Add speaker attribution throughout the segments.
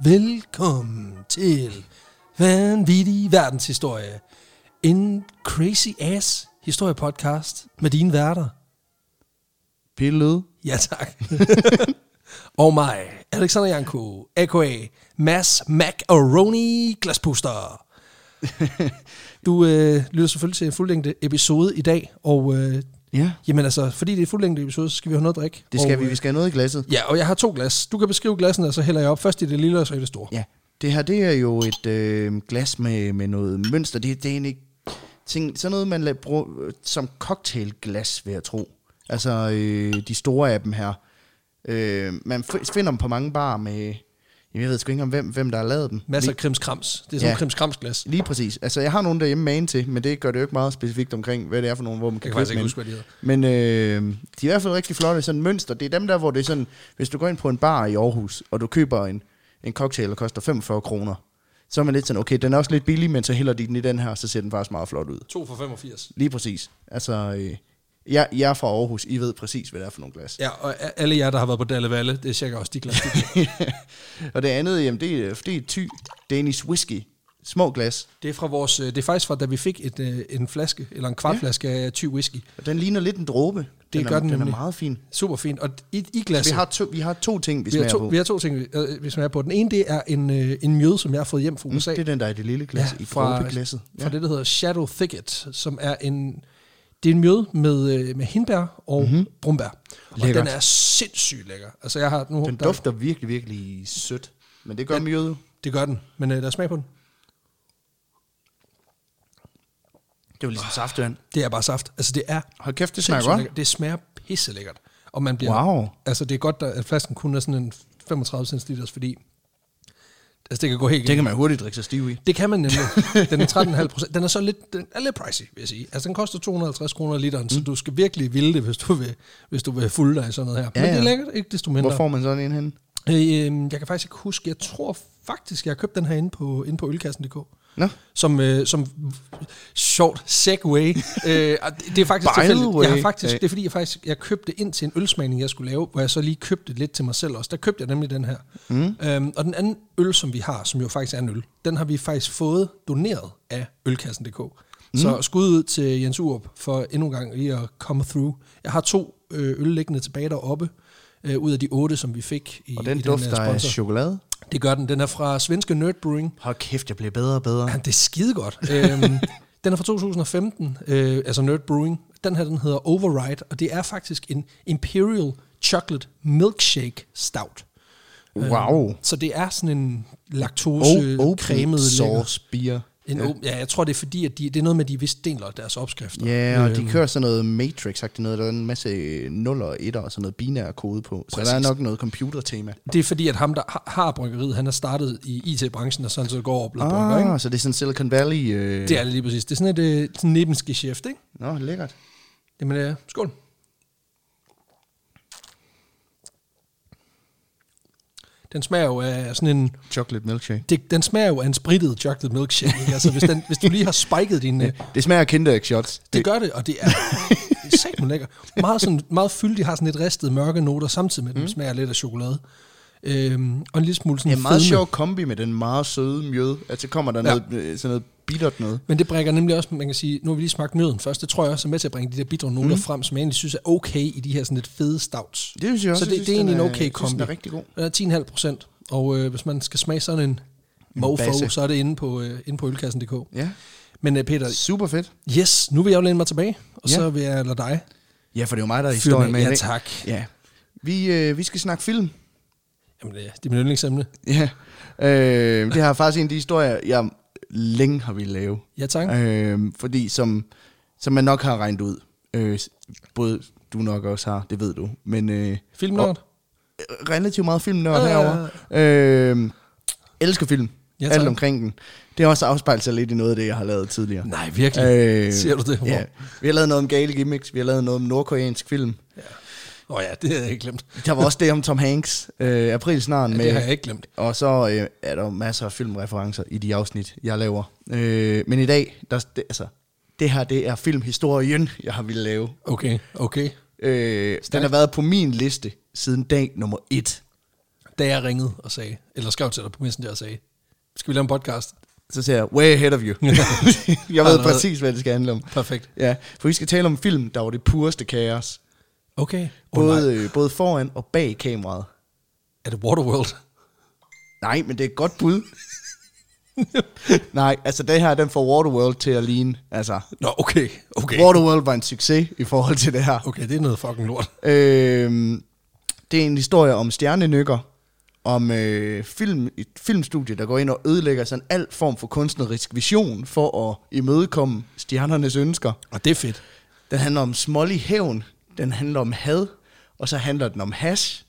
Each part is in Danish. Speaker 1: Velkommen til Vanvittig Verdenshistorie. En crazy ass historiepodcast med dine værter.
Speaker 2: Pille.
Speaker 1: Ja tak. og mig, Alexander Janko, a.k.a. Mass Macaroni Glaspuster. Du øh, lytter selvfølgelig til en fuldlængde episode i dag, og øh,
Speaker 2: Ja.
Speaker 1: jamen altså, fordi det er en fuldlængde episode, så skal vi have noget at drikke.
Speaker 2: Det skal
Speaker 1: og, øh,
Speaker 2: vi. Vi skal have noget i glasset.
Speaker 1: Ja, og jeg har to glas. Du kan beskrive glassene, og så hælder jeg op først i det lille, og så i det store.
Speaker 2: Ja. Det her, det er jo et øh, glas med, med noget mønster. Det, det er egentlig ting, sådan noget, man lader, bruge øh, som cocktailglas, vil jeg tro. Altså øh, de store af dem her. Øh, man f- finder dem på mange bar med... Jamen, jeg ved sgu ikke om, hvem, hvem der har lavet dem.
Speaker 1: Masser af krimskrams. Det er sådan ja.
Speaker 2: Ja.
Speaker 1: en krimskramsglas.
Speaker 2: Lige præcis. Altså, jeg har nogen derhjemme magen til, men det gør det jo ikke meget specifikt omkring, hvad det er for nogen, hvor man
Speaker 1: Jeg
Speaker 2: kan,
Speaker 1: kan
Speaker 2: købe
Speaker 1: faktisk ikke
Speaker 2: dem.
Speaker 1: huske, hvad de hedder.
Speaker 2: Men øh, de er i hvert fald rigtig flotte, sådan mønster. Det er dem der, hvor det er sådan, hvis du går ind på en bar i Aarhus, og du køber en, en cocktail, der koster 45 kroner, så er man lidt sådan, okay, den er også lidt billig, men så hælder de den i den her, så ser den faktisk meget flot ud.
Speaker 1: To for 85.
Speaker 2: Lige præcis. Altså, øh, jeg, jeg er fra Aarhus, I ved præcis, hvad det er for nogle glas.
Speaker 1: Ja, og a- alle jer, der har været på Dalle Valle, det er cirka også de glas. de giver.
Speaker 2: Og det andet, jamen, det er, det er ty, Danish whisky. Små glas.
Speaker 1: det, er fra vores, øh, det er faktisk fra, da vi fik et, øh, en flaske, eller en kvart flaske af ty whisky.
Speaker 2: Og den ligner lidt en dråbe. Det den er,
Speaker 1: gør den
Speaker 2: den er
Speaker 1: nemlig.
Speaker 2: meget fin.
Speaker 1: Super fint. Og i, i
Speaker 2: Så
Speaker 1: glasset,
Speaker 2: vi har, to, vi har to ting, vi,
Speaker 1: vi,
Speaker 2: smager
Speaker 1: har to,
Speaker 2: på.
Speaker 1: vi har to ting, vi, øh, vi smager på. Den ene, det er en, øh, en mjøde, som jeg har fået hjem fra USA.
Speaker 2: Mm, Det er den, der er i det lille glas, ja, i dråbeglasset.
Speaker 1: fra det, der hedder Shadow Thicket, som er en, det er en mjøde med, øh, med hindbær og mm-hmm. brumbær. Og
Speaker 2: Mhm. Lækkert.
Speaker 1: den er sindssygt lækker. Altså, jeg har nu,
Speaker 2: Den
Speaker 1: der,
Speaker 2: dufter virkelig, virkelig sødt. Men det gør
Speaker 1: Den-
Speaker 2: mjøde.
Speaker 1: Det gør den, men øh, lad os smage på den.
Speaker 2: Det er jo ligesom saftvand.
Speaker 1: Det er bare saft. Altså, det er
Speaker 2: Hold kæft, det smager
Speaker 1: sindssygt
Speaker 2: godt.
Speaker 1: lækkert. Det smager pisse lækkert. Og man bliver,
Speaker 2: Wow.
Speaker 1: Altså, det er godt, at flasken kun er sådan en 35 cl, fordi altså, det kan gå helt
Speaker 2: Det
Speaker 1: det,
Speaker 2: kan man hurtigt drikke sig stiv i.
Speaker 1: det kan man nemlig. Den er 13,5 procent. Den er så lidt, den er lidt pricey, vil jeg sige. Altså, den koster 250 kroner literen, mm. så du skal virkelig ville det, hvis du vil, hvis du vil fulde dig i sådan noget her. Ja,
Speaker 2: Ja,
Speaker 1: men det er
Speaker 2: ja.
Speaker 1: lækkert, ikke desto mindre.
Speaker 2: Hvor får man sådan en henne?
Speaker 1: Øh, øh, jeg kan faktisk ikke huske, jeg tror faktisk, jeg har købt den her inde på, inde på ølkassen.dk.
Speaker 2: Nå,
Speaker 1: som, øh, som sjovt segway. øh, og det, det er faktisk
Speaker 2: By the
Speaker 1: tilfældigt. Jeg har
Speaker 2: way.
Speaker 1: faktisk,
Speaker 2: Hey.
Speaker 1: det er fordi, jeg faktisk jeg købte ind til en ølsmagning, jeg skulle lave, hvor jeg så lige købte lidt til mig selv også. Der købte jeg nemlig den her. Mm. Øhm, og den anden øl, som vi har, som jo faktisk er en øl, den har vi faktisk fået doneret af ølkassen.dk. Mm. Så skud ud til Jens Urup for endnu en gang lige at komme through. Jeg har to øh, øl liggende tilbage deroppe, øh, ud af de otte, som vi fik i,
Speaker 2: og den øh,
Speaker 1: i
Speaker 2: dufter
Speaker 1: den her
Speaker 2: af
Speaker 1: sponsor.
Speaker 2: chokolade.
Speaker 1: Det gør den. Den er fra svenske Nerd Brewing.
Speaker 2: Hold kæft, jeg bliver bedre og bedre.
Speaker 1: Ja, det er skide godt. øhm, den er fra 2015, øh, altså Nerd Brewing. Den her, den hedder Override, og det er faktisk en Imperial Chocolate Milkshake Stout.
Speaker 2: Wow.
Speaker 1: Så det er sådan en
Speaker 2: Og
Speaker 1: laktose-cremet
Speaker 2: open
Speaker 1: lækker-
Speaker 2: sauce beer.
Speaker 1: en
Speaker 2: Ja.
Speaker 1: åben- Ja, jeg tror, det er fordi, at de, det er noget med, at de vist deler deres opskrifter.
Speaker 2: Ja, øhm. og de kører sådan noget matrix noget, der er en masse nuller og etter og sådan noget binær kode på. Så der er
Speaker 1: Præcis.
Speaker 2: nok noget computertema.
Speaker 1: Det er fordi, at ham, der har- har bryggeriet, han har startet i IT-branchen, og sådan så går over og bliver brygger, ikke?
Speaker 2: Ah, så det er sådan Silicon Valley. Øh...
Speaker 1: Det er det lige præcis. Det er sådan et øh, sådan en nebenskeshæft, ikke?
Speaker 2: Nå, lækkert.
Speaker 1: Jamen, øh, skål. Den smager jo af sådan en...
Speaker 2: Chocolate milkshake.
Speaker 1: Det, den smager jo af en sprittet chocolate milkshake. Ikke? Altså, hvis, den, hvis du lige har spiket din... øh,
Speaker 2: Det smager af Kinder Egg shots.
Speaker 1: Det gør det, og det er, det er satme lækker. Meget, sådan, meget fyldig, har sådan lidt ristet mørke noter, samtidig med, at den smager lidt af chokolade. Øhm, og en lille smule sådan
Speaker 2: Mm. Det er en meget
Speaker 1: fedme.
Speaker 2: sjov kombi med den meget søde mjød. Altså kommer der
Speaker 1: Ja.
Speaker 2: ja. noget, øh, sådan noget bittert noget.
Speaker 1: Men det bringer nemlig også, man kan sige, nu har vi lige smagt mjøden først, det tror jeg også er med til at bringe de der bitre noter mm. frem, som jeg egentlig synes er okay i de her sådan lidt fede stouts.
Speaker 2: Det synes jeg også.
Speaker 1: Så
Speaker 2: Jeg
Speaker 1: det, det
Speaker 2: synes,
Speaker 1: er egentlig en
Speaker 2: den er-
Speaker 1: okay
Speaker 2: jeg synes,
Speaker 1: kombi.
Speaker 2: den er rigtig god.
Speaker 1: Den er 10,5 procent, og øh, hvis man skal smage sådan en mofo,
Speaker 2: basse.
Speaker 1: så er det inde på, øh, inde på ølkassen.dk.
Speaker 2: Ja.
Speaker 1: Men øh, Peter,
Speaker 2: Super fedt.
Speaker 1: yes, nu vil jeg jo læne mig tilbage, og
Speaker 2: Ja.
Speaker 1: så vil jeg lade dig
Speaker 2: Ja, for det er jo mig, der er
Speaker 1: fyre
Speaker 2: historien
Speaker 1: den
Speaker 2: med
Speaker 1: af.
Speaker 2: i
Speaker 1: Ja
Speaker 2: dag.
Speaker 1: tak.
Speaker 2: Ja. Vi, øh, vi skal snakke film.
Speaker 1: Jamen, øh, det, er- det er min yndlingsemne.
Speaker 2: Ja. Øh, det har faktisk en af de historier, jeg længe har ville lave.
Speaker 1: Ja tak.
Speaker 2: Øh, fordi som, som man nok har regnet ud, øh, både du nok også har, det ved du, men øh,
Speaker 1: Filmnørd.
Speaker 2: relativt meget filmnørd
Speaker 1: Ja, ja, ja.
Speaker 2: herovre. Øh, elsker film.
Speaker 1: Ja,
Speaker 2: Ja,
Speaker 1: tak.
Speaker 2: Alt omkring den. Det har også afspejlet sig lidt i noget af det, jeg har lavet tidligere.
Speaker 1: Nej, virkelig.
Speaker 2: Øh,
Speaker 1: Siger du det? Wow.
Speaker 2: Ja. Vi har lavet noget om gale gimmicks, vi har lavet noget om nordkoreansk film.
Speaker 1: Åh oh, ja, det havde jeg ikke glemt.
Speaker 2: Der var også det om Tom Hanks, øh, aprilsnaren
Speaker 1: Ja,
Speaker 2: med...
Speaker 1: det har jeg ikke glemt.
Speaker 2: Og så øh, er der jo masser af filmreferencer i de afsnit, jeg laver. Øh, men i dag, der, det, altså, det her det er filmhistorien, jeg har ville lave.
Speaker 1: Okay, okay.
Speaker 2: Øh, den har været på min liste siden dag nummer et.
Speaker 1: da jeg ringede og sagde, eller skrev til dig på Messenger og sagde, skal vi lave en podcast?
Speaker 2: Så siger jeg, way ahead of you. jeg ved præcis, hvad det skal handle om.
Speaker 1: Perfekt.
Speaker 2: Ja, for vi skal tale om en film, der var det pureste kaos.
Speaker 1: Okay. Oh, nej.
Speaker 2: Både, øh, både foran og bag kameraet.
Speaker 1: Er det Waterworld?
Speaker 2: Nej, men det er et godt bud. Nej, altså det her, den får Waterworld til at ligne. Altså,
Speaker 1: Nå, okay. Okay.
Speaker 2: okay. Waterworld var en succes i forhold til det her.
Speaker 1: Okay, det er noget fucking lort.
Speaker 2: Øhm, det er en historie om stjernenykker, om øh, film, et filmstudie, der går ind og ødelægger sådan al form for kunstnerisk vision for at imødekomme stjernernes ønsker.
Speaker 1: Og det er fedt.
Speaker 2: Den handler om smålig hævn, den handler om had, og så handler den om hash,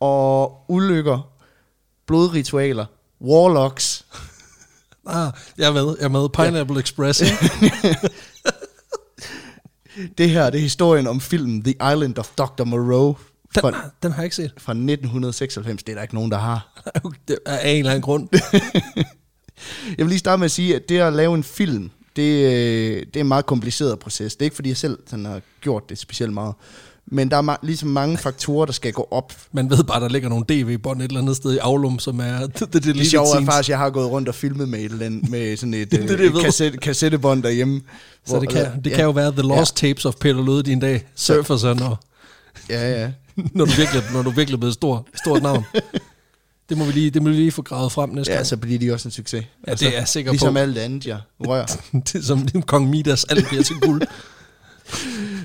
Speaker 2: og ulykker, blodritualer, warlocks.
Speaker 1: Ah, jeg er med. Jeg er med. Pineapple ja. Express.
Speaker 2: Det her det er historien om filmen The Island of Dr. Moreau
Speaker 1: Den, ah,
Speaker 2: fra,
Speaker 1: den har jeg ikke set.
Speaker 2: fra 1996. Det er der ikke nogen, der har.
Speaker 1: Det er af en eller anden grund.
Speaker 2: Jeg vil lige starte med at sige, at det at lave en film, det, øh, det er en meget kompliceret proces. Det er ikke, fordi jeg selv sådan, har gjort det specielt meget. Men der er ma- ligesom mange faktorer, der skal gå op.
Speaker 1: Man ved bare, der ligger nogle DV-bånd et eller andet sted i Aulum, som er det, det, det
Speaker 2: Det sjove er faktisk, at jeg har gået rundt og filmet med, et eller andet, med sådan et,
Speaker 1: Det er
Speaker 2: øh,
Speaker 1: det, jeg ved.
Speaker 2: kasset, kassettebånd derhjemme.
Speaker 1: Så det kan, det kan jo være The Lost ja. Tapes of Peter Løde din dag surfer sig, når,
Speaker 2: Ja, ja.
Speaker 1: når, du virkelig, når du virkelig er blevet stor, stort navn. Det må, vi lige, det må vi lige få gravet frem næste
Speaker 2: Ja, altså,
Speaker 1: gang.
Speaker 2: så bliver de også en succes.
Speaker 1: Ja, det er jeg sikker
Speaker 2: ligesom
Speaker 1: på.
Speaker 2: alt andet, jeg rører.
Speaker 1: det er som din Kong Midas, alt bliver til guld.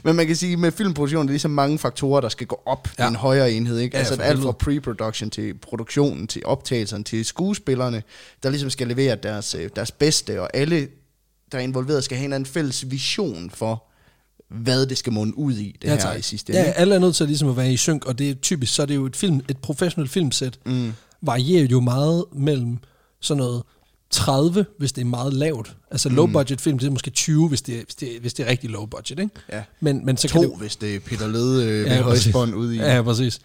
Speaker 2: Men man kan sige, med filmproduktion, det er ligesom mange faktorer, der skal gå op ja.
Speaker 1: Ja.
Speaker 2: i en højere enhed. Ikke?
Speaker 1: Ja,
Speaker 2: Ja, altså
Speaker 1: for
Speaker 2: alt fra
Speaker 1: helvede.
Speaker 2: pre-production til produktionen, til optagelserne, til skuespillerne, der ligesom skal levere deres, øh, deres bedste, og alle, der er involveret, skal have en eller anden fælles vision for, hvad det skal munde ud i, det ja, her i sidste ende.
Speaker 1: Ja,
Speaker 2: ikke?
Speaker 1: alle er nødt til ligesom at være i synk, og det er typisk, så er det jo et, film, et professionelt filmsæt, mm. varierer jo meget mellem sådan noget 30, hvis det er meget lavt. Altså low
Speaker 2: Mm.
Speaker 1: budget film, det er måske 20, hvis det er, hvis det er, hvis det er rigtig low budget, ikke?
Speaker 2: Ja.
Speaker 1: Men, men så kan
Speaker 2: To,
Speaker 1: det,
Speaker 2: hvis det er Peter Lede øh, med højspånd ud i.
Speaker 1: Ja, ja, præcis.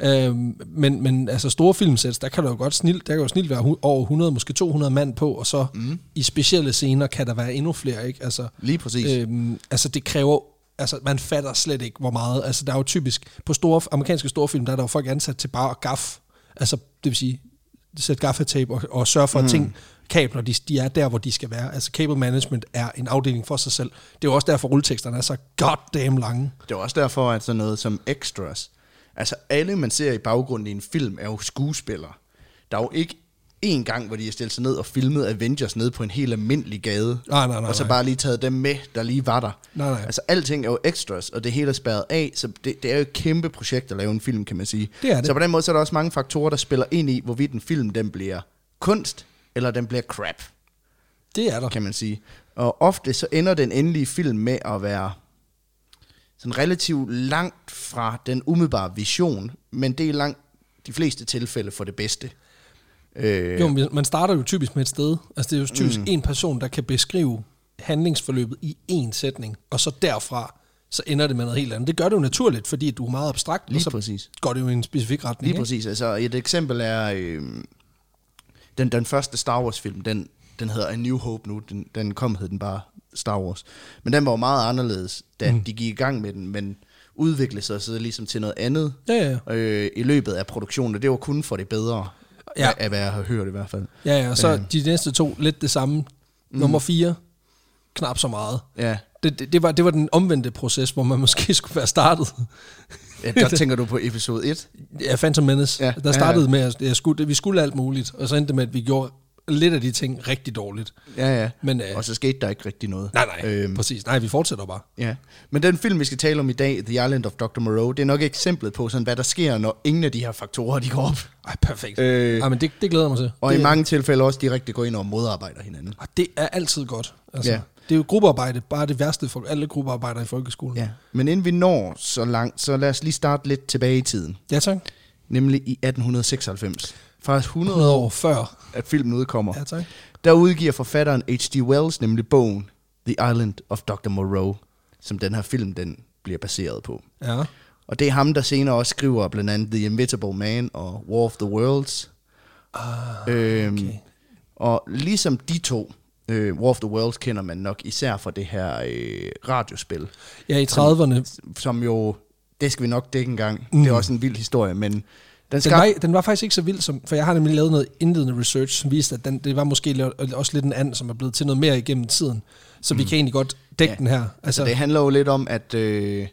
Speaker 1: Øhm, men, men altså store filmsæt, der kan der jo godt snilt, der kan jo snilt være hu- over 100, måske 200 mand på, og så mm. i specielle scener kan der være endnu flere, ikke? Altså,
Speaker 2: Lige præcis.
Speaker 1: Øhm, altså det kræver, altså man fatter slet ikke, hvor meget. Altså der er jo typisk, på store, amerikanske storfilm, der er der jo folk ansat til bare at gaff. Altså det vil sige, sætte gaffatape og, og sørge
Speaker 2: Mm.
Speaker 1: for, at ting, kabler, de, de er der, hvor de skal være. Altså cable management er en afdeling for sig selv. Det er jo også derfor, rulleteksterne er så goddamn lange.
Speaker 2: Det er også derfor, at sådan noget som extras, altså alle, man ser i baggrunden i en film, er jo skuespillere. Der er jo ikke én gang, hvor de har stillet sig ned og filmet Avengers nede på en helt almindelig gade.
Speaker 1: Nej, nej, nej,
Speaker 2: Og så
Speaker 1: nej.
Speaker 2: bare lige taget dem med, der lige var der.
Speaker 1: Nej, nej.
Speaker 2: Altså alting er jo extras, og det hele er spærret af, så det, det er jo et kæmpe projekt at lave en film, kan man sige.
Speaker 1: Det er det.
Speaker 2: Så på den måde så er der også mange faktorer, der spiller ind i, hvorvidt en film den bliver kunst, eller den bliver crap
Speaker 1: Det er der.
Speaker 2: kan man sige. Og ofte så ender den endelige film med at være sådan relativt langt fra den umiddelbare vision, men det er langt de fleste tilfælde for det bedste. Øh,
Speaker 1: Jo, men man starter jo typisk med et sted. Altså, det er jo
Speaker 2: Mm.
Speaker 1: typisk en person, der kan beskrive handlingsforløbet i én sætning, og så derfra, så ender det med noget helt andet. Det gør det jo naturligt, fordi du er meget abstrakt,
Speaker 2: Lige
Speaker 1: og så
Speaker 2: præcis.
Speaker 1: går det jo i en specifik retning.
Speaker 2: lige
Speaker 1: ikke?
Speaker 2: præcis. Altså et eksempel er øh, den, den første Star Wars film, den, den hedder A New Hope nu, den, den kom hed den bare Star Wars. Men den var jo meget anderledes, da mm. de gik i gang med den, men udviklede sig så ligesom til noget andet.
Speaker 1: Ja, ja.
Speaker 2: øh, i løbet af produktionen, og det var kun for det bedre,
Speaker 1: Ja.
Speaker 2: ja. af hvad jeg har hørt i hvert fald.
Speaker 1: Ja, ja, og
Speaker 2: Øhm.
Speaker 1: så de næste to lidt det samme.
Speaker 2: Mm.
Speaker 1: Nummer fire, knap så meget.
Speaker 2: Ja.
Speaker 1: Det, det, det, var, det var den omvendte proces, hvor man måske skulle være startet.
Speaker 2: ja der tænker du på episode 1.
Speaker 1: Ja, Phantom Menace.
Speaker 2: Ja,
Speaker 1: Ja,
Speaker 2: ja,
Speaker 1: der startede ja, ja. med, at jeg skulle, vi skulle alt muligt, og så endte det med, at vi gjorde lidt af de ting rigtig dårligt.
Speaker 2: Ja, ja.
Speaker 1: Men, øh,
Speaker 2: og så skete der ikke rigtig noget.
Speaker 1: Nej, nej, øhm. præcis. Nej, vi fortsætter bare.
Speaker 2: ja. Men den film, vi skal tale om i dag, The Island of Dr. Moreau, det er nok eksemplet på, sådan, hvad der sker, når ingen af de her faktorer de går op.
Speaker 1: Ej, perfekt.
Speaker 2: Øh.
Speaker 1: Øh. Ej, men det, det glæder jeg mig til.
Speaker 2: Og
Speaker 1: det,
Speaker 2: i mange tilfælde også direkte går ind og modarbejder hinanden.
Speaker 1: og det er altid godt. Altså,
Speaker 2: Ja.
Speaker 1: ja. Det er jo gruppearbejde, bare det værste for alle gruppearbejder i folkeskolen.
Speaker 2: Ja. Men inden vi når så langt, så lad os lige starte lidt tilbage i tiden.
Speaker 1: ja tak.
Speaker 2: Nemlig i 1896. Faktisk 100
Speaker 1: 100
Speaker 2: år,
Speaker 1: år før.
Speaker 2: at filmen udkommer.
Speaker 1: Ja, tak.
Speaker 2: Der udgiver forfatteren H.G. Wells nemlig bogen The Island of Dr. Moreau, som den her film den bliver baseret på.
Speaker 1: Ja.
Speaker 2: Og det er ham, der senere også skriver blandt andet The Invisible Man og War of the Worlds. Ah, øhm, okay. Og ligesom de to, øh, War of the Worlds kender man nok især fra det her øh, radiospil,
Speaker 1: Ja, i 30'erne.
Speaker 2: som jo, det skal vi nok dække en gang. Mm. Det er også en vild historie, men Den
Speaker 1: Den,
Speaker 2: skab-
Speaker 1: var, den var faktisk ikke så vild, som, for jeg har nemlig lavet noget indledende research, som viste, at den, det var måske la- også lidt en and, som er blevet til noget mere igennem tiden. Så mm. vi kan egentlig godt dække
Speaker 2: Ja.
Speaker 1: ja. den her. Altså,
Speaker 2: Så det
Speaker 1: det,
Speaker 2: handler jo lidt om, at øh,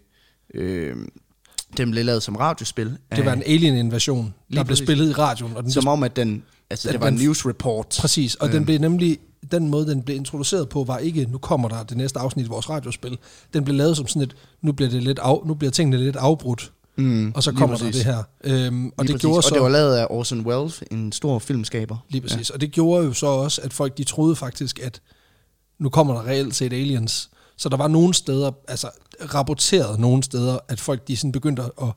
Speaker 2: øh, den blev lavet som radiospil.
Speaker 1: det var en alien-invasion, der blev
Speaker 2: præcis.
Speaker 1: spillet i radioen. Og den
Speaker 2: Som
Speaker 1: blev,
Speaker 2: om, at den... Altså,
Speaker 1: At
Speaker 2: det var en
Speaker 1: den-
Speaker 2: news report.
Speaker 1: præcis, og den blev nemlig, den måde, den blev introduceret på, var ikke, nu kommer der det næste afsnit i vores radiospil. Den blev lavet som sådan et, nu bliver, det lidt af, nu bliver tingene lidt afbrudt, mm, og så
Speaker 2: lige
Speaker 1: kommer der
Speaker 2: præcis.
Speaker 1: det her. Øhm, og,
Speaker 2: Lige
Speaker 1: det
Speaker 2: præcis.
Speaker 1: gjorde
Speaker 2: og
Speaker 1: så,
Speaker 2: det var lavet af Orson Welles, en stor filmskaber.
Speaker 1: Lige præcis. Ja. Og det gjorde jo så også, at folk de troede faktisk, at nu kommer der reelt set aliens. Så der var nogle steder, altså rapporteret nogle steder, at folk de sådan begyndte at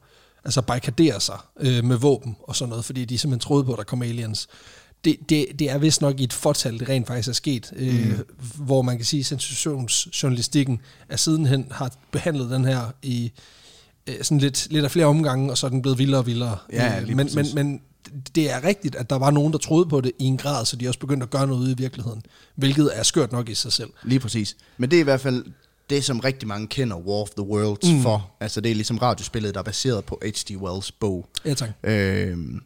Speaker 1: altså, barrikadere sig øh, med våben og sådan noget, fordi de simpelthen troede på, at der kom aliens. Det, det, det er vist nok i et fortal, det rent faktisk er sket, øh, mm. hvor man kan sige, at sensationsjournalistikken er sidenhen har behandlet den her i øh, sådan lidt, lidt af flere omgange, og så er den blevet vildere og vildere.
Speaker 2: Ja, ja,
Speaker 1: Øh,
Speaker 2: lige
Speaker 1: men, men,
Speaker 2: præcis.
Speaker 1: men det er rigtigt, at der var nogen, der troede på det i en grad, så de også begyndte at gøre noget ude i virkeligheden, hvilket er skørt nok i sig selv.
Speaker 2: Lige præcis. Men det er i hvert fald det, som rigtig mange kender War of the Worlds mm. for. Altså, det er ligesom radiospillet, der er baseret på H.G. Wells bog.
Speaker 1: Ja, tak.
Speaker 2: Øhm,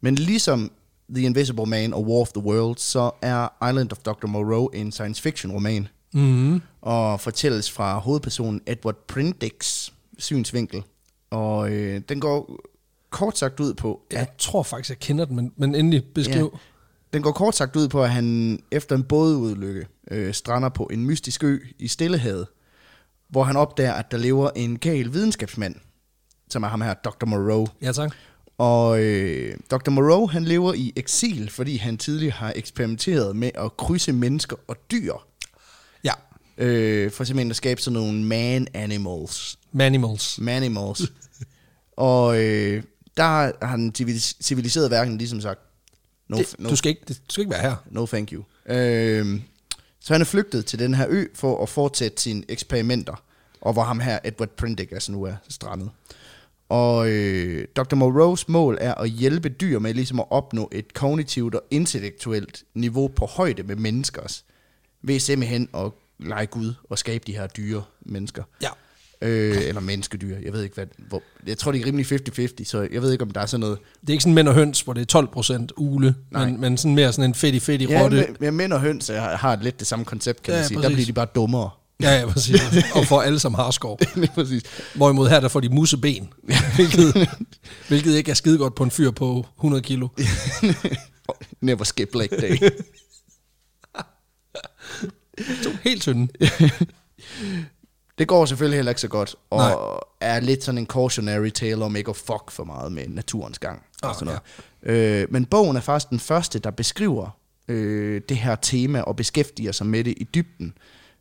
Speaker 2: men ligesom The Invisible Man og War of the Worlds, så er Island of Dr. Moreau en science fiction roman. Mm. Og fortælles fra hovedpersonen Edward Prindicks synsvinkel. Og øh, den går kort sagt ud på, at
Speaker 1: Jeg tror faktisk, jeg kender den, men, men endelig beskriv. Ja.
Speaker 2: Den går kort sagt ud på, at han efter en bådeulykke øh, strander på en mystisk ø i Stillehavet, hvor han opdager, at der lever en gal videnskabsmand, som er ham her, Dr. Moreau.
Speaker 1: Ja, tak.
Speaker 2: Og øh, Dr. Moreau, han lever i eksil, fordi han tidligere har eksperimenteret med at krydse mennesker og dyr,
Speaker 1: Ja,
Speaker 2: øh, for simpelthen at skabe sådan nogle man-animals.
Speaker 1: Manimals.
Speaker 2: Manimals. og øh, der har den civilis- civiliserede verden ligesom sagt, no,
Speaker 1: Det,
Speaker 2: no
Speaker 1: du, skal ikke, det, du skal ikke være her.
Speaker 2: No thank you. Øhm, så han er flygtet til den her ø for at fortsætte sine eksperimenter, og hvor ham her, Edward Prendick, altså nu er strandet. Og øh, Dr. Moreaus mål er at hjælpe dyr med ligesom at opnå et kognitivt og intellektuelt niveau på højde med menneskers, ved simpelthen at lege Gud og skabe de her dyre mennesker.
Speaker 1: Ja.
Speaker 2: Øh, eller menneskedyr, jeg ved ikke hvad, hvor, jeg tror det er rimelig 50-50, så jeg ved ikke om der er sådan noget
Speaker 1: Det er ikke sådan mænd og høns, hvor det er 12 procent ule,
Speaker 2: Nej.
Speaker 1: men, men sådan mere sådan en fedt i fedt i
Speaker 2: Ja,
Speaker 1: rotte.
Speaker 2: men, men mænd og høns øh, har har lidt det samme koncept, kan ja,
Speaker 1: Ja,
Speaker 2: man sige. Der
Speaker 1: præcis.
Speaker 2: bliver de bare dummere.
Speaker 1: Ja, ja, præcis. Og for alle som har skov.
Speaker 2: Lige præcis.
Speaker 1: Hvorimod her, der får de museben, hvilket, hvilket ikke er skide godt på en fyr på 100 kilo.
Speaker 2: Never skip leg day.
Speaker 1: To helt tynde.
Speaker 2: det går selvfølgelig heller ikke så godt, og
Speaker 1: Nej.
Speaker 2: er lidt sådan en cautionary tale om ikke at fuck for meget med naturens gang. og
Speaker 1: Ah,
Speaker 2: sådan noget. Ja. Øh, men bogen er faktisk den første, der beskriver øh, det her tema og beskæftiger sig med det i dybden.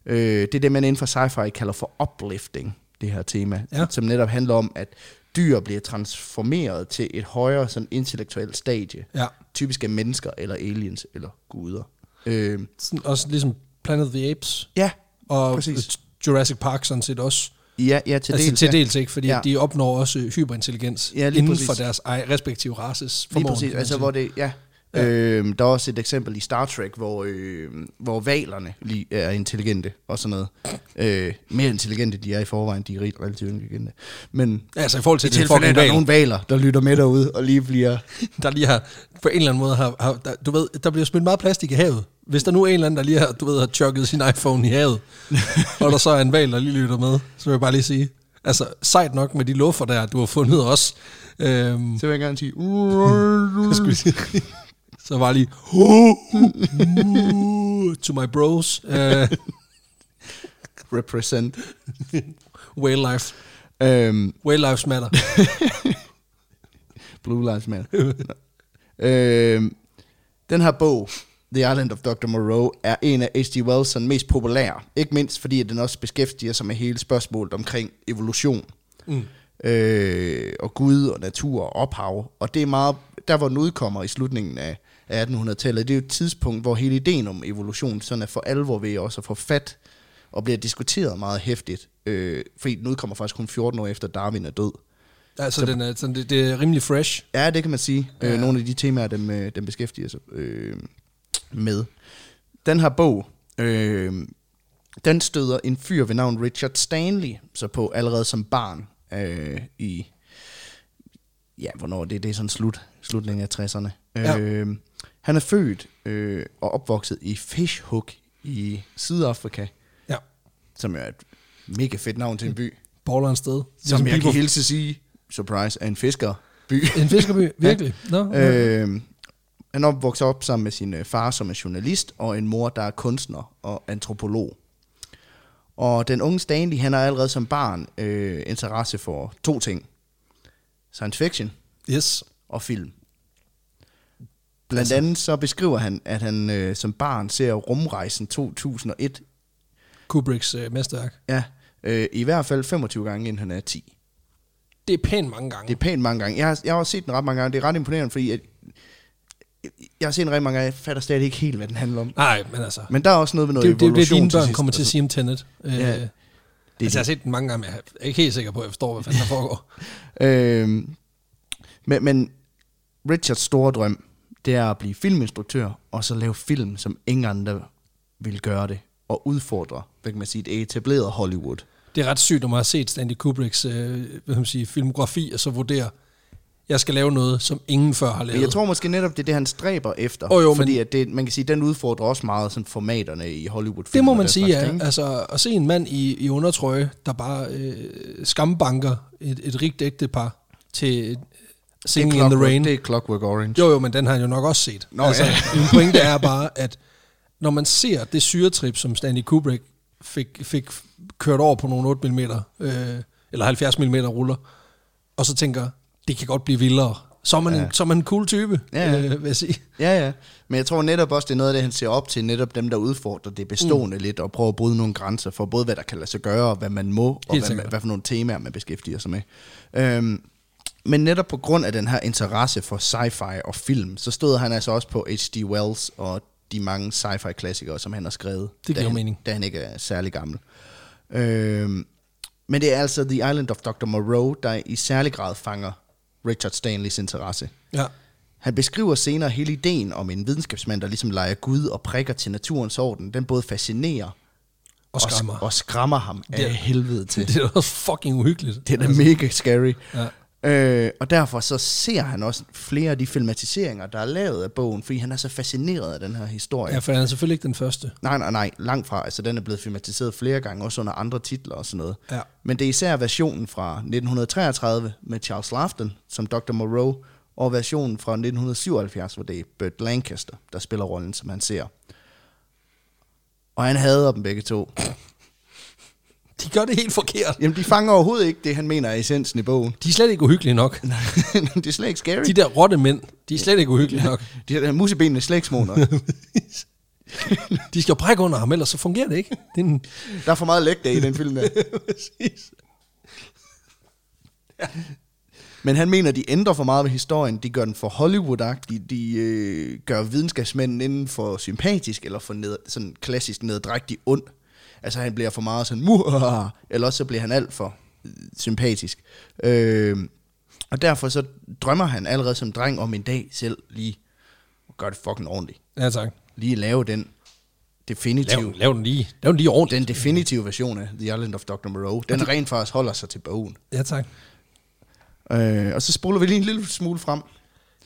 Speaker 2: Øh, det er det, man inden for sci-fi kalder for uplifting, det her tema,
Speaker 1: Ja.
Speaker 2: som netop handler om, at dyr bliver transformeret til et højere sådan intellektuelt stadie.
Speaker 1: Ja.
Speaker 2: typisk af mennesker eller aliens eller guder. Øh,
Speaker 1: Sådan, også ligesom Planet of the Apes
Speaker 2: ja,
Speaker 1: og
Speaker 2: Præcis.
Speaker 1: Præcis. Jurassic Park sådan set også.
Speaker 2: ja, ja, til
Speaker 1: Til altså
Speaker 2: dels.
Speaker 1: dels, til
Speaker 2: ja.
Speaker 1: dels ikke, fordi
Speaker 2: Ja.
Speaker 1: ja. de opnår også øh, hyperintelligens
Speaker 2: Ja,
Speaker 1: ja,
Speaker 2: lige
Speaker 1: inden
Speaker 2: præcis.
Speaker 1: for deres ej- respektive races
Speaker 2: Lige
Speaker 1: formåen.
Speaker 2: præcis,
Speaker 1: kan man
Speaker 2: altså
Speaker 1: sige.
Speaker 2: hvor det, ja. ja. Øh, der er også et eksempel i Star Trek, hvor, øh, hvor valerne lige er intelligente og sådan noget. Øh, mere intelligente de er i forvejen, de er rigt- relativt intelligente. Men
Speaker 1: Altså i forhold
Speaker 2: i
Speaker 1: til, det
Speaker 2: tilfælde,
Speaker 1: fucking
Speaker 2: at der er
Speaker 1: val,
Speaker 2: nogle valer, der lytter med derude og lige bliver...
Speaker 1: der lige har, på en eller anden måde har, har der, du ved, der bliver smidt meget plastik i havet. Hvis der nu er en eller anden, der lige har, du ved, har chokket sin iPhone i havet, og der så er en val, der lige lytter med, så vil jeg bare lige sige, altså sejt nok med de luffer der, du har fundet os. Øhm,
Speaker 2: Så vil jeg gerne sige... "Uhuh."
Speaker 1: skulle sige. Så var lige to my bros, uh,
Speaker 2: Represent.
Speaker 1: whale life,
Speaker 2: Øhm,
Speaker 1: whale lives matter.
Speaker 2: Blue Lives Matter. øhm, den her bog, The Island of Dr. Moreau, er en af H.G. Wells sådan mest populære. Ikke mindst fordi, at den også beskæftiger sig med hele spørgsmålet omkring evolution. Mm. Øh, og Gud og natur og ophav. Og det er meget, der hvor den udkommer i slutningen af af 1800-tallet, det er jo et tidspunkt, hvor hele ideen om evolution sådan er for alvor ved også at få fat og bliver diskuteret meget hæftigt. Øh, fordi den udkommer faktisk kun 14 år efter Darwin er død.
Speaker 1: Altså, den er, sådan, det, det er rimelig fresh.
Speaker 2: Ja, det kan man sige. Ja. Øh, nogle af de temaer, dem, øh, dem beskæftiger sig øh, med. Den her bog, øh, den støder en fyr ved navn Richard Stanley så på allerede som barn øh, i ja, hvornår det, det er sådan slut, slutningen af 60'erne.
Speaker 1: Ja.
Speaker 2: Ja. Øh, han er født øh, og opvokset i Fishhook i Sydafrika,
Speaker 1: Ja.
Speaker 2: som jo er et mega fedt navn til en by.
Speaker 1: Baller en sted.
Speaker 2: Som jeg
Speaker 1: Ligesom
Speaker 2: kan
Speaker 1: Viborg.
Speaker 2: hilse sige, surprise, er en fiskerby.
Speaker 1: En fiskerby, virkelig. Ja. Nå, øh.
Speaker 2: Øh, han op- vokser op sammen med sin øh, far, som er journalist, og en mor, der er kunstner og antropolog. Og den unge Stanley, han har allerede som barn øh, interesse for to ting. Science fiction
Speaker 1: Yes.
Speaker 2: og film. Blandt andet så beskriver han, at han øh, som barn ser rumrejsen 2001,
Speaker 1: Kubricks øh, mesterværk.
Speaker 2: ja, øh, i hvert fald 25 gange, inden han er 10.
Speaker 1: Det er pænt mange gange.
Speaker 2: Det er pænt mange gange. Jeg har, jeg har også set den ret mange gange. Det er ret imponerende, fordi jeg, jeg har set den rigtig mange gange. Jeg fatter stadig ikke helt, hvad den handler om.
Speaker 1: Nej, men altså.
Speaker 2: Men der er også noget med
Speaker 1: Det
Speaker 2: noget
Speaker 1: er jo det, er jo det,
Speaker 2: evolution
Speaker 1: dine børn
Speaker 2: sidst, altså.
Speaker 1: kommer til
Speaker 2: og
Speaker 1: at sige om Tenet. Øh,
Speaker 2: Ja,
Speaker 1: ja, altså,
Speaker 2: sådan.
Speaker 1: jeg har set den mange gange, men jeg er ikke helt sikker på, at jeg forstår, hvad fanden der foregår.
Speaker 2: Det, øhm, men, men Richards store drøm, det er at blive filminstruktør, og så lave film, som ingen andre vil gøre det, og udfordre, hvad kan man sige, det etablerede Hollywood.
Speaker 1: Det er ret sygt, når man har set Stanley Kubricks øh, hvad kan man sige, filmografi, og så vurderer, jeg skal lave noget, som ingen før har lavet.
Speaker 2: Men jeg tror måske netop, det er det, han stræber efter.
Speaker 1: Åh, jo,
Speaker 2: fordi
Speaker 1: men-
Speaker 2: at det, man kan sige, den udfordrer også meget sådan formaterne i hollywood
Speaker 1: det må man sige, ja. Altså, at se en mand i, i undertrøje, der bare øh, skambanker et, et rigt ægte par til øh, Singing in the Rain.
Speaker 2: Det er Clockwork Orange.
Speaker 1: Jo, jo, men den har han jo nok også set.
Speaker 2: Nå,
Speaker 1: altså,
Speaker 2: ja.
Speaker 1: Min pointe er bare, at når man ser det syretrip, som Stanley Kubrick fik, fik kørt over på nogle 8 mm, øh, eller 70 mm ruller, og så tænker, det kan godt blive vildere, så er man, ja. en, så er man en cool type,
Speaker 2: Ja, ja.
Speaker 1: Øh, vil jeg sige.
Speaker 2: Ja, ja. Men jeg tror netop også, det er noget af det, han ser op til, netop dem, der udfordrer det bestående mm. lidt, og prøver at bryde nogle grænser for både, hvad der kan lade sig gøre, og hvad man må, og
Speaker 1: Helt
Speaker 2: hvad,
Speaker 1: sikkert.
Speaker 2: man, hvad for nogle temaer, man beskæftiger sig med. Øhm, men netop på grund af den her interesse for sci-fi og film, så stod han altså også på H.G. Wells og de mange sci-fi-klassikere, som han har skrevet.
Speaker 1: Det giver
Speaker 2: da han,
Speaker 1: mening.
Speaker 2: Da han ikke er særlig gammel. Øhm, men det er altså The Island of Dr. Moreau, der i særlig grad fanger Richard Stanleys interesse.
Speaker 1: Ja.
Speaker 2: Han beskriver senere hele ideen om en videnskabsmand, der ligesom leger Gud og prikker til naturens orden. Den både fascinerer
Speaker 1: Og skræmmer.
Speaker 2: Og, og skræmmer ham af
Speaker 1: Det er-
Speaker 2: helvede til.
Speaker 1: Det er da også fucking uhyggeligt.
Speaker 2: Det er da mega scary.
Speaker 1: Ja.
Speaker 2: Øh, og derfor så ser han også flere af de filmatiseringer, der er lavet af bogen, fordi han er så fascineret af den her historie.
Speaker 1: Ja,
Speaker 2: Ja.
Speaker 1: for han er selvfølgelig ikke den første.
Speaker 2: Nej, nej, nej, langt fra. Altså, den er blevet filmatiseret flere gange, også under andre titler og sådan noget.
Speaker 1: Ja.
Speaker 2: Men det er især versionen fra 1933 med Charles Laughton som Dr. Moreau, og versionen fra 1977, hvor det er Burt Lancaster, der spiller rollen, som han ser. Og han hader dem begge to.
Speaker 1: De gør det helt forkert.
Speaker 2: Jamen, de fanger overhovedet ikke det, han mener er essensen i bogen.
Speaker 1: De er slet ikke uhyggelige nok.
Speaker 2: det er slet ikke scary.
Speaker 1: De
Speaker 2: De,
Speaker 1: der rotte mænd, de er slet ikke uhyggelige nok.
Speaker 2: de der musebenene er slet ikke små nok.
Speaker 1: De skal jo brække under ham, ellers så fungerer det ikke. Det er en
Speaker 2: Der er for meget lægdag i den film der.
Speaker 1: Præcis.
Speaker 2: Men han mener, de ændrer for meget ved historien. De gør den for Hollywood-agtig. De øh, gør videnskabsmanden inden for sympatisk, eller for ned, sådan klassisk neddrægtig ond. Altså han bliver for meget sådan, muhaha, eller også så bliver han alt for øh, sympatisk. Øh, og derfor så drømmer han allerede som dreng om en dag selv lige at gøre det fucking ordentligt.
Speaker 1: Ja, tak.
Speaker 2: Lige lave den definitive,
Speaker 1: Lav, lav, den lige, lav den lige ordentligt.
Speaker 2: den definitive version af The Island of Dr. Moreau. Den rent faktisk holder sig til bogen.
Speaker 1: Ja, tak.
Speaker 2: Øh, og så spoler vi lige en lille smule frem.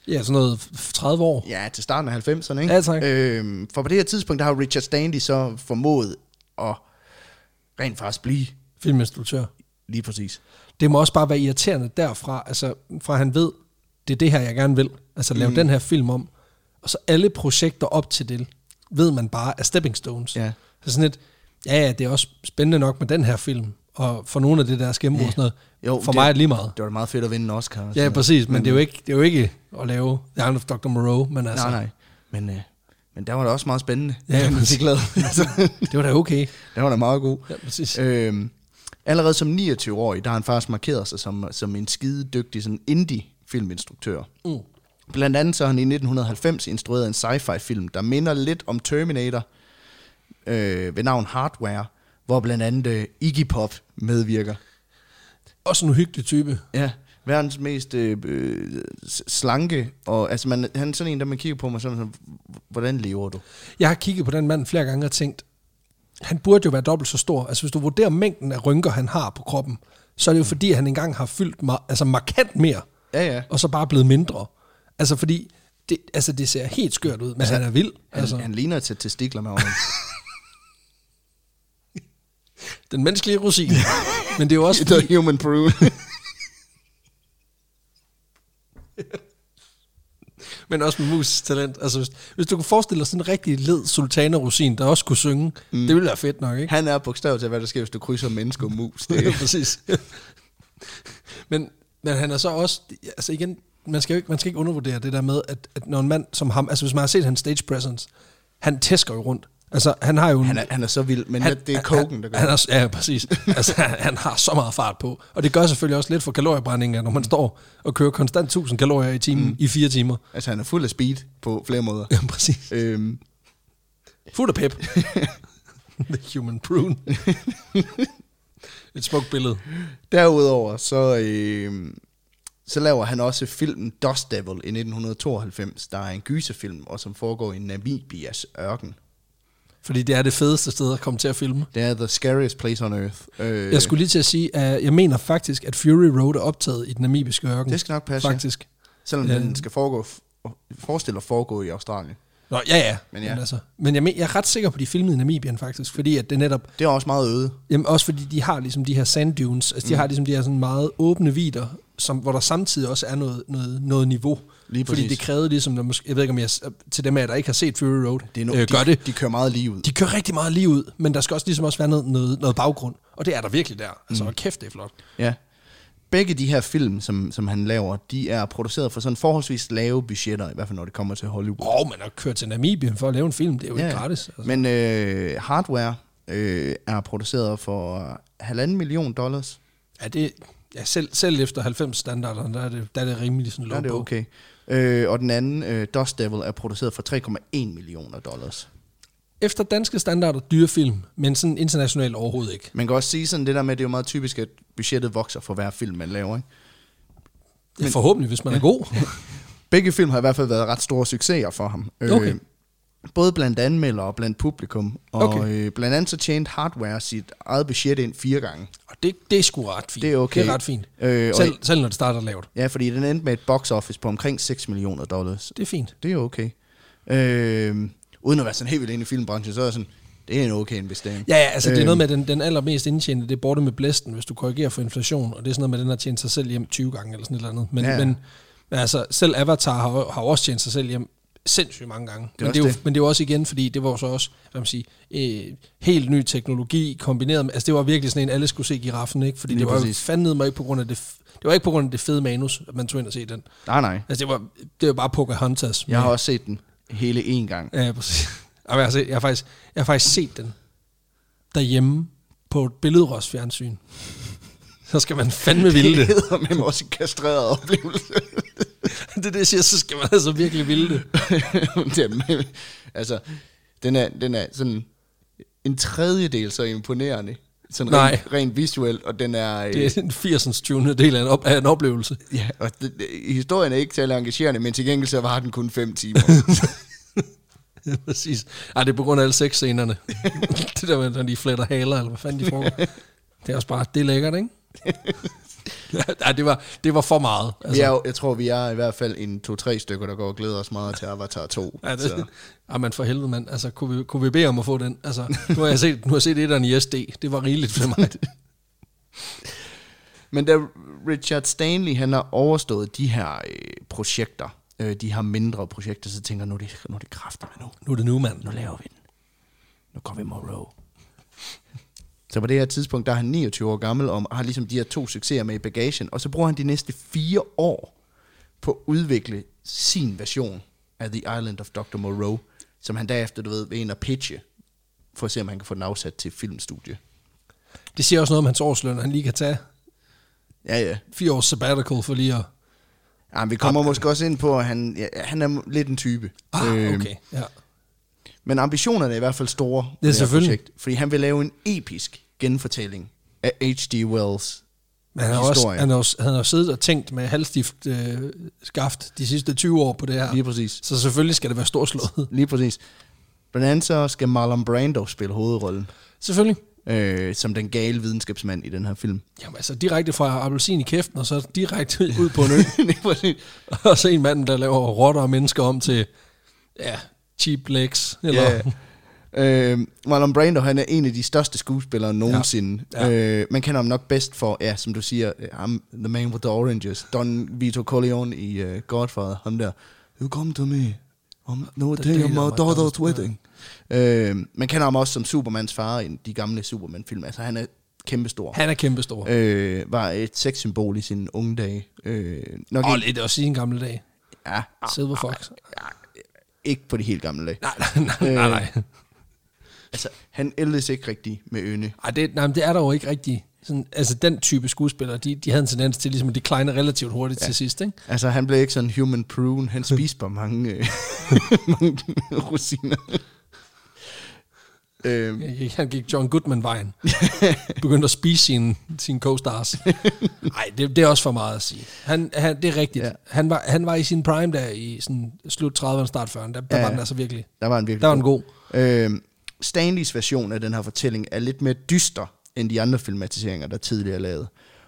Speaker 1: Ja, sådan noget f- 30 år.
Speaker 2: Ja, til starten af 90'erne, ikke?
Speaker 1: Ja, tak.
Speaker 2: Øhm, for på det her tidspunkt, der har Richard Stanley så formået at rent faktisk blive
Speaker 1: Filminstruktør.
Speaker 2: lige præcis.
Speaker 1: Det må også bare være irriterende derfra, altså fra han ved, det er det her, jeg gerne vil. Altså lave mm. den her film om. Og så alle projekter op til det, ved man bare er stepping stones.
Speaker 2: Ja.
Speaker 1: Så sådan et, ja, ja, det er også spændende nok med den her film. Og for nogle af det der skæmmer og sådan noget, jo, for det, mig er det lige meget.
Speaker 2: Det var da meget fedt at vinde en Oscar. og
Speaker 1: Ja,
Speaker 2: sådan
Speaker 1: præcis, men, men det, er jo ikke, det er jo ikke at lave The Island of Dr. Moreau, men
Speaker 2: noget.
Speaker 1: altså,
Speaker 2: Nej, nej. Men, øh, men der var det også meget spændende.
Speaker 1: Ja,
Speaker 2: Den
Speaker 1: præcis.
Speaker 2: fik lavet. altså,
Speaker 1: det var da okay.
Speaker 2: den var da meget god.
Speaker 1: Ja, præcis.
Speaker 2: Øhm, allerede som 29-årig, der har han faktisk markeret sig som, som en skide dygtig sådan indie-filminstruktør.
Speaker 1: Mm.
Speaker 2: Blandt andet så har han i 1990 instrueret en sci-fi film, der minder lidt om Terminator øh, ved navn Hardware, hvor blandt andet øh, Iggy Pop medvirker.
Speaker 1: Også en uhyggelig type.
Speaker 2: Ja. Verdens mest øh, øh, s- slanke, og altså man, han er sådan en, der man kigger på mig sådan, sådan, hvordan lever du?
Speaker 1: Jeg har kigget på den mand flere gange og tænkt, han burde jo være dobbelt så stor. Altså hvis du vurderer mængden af rynker, han har på kroppen, så er det jo fordi, han engang har fyldt mar- altså markant mere
Speaker 2: Ja, ja.
Speaker 1: og så bare blevet mindre. Altså, fordi det, altså, det ser helt skørt ud, men altså, han er vild.
Speaker 2: Han, altså.
Speaker 1: Altså,
Speaker 2: han ligner til testikler med øjnene.
Speaker 1: den menneskelige rosin. men det er jo også fordi,
Speaker 2: The human prune.
Speaker 1: men også med musisk talent. Altså, hvis, hvis du kunne forestille dig sådan en rigtig led sultana rosin, der også kunne synge, mm. det ville være fedt nok, ikke?
Speaker 2: han er bogstavet til, hvad der sker, hvis du krydser menneske og mus. Det,
Speaker 1: Det er præcis. men, men han er så også, altså igen, man skal jo ikke, man skal ikke undervurdere det der med, at, at når en mand som ham, altså hvis man har set hans stage presence, han tæsker jo rundt. Altså han har jo en,
Speaker 2: han, er, han er så vild, men han, det er koken, der gør
Speaker 1: han,
Speaker 2: det.
Speaker 1: han er, Ja, præcis. Altså, han, han har så meget fart på. Og det gør selvfølgelig også lidt for kaloriebrændingen,
Speaker 2: Mm.
Speaker 1: når man står og kører konstant 1000 kalorier i timen mm. i fire timer.
Speaker 2: Altså, han er fuld af speed på flere måder.
Speaker 1: Ja, præcis.
Speaker 2: øhm,
Speaker 1: Fuld af pep. The human prune. Et smukt billede.
Speaker 2: derudover, så, øhm, så laver han også filmen Dust Devil i 1992, der er en gyserfilm, og som foregår i Namibias ørken.
Speaker 1: Fordi det er det fedeste sted at komme til at filme.
Speaker 2: Det er The Scariest Place on Earth. Øh,
Speaker 1: Jeg skulle lige til at sige, at jeg mener faktisk, at Fury Road er optaget i den namibiske ørken.
Speaker 2: Det skal nok passe, ja.
Speaker 1: Faktisk.
Speaker 2: Selvom
Speaker 1: Ja.
Speaker 2: den skal foregå, forestiller at foregå i Australien.
Speaker 1: Nå, ja, ja.
Speaker 2: Men ja.
Speaker 1: altså, men jeg, men, jeg er ret sikker på, at de filmede i Namibien faktisk, fordi at det netop,
Speaker 2: Det er også meget øde.
Speaker 1: jamen også fordi de har ligesom de her sand dunes, altså de
Speaker 2: Mm.
Speaker 1: har ligesom de her sådan meget åbne vider, som, hvor der samtidig også er noget, noget, noget niveau.
Speaker 2: Lige
Speaker 1: fordi
Speaker 2: præcis.
Speaker 1: det krævede ligesom, når måske, jeg ved ikke om jeg, til dem af jer, der ikke har set Fury Road,
Speaker 2: Det er no-
Speaker 1: øh, gør
Speaker 2: de,
Speaker 1: det.
Speaker 2: De kører meget lige ud.
Speaker 1: De kører rigtig meget lige ud, men der skal også ligesom også være noget, noget, noget baggrund, og det er der virkelig der. Altså, mm. kæft, det er flot.
Speaker 2: Ja. Begge de her film, som, som han laver, de er produceret for sådan forholdsvis lave budgetter, i hvert fald når det kommer til Hollywood.
Speaker 1: Åh, oh, man har kørt til Namibien for at lave en film, det er jo ikke gratis. Altså.
Speaker 2: Men øh, hardware øh, er produceret for halvanden million dollars.
Speaker 1: Ja, det, ja selv, selv efter 90-standarderne, der er det, der er det rimelig sådan
Speaker 2: Der
Speaker 1: low
Speaker 2: er det
Speaker 1: på.
Speaker 2: okay. Øh, og den anden, øh, Dust Devil, er produceret for 3,1 millioner dollars.
Speaker 1: Efter danske standarder, dyre film, men sådan internationalt overhovedet ikke.
Speaker 2: Man kan også sige sådan det der med, at det er jo meget typisk, at budgettet vokser for hver film, man laver. Ikke?
Speaker 1: Ja, forhåbentlig, hvis man er god.
Speaker 2: Begge film har i hvert fald været ret store succeser for ham. Øh,
Speaker 1: Okay.
Speaker 2: både blandt anmeldere og blandt publikum. Og
Speaker 1: Okay.
Speaker 2: øh, blandt andet så tjente Hardware sit eget budget ind fire gange.
Speaker 1: Og det, det er sgu ret fint.
Speaker 2: Det er okay.
Speaker 1: Det er ret fint.
Speaker 2: Øh,
Speaker 1: Øh,
Speaker 2: og-
Speaker 1: selv, selv når det starter lavt.
Speaker 2: Ja, fordi den endte med et box office på omkring 6 millioner dollars.
Speaker 1: Det er fint.
Speaker 2: Det er okay. Øh, uden at være sådan helt vildt inde i filmbranchen, så er jeg sådan, det er en okay investering.
Speaker 1: Ja, ja altså det er
Speaker 2: Øh,
Speaker 1: noget med, at den, den allermest indtjente, det er borte med blæsten, hvis du korrigerer for inflation, og det er sådan noget med, at den har tjent sig selv hjem 20 gange eller sådan et eller andet. Men,
Speaker 2: Ja, ja.
Speaker 1: ja. men altså, selv Avatar har, jo- har jo også tjent sig selv hjem sindssygt mange gange. men,
Speaker 2: også
Speaker 1: det er jo,
Speaker 2: det.
Speaker 1: men det er jo også igen, fordi det var jo så også, hvad man siger, øh, helt ny teknologi kombineret med, altså det var virkelig sådan en, alle skulle se giraffen, ikke? Fordi
Speaker 2: Lige
Speaker 1: det var
Speaker 2: præcis.
Speaker 1: jo fandme mig ikke på grund af det, f- det var ikke på grund af det fede manus, at man tog ind og se den.
Speaker 2: Nej, nej.
Speaker 1: Altså det var, det var bare Pocahontas.
Speaker 2: Jeg har også set den hele én gang.
Speaker 1: Ja, præcis. Jamen, jeg, har set, jeg, har faktisk, jeg har faktisk set den derhjemme på et billedrørsfjernsyn. Så skal man fandme ville det.
Speaker 2: hedder med mig også en kastreret oplevelse.
Speaker 1: Det er det, jeg siger, så skal man altså virkelig ville det.
Speaker 2: det er, med- altså, den er, den er sådan en tredjedel så imponerende. Sådan
Speaker 1: Nej.
Speaker 2: Rent, rent visuelt, og den er... øh,
Speaker 1: Det er en 80'ens 20. del af en, op, af en oplevelse.
Speaker 2: Ja, og det, det- historien er ikke særlig engagerende, men til gengæld så var den kun 5 timer.
Speaker 1: Ja, præcis. Ej, det er på grund af alle seks scenerne. det der med, når de fletter haler, eller hvad fanden de foregår. Det er også bare, det er lækkert, ikke? Ej, det var, det var for meget.
Speaker 2: altså. jeg, jeg tror, vi er i hvert fald en to-tre stykker, der går og glæder os meget til Avatar 2.
Speaker 1: Ja, det,
Speaker 2: så.
Speaker 1: ja, men for helvede, mand. Altså, kunne vi, kunne vi bede om at få den? Altså, nu har jeg set, nu har jeg set etteren i SD. Det var rigeligt for mig.
Speaker 2: Men da Richard Stanley han har overstået de her øh, projekter, øh, de her mindre projekter, så tænker jeg, nu er det, nu er det kraftigt nu.
Speaker 1: Nu er det nu, mand.
Speaker 2: Nu laver vi den. Nu går vi Moreau. Så på det her tidspunkt, der er han 29 år gammel og har ligesom de her to succeser med i bagagen, og så bruger han de næste fire år på at udvikle sin version af The Island of Dr. Moreau, som han derefter, du ved, vil ind og pitche, for at se, om han kan få den afsat til filmstudie.
Speaker 1: Det siger også noget om hans årsløn, at han lige kan tage
Speaker 2: Ja, ja.
Speaker 1: fire års sabbatical for lige at...
Speaker 2: Ja, men vi kommer måske også ind på, at han, ja, han er lidt en type.
Speaker 1: Ah,
Speaker 2: Øhm,
Speaker 1: okay. Ja.
Speaker 2: Men ambitionerne er i hvert fald store. med her
Speaker 1: selvfølgelig.
Speaker 2: fordi han vil lave en episk genfortælling af H.G. Wells
Speaker 1: Men han har, også, han, har også, han har siddet og tænkt med halvstift øh, skaft de sidste 20 år på det her.
Speaker 2: Lige præcis.
Speaker 1: Så selvfølgelig skal det være storslået.
Speaker 2: Lige præcis. Blandt andet så skal Marlon Brando spille hovedrollen.
Speaker 1: Selvfølgelig.
Speaker 2: øh, som den gale videnskabsmand i den her film.
Speaker 1: Jamen altså, direkte fra appelsin i kæften, og så direkte ud på en ø.
Speaker 2: Lige præcis.
Speaker 1: og så en mand, der laver rotter og mennesker om til, ja, cheap legs. Eller,
Speaker 2: Ja. Øh, Marlon Brando, han er en af de største skuespillere nogensinde.
Speaker 1: Ja.
Speaker 2: Ja. Ja. Øh, man kender ham nok bedst for, ja, som du siger, I'm the man with the oranges. Don Vito Corleone i uh, Godfather, ham der. You come to me. I'm no
Speaker 1: The
Speaker 2: day
Speaker 1: day
Speaker 2: of
Speaker 1: of
Speaker 2: my
Speaker 1: my
Speaker 2: daughter's
Speaker 1: daughter's
Speaker 2: wedding. Øh, man kender ham også som Supermans far i de gamle Superman-film. Altså, han er kæmpestor.
Speaker 1: Han er kæmpestor. Øh,
Speaker 2: Øh, var et sexsymbol i sine unge dage. Øh, nok
Speaker 1: og
Speaker 2: ikke,
Speaker 1: lidt også i en gamle dag.
Speaker 2: ja,
Speaker 1: Silver Fox.
Speaker 2: ikke på de helt gamle dage.
Speaker 1: Nej, nej, nej, nej,
Speaker 2: Øh.
Speaker 1: nej.
Speaker 2: Altså, han ældes ikke rigtig med øne.
Speaker 1: Ej, det, nej, men det er der jo ikke rigtigt. Sådan, altså, den type skuespillere, de, de havde en tendens til ligesom at decline relativt hurtigt ja. til sidst, ikke?
Speaker 2: Altså, han blev ikke sådan human prune. Han spiste bare mange, øh, mange rosiner. øhm,
Speaker 1: Jeg gik- Han gik John Goodman-vejen. Begyndte at spise sine, sine co-stars. Nej, det, det er også for meget at sige. Han, han, det er rigtigt.
Speaker 2: Ja.
Speaker 1: Ja. Han, var, han var i sin prime der i sådan slut 30'erne, start 40'erne. Der, der
Speaker 2: Ja,
Speaker 1: ja.
Speaker 2: ja.
Speaker 1: var den altså virkelig.
Speaker 2: der var en virkelig
Speaker 1: Der var den god.
Speaker 2: Øhm, Stanleys version af den her fortælling er lidt mere dyster end de andre filmatiseringer, der tidligere er lavet.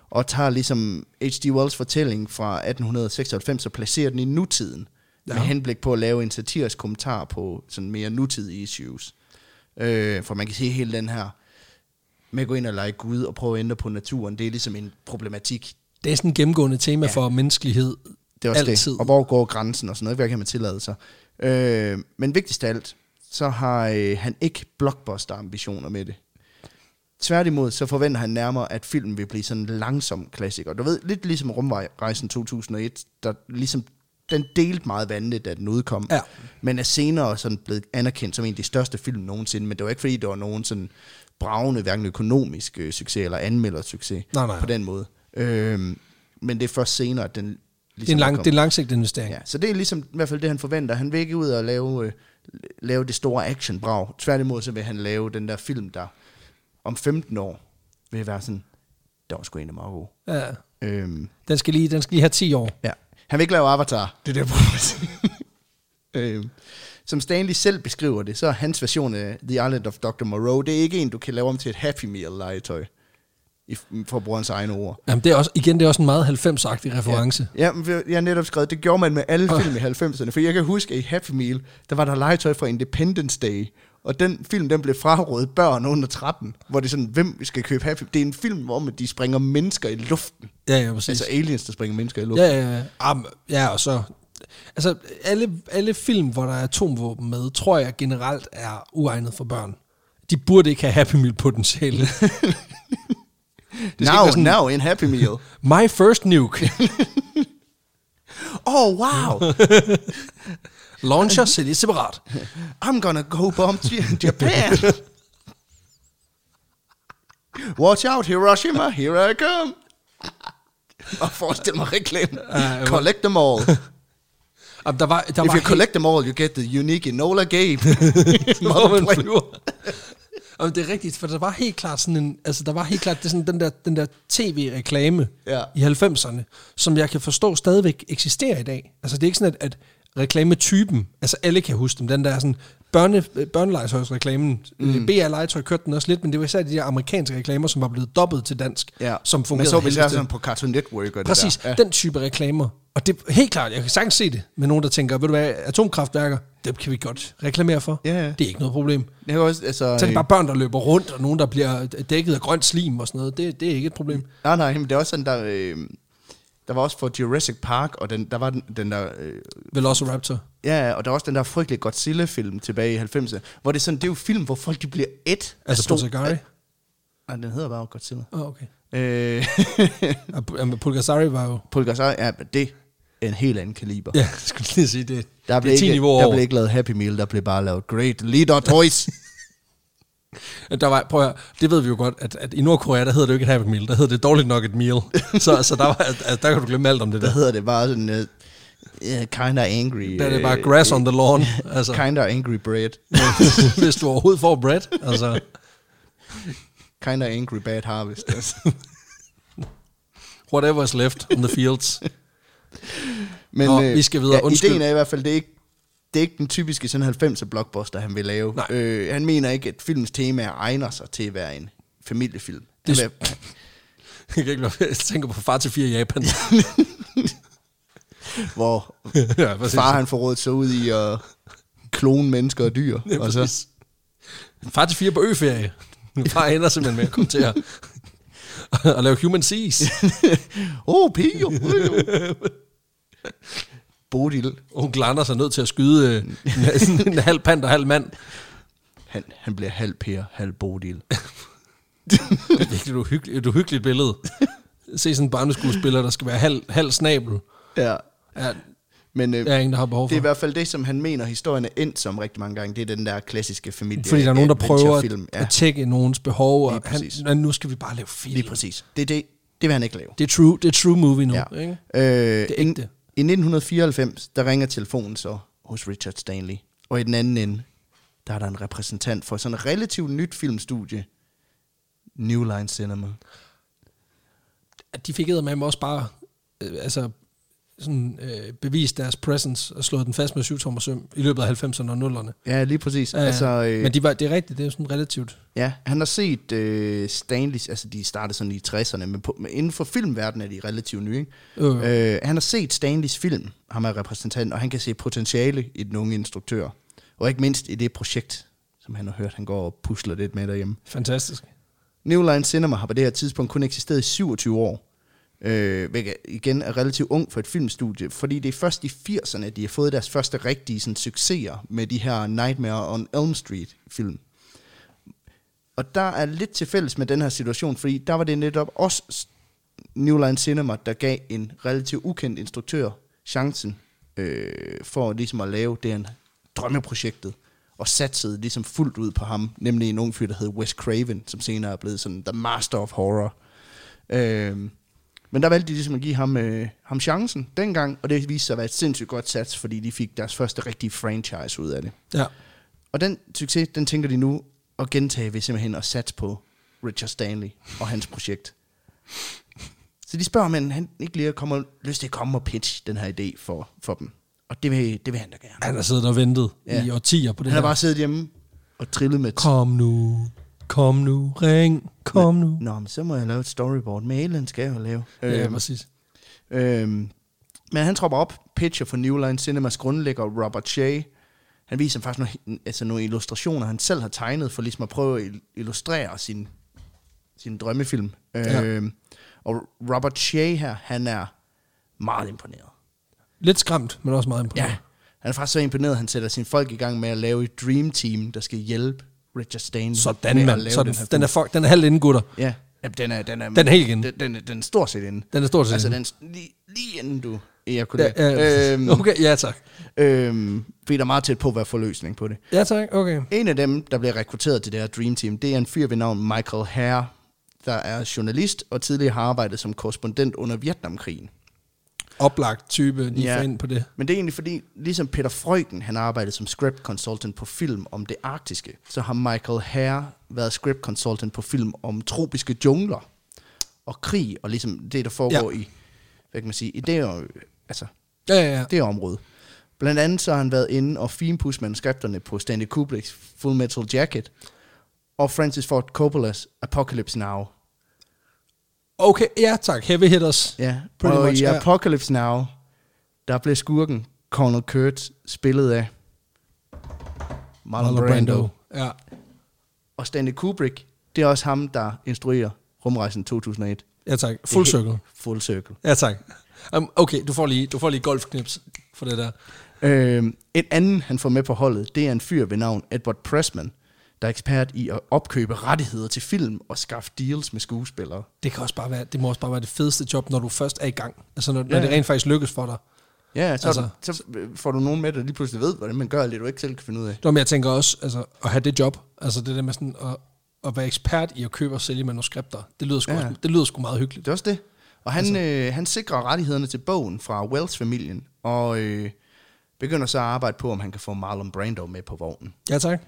Speaker 2: Og tager ligesom H.G. Wells fortælling fra 1896 og placerer den i nutiden. Ja. Med henblik på at lave en satirisk kommentar på sådan mere nutidige issues. Øh, for man kan se hele den her med at gå ind og lege Gud og prøve at ændre på naturen. Det er ligesom en problematik.
Speaker 1: Det er sådan et gennemgående tema ja. for menneskelighed.
Speaker 2: Det er også
Speaker 1: Altid.
Speaker 2: det. Og hvor går grænsen og sådan noget. Hvad kan man tillade sig? Øh, men vigtigst af alt, så har øh, han ikke blockbuster-ambitioner med det. Tværtimod, så forventer han nærmere, at filmen vil blive sådan en langsom klassiker. Du ved, lidt ligesom Rumrejsen 2001, der ligesom, den delte meget vandet, da den udkom.
Speaker 1: Ja.
Speaker 2: Men er senere sådan blevet anerkendt som en af de største film nogensinde. Men det var ikke, fordi det var nogen sådan bravende, hverken økonomisk øh, succes eller anmelder succes
Speaker 1: Nej, nej.
Speaker 2: på den måde. Øhm, men det er først senere, at den ligesom
Speaker 1: Det er en, lang,
Speaker 2: kom.
Speaker 1: det er en langsigtet investering. Ja.
Speaker 2: Ja, så det er ligesom i hvert fald det, han forventer. Han vil ikke ud og lave, øh, lave det store actionbrag. Tværtimod så vil han lave den der film, der om 15 år vil være sådan, der var sgu en af meget god.
Speaker 1: Ja.
Speaker 2: Øhm,
Speaker 1: Den, skal lige, den skal lige have 10 år.
Speaker 2: ja. Han vil ikke lave Avatar. Det er det, jeg prøver at sige. øhm, som Stanley selv beskriver det, så er hans version af The Island of Dr. Moreau, det er ikke en, du kan lave om til et Happy Meal-legetøj. I- For at bruge hans egne ord.
Speaker 1: Jamen, det er også, igen, det er også en meget 90-agtig reference. Ja.
Speaker 2: Ja, men jeg har netop skrevet, det gjorde man med alle film i 90'erne, for jeg kan huske, at i Happy Meal, der var der legetøj fra Independence Day, og den film, den blev frarådet børn under 13, hvor det er sådan, hvem skal købe Happy Det er en film om, at de springer mennesker i luften.
Speaker 1: Ja, ja, præcis.
Speaker 2: Altså aliens, der springer mennesker i luften.
Speaker 1: Ja, ja, ja. Am, ja, og så... Altså, alle, alle film, hvor der er atomvåben med, tror jeg generelt er uegnet for børn. De burde ikke have Happy Meal-potentiale.
Speaker 2: det now, sådan... now in Happy Meal.
Speaker 1: My first nuke.
Speaker 2: oh, wow!
Speaker 1: Launcher sælges separat.
Speaker 2: I'm gonna go bomb J- Japan! Watch out, Hiroshima, here I come! Og forestil mig reklamen.
Speaker 1: Ja, ja.
Speaker 2: Collect them all.
Speaker 1: Am, der var, der
Speaker 2: If
Speaker 1: var
Speaker 2: you collect them all, you get the unique Enola Gabe.
Speaker 1: hvor man flyver. Jamen, det er rigtigt, for der var helt klart sådan en, altså der var helt klart det er sådan den der, den der tv-reklame
Speaker 2: Ja.
Speaker 1: i 90'erne, som jeg kan forstå stadigvæk eksisterer i dag. Altså det er ikke sådan, at, at reklametypen, altså alle kan huske dem, den der sådan børne, øh, børnelegetøjsreklamen, mm. BA Legetøj kørte den også lidt, men det var især de der amerikanske reklamer, som var blevet dobbelt til dansk, som fungerede
Speaker 2: Men så vi
Speaker 1: helvede
Speaker 2: ser
Speaker 1: til.
Speaker 2: sådan på Cartoon Network og
Speaker 1: Præcis,
Speaker 2: det der.
Speaker 1: ja. den type reklamer. Og det er helt klart, jeg kan sagtens se det med nogen, der tænker, ved du hvad, atomkraftværker, dem kan vi godt reklamere for.
Speaker 2: Ja, ja.
Speaker 1: Det er ikke noget problem.
Speaker 2: Jeg kan også, altså,
Speaker 1: Så er det bare børn, der løber rundt, og nogen, der bliver dækket af grønt slim og sådan noget. Det, det er ikke et problem.
Speaker 2: øh, Nej, nej, men det er også sådan, der... Øh, der var også for Jurassic Park, og den, der var den, den der... Øh,
Speaker 1: Velociraptor.
Speaker 2: ja, og der var også den der frygtelige Godzilla-film tilbage i 90'erne, hvor det er sådan, det er jo film, hvor folk de bliver et.
Speaker 1: Altså Pulsagari.
Speaker 2: Nej, den hedder bare Godzilla.
Speaker 1: Åh, oh, okay.
Speaker 2: Øh,
Speaker 1: Og Ah, Pu- jamen, Pulgasari var jo...
Speaker 2: Pulgasar, ja, men det er en helt anden kaliber.
Speaker 1: Ja, jeg skulle lige sige det.
Speaker 2: Der
Speaker 1: det
Speaker 2: blev,
Speaker 1: er 10
Speaker 2: ikke,
Speaker 1: niveauer
Speaker 2: der
Speaker 1: over.
Speaker 2: blev ikke lavet Happy Meal, der blev bare lavet Great Leader Toys.
Speaker 1: Der var, prøv at, høre, det ved vi jo godt, at, at i Nordkorea, der hedder det jo ikke et happy meal, der hedder det dårligt nok et meal. så, så der, var, altså, der kan du glemme alt om det der.
Speaker 2: Hvad hedder det bare sådan... Uh, uh, kinda angry.
Speaker 1: Der er det bare
Speaker 2: øh,
Speaker 1: grass on the lawn. Altså,
Speaker 2: Kinda angry bread.
Speaker 1: hvis du overhovedet får bread. Altså,
Speaker 2: Kinda angry bad harvest. altså.
Speaker 1: whatever is left on the fields.
Speaker 2: Men, øh,
Speaker 1: Nå, vi skal videre. Undskyld.
Speaker 2: Ideen er i hvert fald, det er ikke, det er ikke den typiske sådan 90'er blockbuster, han vil lave.
Speaker 1: Nej.
Speaker 2: Øh, han mener ikke, at filmens temaer egner sig til at være en familiefilm.
Speaker 1: Det-
Speaker 2: Det, er,
Speaker 1: Jeg kan ikke lade være, jeg tænker på far til fire i Japan.
Speaker 2: hvor
Speaker 1: ja, præcis.
Speaker 2: far han får rådet sig ud i at klone mennesker og dyr.
Speaker 1: Ja,
Speaker 2: og så,
Speaker 1: præcis. Far til fire på øferie. Far ender simpelthen med at komme til at, at lave human seas.
Speaker 2: åh, oh, piger! øh." Bodil,
Speaker 1: Onkel Anders er nødt til at skyde øh, en, en halv pand og halv mand.
Speaker 2: han, han bliver halv Per, halv Bodil.
Speaker 1: Det er virkelig et uhyggeligt, et uhyggeligt billede. Se sådan en barneskuespiller, der skal være halv, halv snabel.
Speaker 2: Ja,
Speaker 1: Ja,
Speaker 2: men øh,
Speaker 1: der er ingen, der har behov for.
Speaker 2: det er i hvert fald det, som han mener, historien er endt som rigtig mange gange. Det er den der klassiske familie.
Speaker 1: Fordi der er nogen, der prøver
Speaker 2: adventure-film.
Speaker 1: at,
Speaker 2: Ja,
Speaker 1: at tjekke nogens behov, og
Speaker 2: Lige
Speaker 1: han,
Speaker 2: præcis.
Speaker 1: "Nå, nu skal vi bare lave film.
Speaker 2: lige præcis. Det, er det, det vil han ikke lave.
Speaker 1: Det er true, det er true movie nu. Ja. Ikke?
Speaker 2: Øh,
Speaker 1: Det er
Speaker 2: i-
Speaker 1: ægte.
Speaker 2: I 1994, der ringer telefonen så hos Richard Stanley. Og i den anden ende, der er der en repræsentant for sådan et relativt nyt filmstudie. New Line Cinema.
Speaker 1: At de fik med også bare øh, altså, sådan, øh, bevist deres presence og slået den fast med syv tommer søm i løbet af 90'erne og 0'erne.
Speaker 2: Ja, lige præcis.
Speaker 1: Ja, ja.
Speaker 2: altså, øh,
Speaker 1: Men de var, det er rigtigt, det er jo sådan relativt.
Speaker 2: ja, han har set øh, Stanleys, altså de startede sådan i 60'erne, men, på, men inden for filmverdenen er de relativt nye. Ikke?
Speaker 1: Øh, øh.
Speaker 2: Øh, han har set Stanleys film, ham er repræsentant, og han kan se potentiale i den unge instruktør. Og ikke mindst i det projekt, som han har hørt, han går og pusler lidt med derhjemme.
Speaker 1: Fantastisk.
Speaker 2: New Line Cinema har på det her tidspunkt kun eksisteret i 27 år, øh, hvilket igen er relativt ung for et filmstudie, fordi det er først i 80'erne, de har fået deres første rigtige sådan, succeser med de her Nightmare on Elm Street-film. Og der er lidt til fælles med den her situation, fordi der var det netop også s- New Line Cinema, der gav en relativt ukendt instruktør chancen øh, for ligesom at lave det han drømmeprojektet, og satsede ligesom fuldt ud på ham, nemlig en ung fyr, der hed Wes Craven, som senere er blevet sådan The Master of Horror. Øh, men der valgte de ligesom at give ham, øh, ham chancen dengang, og det viste sig at være et sindssygt godt sats, fordi de fik deres første rigtige franchise ud af det.
Speaker 1: Ja.
Speaker 2: Og den succes, den tænker de nu at gentage ved simpelthen at satse på Richard Stanley og hans projekt. Så de spørger, om han- han ikke lige kommer lyst til at komme og pitch den her idé for, for dem. Og det vil, det vil han da gerne.
Speaker 1: Han har siddet og ventet ja.
Speaker 2: Ja.
Speaker 1: i årtier på det
Speaker 2: Han har
Speaker 1: her.
Speaker 2: bare siddet hjemme og trillet med...
Speaker 1: Kom nu, kom nu, ring, kom nu.
Speaker 2: Nå, men så må jeg lave et storyboard. Med Ellen skal jeg jo lave.
Speaker 1: Ja,
Speaker 2: Øhm,
Speaker 1: præcis.
Speaker 2: Øhm, men han tropper op, pitcher for New Line Cinemas grundlægger Robert Shea. Han viser faktisk nogle, altså nogle illustrationer, han selv har tegnet, for ligesom at prøve at il- illustrere sin, sin drømmefilm.
Speaker 1: Ja.
Speaker 2: Ja. Øhm, og Robert Shea her, han er meget imponeret.
Speaker 1: Lidt skræmt, men også meget imponerende.
Speaker 2: Ja. Han er faktisk så imponeret, at han sætter sine folk i gang med at lave et dream team, der skal hjælpe Richard Stanley
Speaker 1: Sådan,
Speaker 2: med
Speaker 1: mand. Så den, den, er fuck, den er halvt inde, gutter.
Speaker 2: Ja, Jamen, den er, den er,
Speaker 1: Den er helt inde.
Speaker 2: Den, den, er- den er stort set inde.
Speaker 1: Den er stort set
Speaker 2: altså,
Speaker 1: inde.
Speaker 2: den, er lige, lige inden du ejakulerer.
Speaker 1: Ja, ja.
Speaker 2: Øhm,
Speaker 1: Okay, ja tak.
Speaker 2: Øhm, fordi der er meget tæt på, hvad for løsning på det.
Speaker 1: Ja tak, okay.
Speaker 2: En af dem, der bliver rekrutteret til det her Dream Team, det er en fyr ved navn Michael Hare, der er journalist og tidligere har arbejdet som korrespondent under Vietnamkrigen.
Speaker 1: Oplagt type, lige ja. ind på det.
Speaker 2: Men det er egentlig fordi, ligesom Peter Freuchen, han arbejdede som script consultant på film om det arktiske, så har Michael Hare været script consultant på film om tropiske jungler og krig, og ligesom det, der foregår ja. i, hvad kan man sige, i det, øh, altså,
Speaker 1: Ja, ja, ja.
Speaker 2: det område. Blandt andet så har han været inde og finpudse manuskripterne på Stanley Kubrick's Full Metal Jacket og Francis Ford Coppola's Apocalypse Now.
Speaker 1: Okay, ja tak. Heavy hitters.
Speaker 2: Ja,
Speaker 1: Pretty
Speaker 2: og
Speaker 1: much,
Speaker 2: i
Speaker 1: ja.
Speaker 2: Apocalypse Now, der blev skurken Colonel Kurtz spillet af Marlon
Speaker 1: Marlon
Speaker 2: Brando. Brando.
Speaker 1: Ja.
Speaker 2: Og Stanley Kubrick, det er også ham, der instruerer Rumrejsen 2001.
Speaker 1: ja tak.
Speaker 2: Det er
Speaker 1: Full
Speaker 2: helt-
Speaker 1: circle.
Speaker 2: Full circle.
Speaker 1: Ja tak. Um, okay, du får lige, du får lige golfknips for det der.
Speaker 2: Øhm, en anden, han får med på holdet, det er en fyr ved navn Edward Pressman, der er ekspert i at opkøbe rettigheder til film og skaffe deals med skuespillere.
Speaker 1: Det kan også bare være, det må også bare være det fedeste job, når du først er i gang. Altså når, ja. når
Speaker 2: Ja.
Speaker 1: det rent faktisk lykkes for dig.
Speaker 2: Ja, så,
Speaker 1: Altså-
Speaker 2: altså, så øh, får du nogen med, der lige pludselig ved, hvordan man gør alt det, du ikke selv kan finde ud af.
Speaker 1: Nå, men jeg tænker også, altså at have det job, altså det der med sådan at, at være ekspert i at købe og sælge manuskripter, det lyder sgu, ja.
Speaker 2: Ja.
Speaker 1: også, det lyder sgu meget hyggeligt.
Speaker 2: Det er også det. Og han, altså. øh, han sikrer rettighederne til bogen fra Wells-familien, og øh, begynder så at arbejde på, om han kan få Marlon Brando med på vognen.
Speaker 1: Ja tak.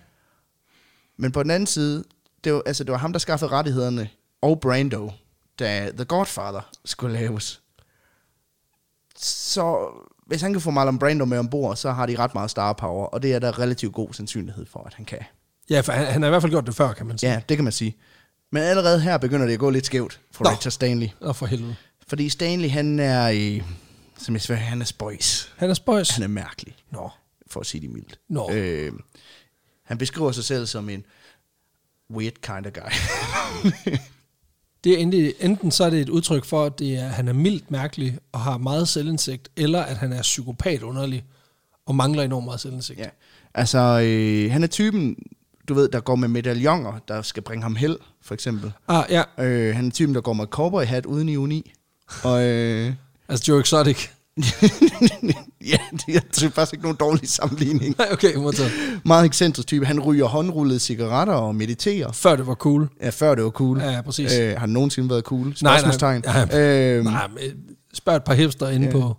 Speaker 2: Men på den anden side, det var, altså, det var ham, der skaffede rettighederne, og Brando, da The Godfather skulle laves. Så hvis han kan få Marlon Brando med ombord, så har de ret meget star power, og det er der relativt god sandsynlighed for, at han kan.
Speaker 1: Ja, for han, han har i hvert fald gjort det før, kan man sige.
Speaker 2: Ja, det kan man sige. Men allerede her begynder det at gå lidt skævt for
Speaker 1: Nå.
Speaker 2: Nå. Richard Stanley.
Speaker 1: Åh, for helvede. Fordi
Speaker 2: Fordi Stanley, han er, øh, som jeg siger, han er spøjs.
Speaker 1: han er spøjs.
Speaker 2: Han er mærkelig,
Speaker 1: Nå.
Speaker 2: for at sige det mildt.
Speaker 1: Nå.
Speaker 2: Øh, han beskriver sig selv som en weird kind of guy.
Speaker 1: Det er endelig, enten så er det et udtryk for, at det er, at han er mildt mærkelig og har meget selvindsigt, eller at han er psykopat underlig og mangler enormt meget selvindsigt.
Speaker 2: ja. Altså, øh, han er typen, du ved, der går med medaljoner, der skal bringe ham held, for eksempel.
Speaker 1: Ah, ja.
Speaker 2: Øh, han er typen, der går med cowboy hat uden i uni. Og øh,
Speaker 1: Altså Joe Exotic.
Speaker 2: ja, det er det er faktisk ikke nogen dårlig sammenligning.
Speaker 1: Nej, okay, modtaget.
Speaker 2: Meget ekscentrisk type. Han ryger håndrullede cigaretter og mediterer.
Speaker 1: Før det var cool.
Speaker 2: Ja, før det var cool.
Speaker 1: Ja, ja, præcis.
Speaker 2: Øh, har han nogensinde været cool?
Speaker 1: nej.
Speaker 2: Spørgsmålstegn.
Speaker 1: Ja,
Speaker 2: Øhm,
Speaker 1: Nej, men øh, spørg et par hipster inde
Speaker 2: Ja.
Speaker 1: på,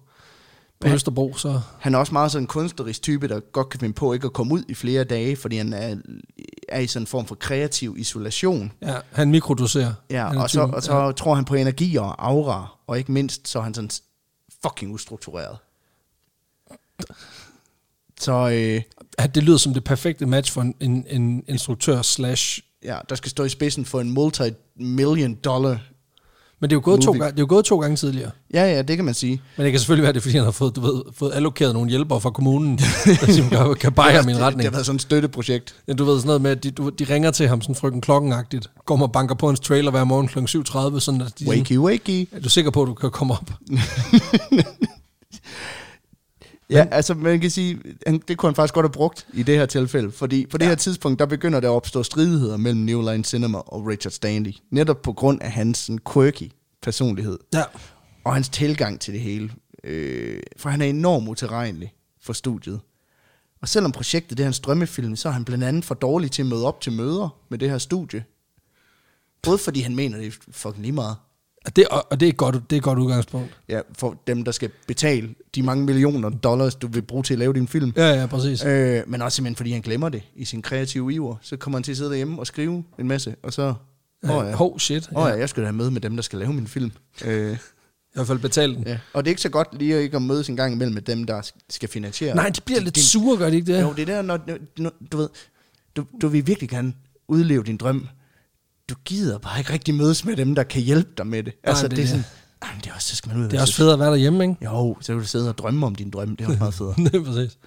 Speaker 1: på Østerbro, så...
Speaker 2: han er også meget sådan en kunstnerisk type, der godt kan finde på ikke at komme ud i flere dage, fordi han er, er i sådan en form for kreativ isolation.
Speaker 1: Ja, han mikrodoserer. Han
Speaker 2: Ja,
Speaker 1: er
Speaker 2: og så,
Speaker 1: typen.
Speaker 2: og så ja. tror han på energi og aura, og ikke mindst, så er han sådan fucking ustruktureret. Så øh,
Speaker 1: Ja, Ah, det lyder som det perfekte match for en, en, en instruktør slash...
Speaker 2: ja, der skal stå i spidsen for en multi-million dollar.
Speaker 1: Men det er jo gået, to
Speaker 2: Movie.
Speaker 1: gange, det er jo gået to gange tidligere.
Speaker 2: Ja, ja, det kan man sige.
Speaker 1: Men det kan selvfølgelig være, det er, fordi han har fået, du ved, fået allokeret nogle hjælpere fra kommunen, der siger, kan, kan bare ham i en
Speaker 2: Det, det
Speaker 1: retning.
Speaker 2: har været sådan et støtteprojekt.
Speaker 1: Ja, du ved sådan noget med, at de, du, de ringer til ham sådan frygten klokkenagtigt, går og banker på hans trailer hver morgen kl. 7.30, sådan at de, sådan,
Speaker 2: Wakey, wakey.
Speaker 1: er du sikker på, at du kan komme op?
Speaker 2: Ja, altså man kan sige, han, det kunne han faktisk godt have brugt i det her tilfælde, fordi på det ja. her tidspunkt, der begynder der at opstå stridigheder mellem New Line Cinema og Richard Stanley, netop på grund af hans sådan, quirky personlighed
Speaker 1: Ja.
Speaker 2: og hans tilgang til det hele, øh, for han er enormt utilregnelig for studiet. Og selvom projektet det er hans drømmefilm, så er han blandt andet for dårlig til at møde op til møder med det her studie. Både fordi han mener, det er fucking lige meget.
Speaker 1: Og det, og, og det, er et godt, det er et godt udgangspunkt.
Speaker 2: Ja, for dem, der skal betale de mange millioner dollars, du vil bruge til at lave din film.
Speaker 1: Ja, ja, præcis.
Speaker 2: Øh, men også simpelthen, fordi han glemmer det i sin kreative iver. Så kommer han til at sidde derhjemme og skrive en masse, og så... Åh oh, ja.
Speaker 1: Hov, shit.
Speaker 2: Oh, ja, jeg skal da have med med dem, der skal lave min film. Øh,
Speaker 1: I hvert fald betalt den.
Speaker 2: ja. Og det er ikke så godt lige at ikke at mødes en gang imellem med dem, der skal finansiere.
Speaker 1: Nej, de bliver lidt
Speaker 2: det-
Speaker 1: sure, gør de ikke det?
Speaker 2: Jo, det er der, når, når du ved, du, du vil virkelig gerne udleve din drøm. Du gider bare ikke rigtig mødes med dem, der kan hjælpe dig med det. Altså,
Speaker 1: det
Speaker 2: det,
Speaker 1: er
Speaker 2: er
Speaker 1: det.
Speaker 2: sådan, "Ej, men det er også, så skal man ud og
Speaker 1: Det er
Speaker 2: være
Speaker 1: også
Speaker 2: social."
Speaker 1: fedt at være derhjemme, ikke?
Speaker 2: Jo, så kan du sidde og drømme om din drøm. Det er også meget federe.
Speaker 1: det er præcis.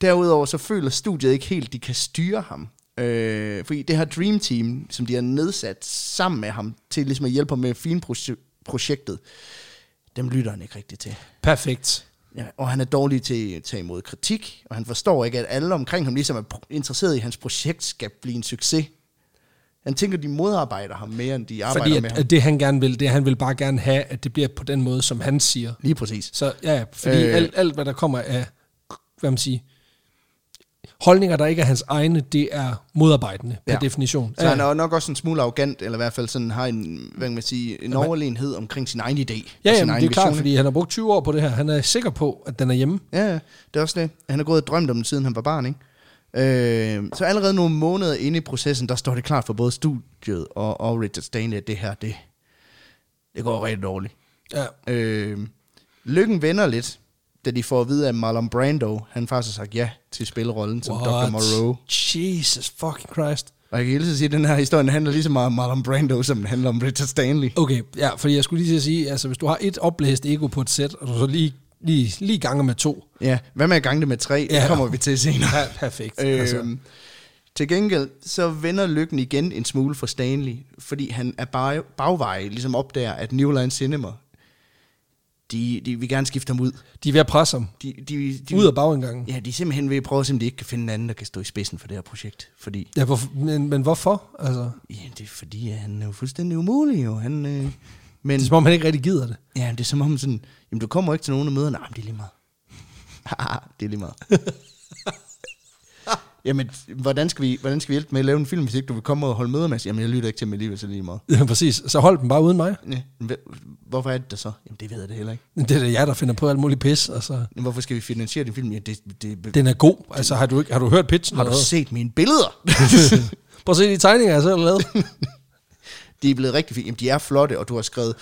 Speaker 2: Derudover så føler studiet ikke helt, de kan styre ham. Øh, fordi det her Dream Team, som de har nedsat sammen med ham, til ligesom at hjælpe ham med filmprojektet, dem lytter han ikke rigtigt til.
Speaker 1: Perfekt.
Speaker 2: Ja, og han er dårlig til at tage imod kritik, og han forstår ikke, at alle omkring ham ligesom er pro- interesseret i, at hans projekt skal blive en succes. Han tænker, de modarbejder ham mere, end de arbejder
Speaker 1: Fordi
Speaker 2: med
Speaker 1: at,
Speaker 2: ham.
Speaker 1: at det, han gerne vil, det er, han vil bare gerne have, at det bliver på den måde, som han siger.
Speaker 2: Lige præcis.
Speaker 1: Så ja, fordi øh.
Speaker 2: Øh.
Speaker 1: alt, alt, hvad der kommer af, hvad man siger, holdninger, der ikke er hans egne, det er modarbejdende ja. per
Speaker 2: Ja.
Speaker 1: definition.
Speaker 2: Så han er nok også en smule arrogant, eller i hvert fald sådan har en, hvad kan man sige, en overlegenhed omkring sin egen idé.
Speaker 1: ja,
Speaker 2: og sin
Speaker 1: jamen,
Speaker 2: egen
Speaker 1: det er klart,
Speaker 2: vision,
Speaker 1: fordi han har brugt 20 år på det her. Han er sikker på, at den er hjemme.
Speaker 2: Ja, ja, det er også det. Han har gået og drømt om den, siden han var barn, ikke? Øh, så allerede nogle måneder inde i processen, der står det klart for både studiet og, og Richard Stanley, at det her, det, det går rigtig dårligt.
Speaker 1: Ja.
Speaker 2: Øh, lykken vender lidt, da de får at vide, at Marlon Brando, han faktisk har sagt ja til spillerollen som Dr. Moreau.
Speaker 1: Jesus fucking Christ.
Speaker 2: Og jeg kan hilse at sige, at den her historie den handler lige så meget om Marlon Brando, som den handler om Richard Stanley.
Speaker 1: Okay, ja, fordi jeg skulle lige til at sige, altså hvis du har et oplæst ego på et sæt, og du så lige, lige, lige ganger med to,
Speaker 2: Ja, hvad med at gange det med tre?
Speaker 1: Ja.
Speaker 2: Det kommer vi til senere.
Speaker 1: Ja, perfekt.
Speaker 2: Øhm,
Speaker 1: altså,
Speaker 2: Til gengæld, så vender lykken igen en smule for Stanley, fordi han er bare bagveje, ligesom opdager, at New Line Cinema, de, de vil gerne skifte ham ud.
Speaker 1: de er ved at presse ham
Speaker 2: De, de, de,
Speaker 1: ud af bagindgangen.
Speaker 2: Ja, de er simpelthen ved at prøve, om de ikke kan finde en anden, der kan stå i spidsen for det her projekt. Fordi,
Speaker 1: Ja, hvor, men, men hvorfor? Altså,
Speaker 2: ja, det er fordi, at han er jo fuldstændig umulig, jo. Han, øh, men
Speaker 1: det er som om, han ikke rigtig gider det.
Speaker 2: ja, det er som om sådan, jamen du kommer ikke til nogen af møderne. Nej, men det er lige meget. Haha, det er lige meget. Jamen, hvordan skal, vi, hvordan skal vi hjælpe med at lave en film, hvis ikke du vil komme og holde møder med os? Jamen, jeg lytter ikke til mig alligevel, så det er lige meget.
Speaker 1: Ja, præcis. Så hold dem bare uden mig.
Speaker 2: Ja, men hvem- hvorfor er det der så? Jamen, det ved jeg det heller ikke.
Speaker 1: Det er da jer, der finder på alt muligt pis. Altså.
Speaker 2: Men Hvorfor skal vi finansiere din film? Ja, det, det, det,
Speaker 1: Den er god. Altså, har du, ikke, har du hørt pitchen?
Speaker 2: har du
Speaker 1: eller hvad?
Speaker 2: set mine billeder?
Speaker 1: Prøv at se de tegninger, jeg selv har lavet.
Speaker 2: de er blevet rigtig fine. Jamen, de er flotte, og du har skrevet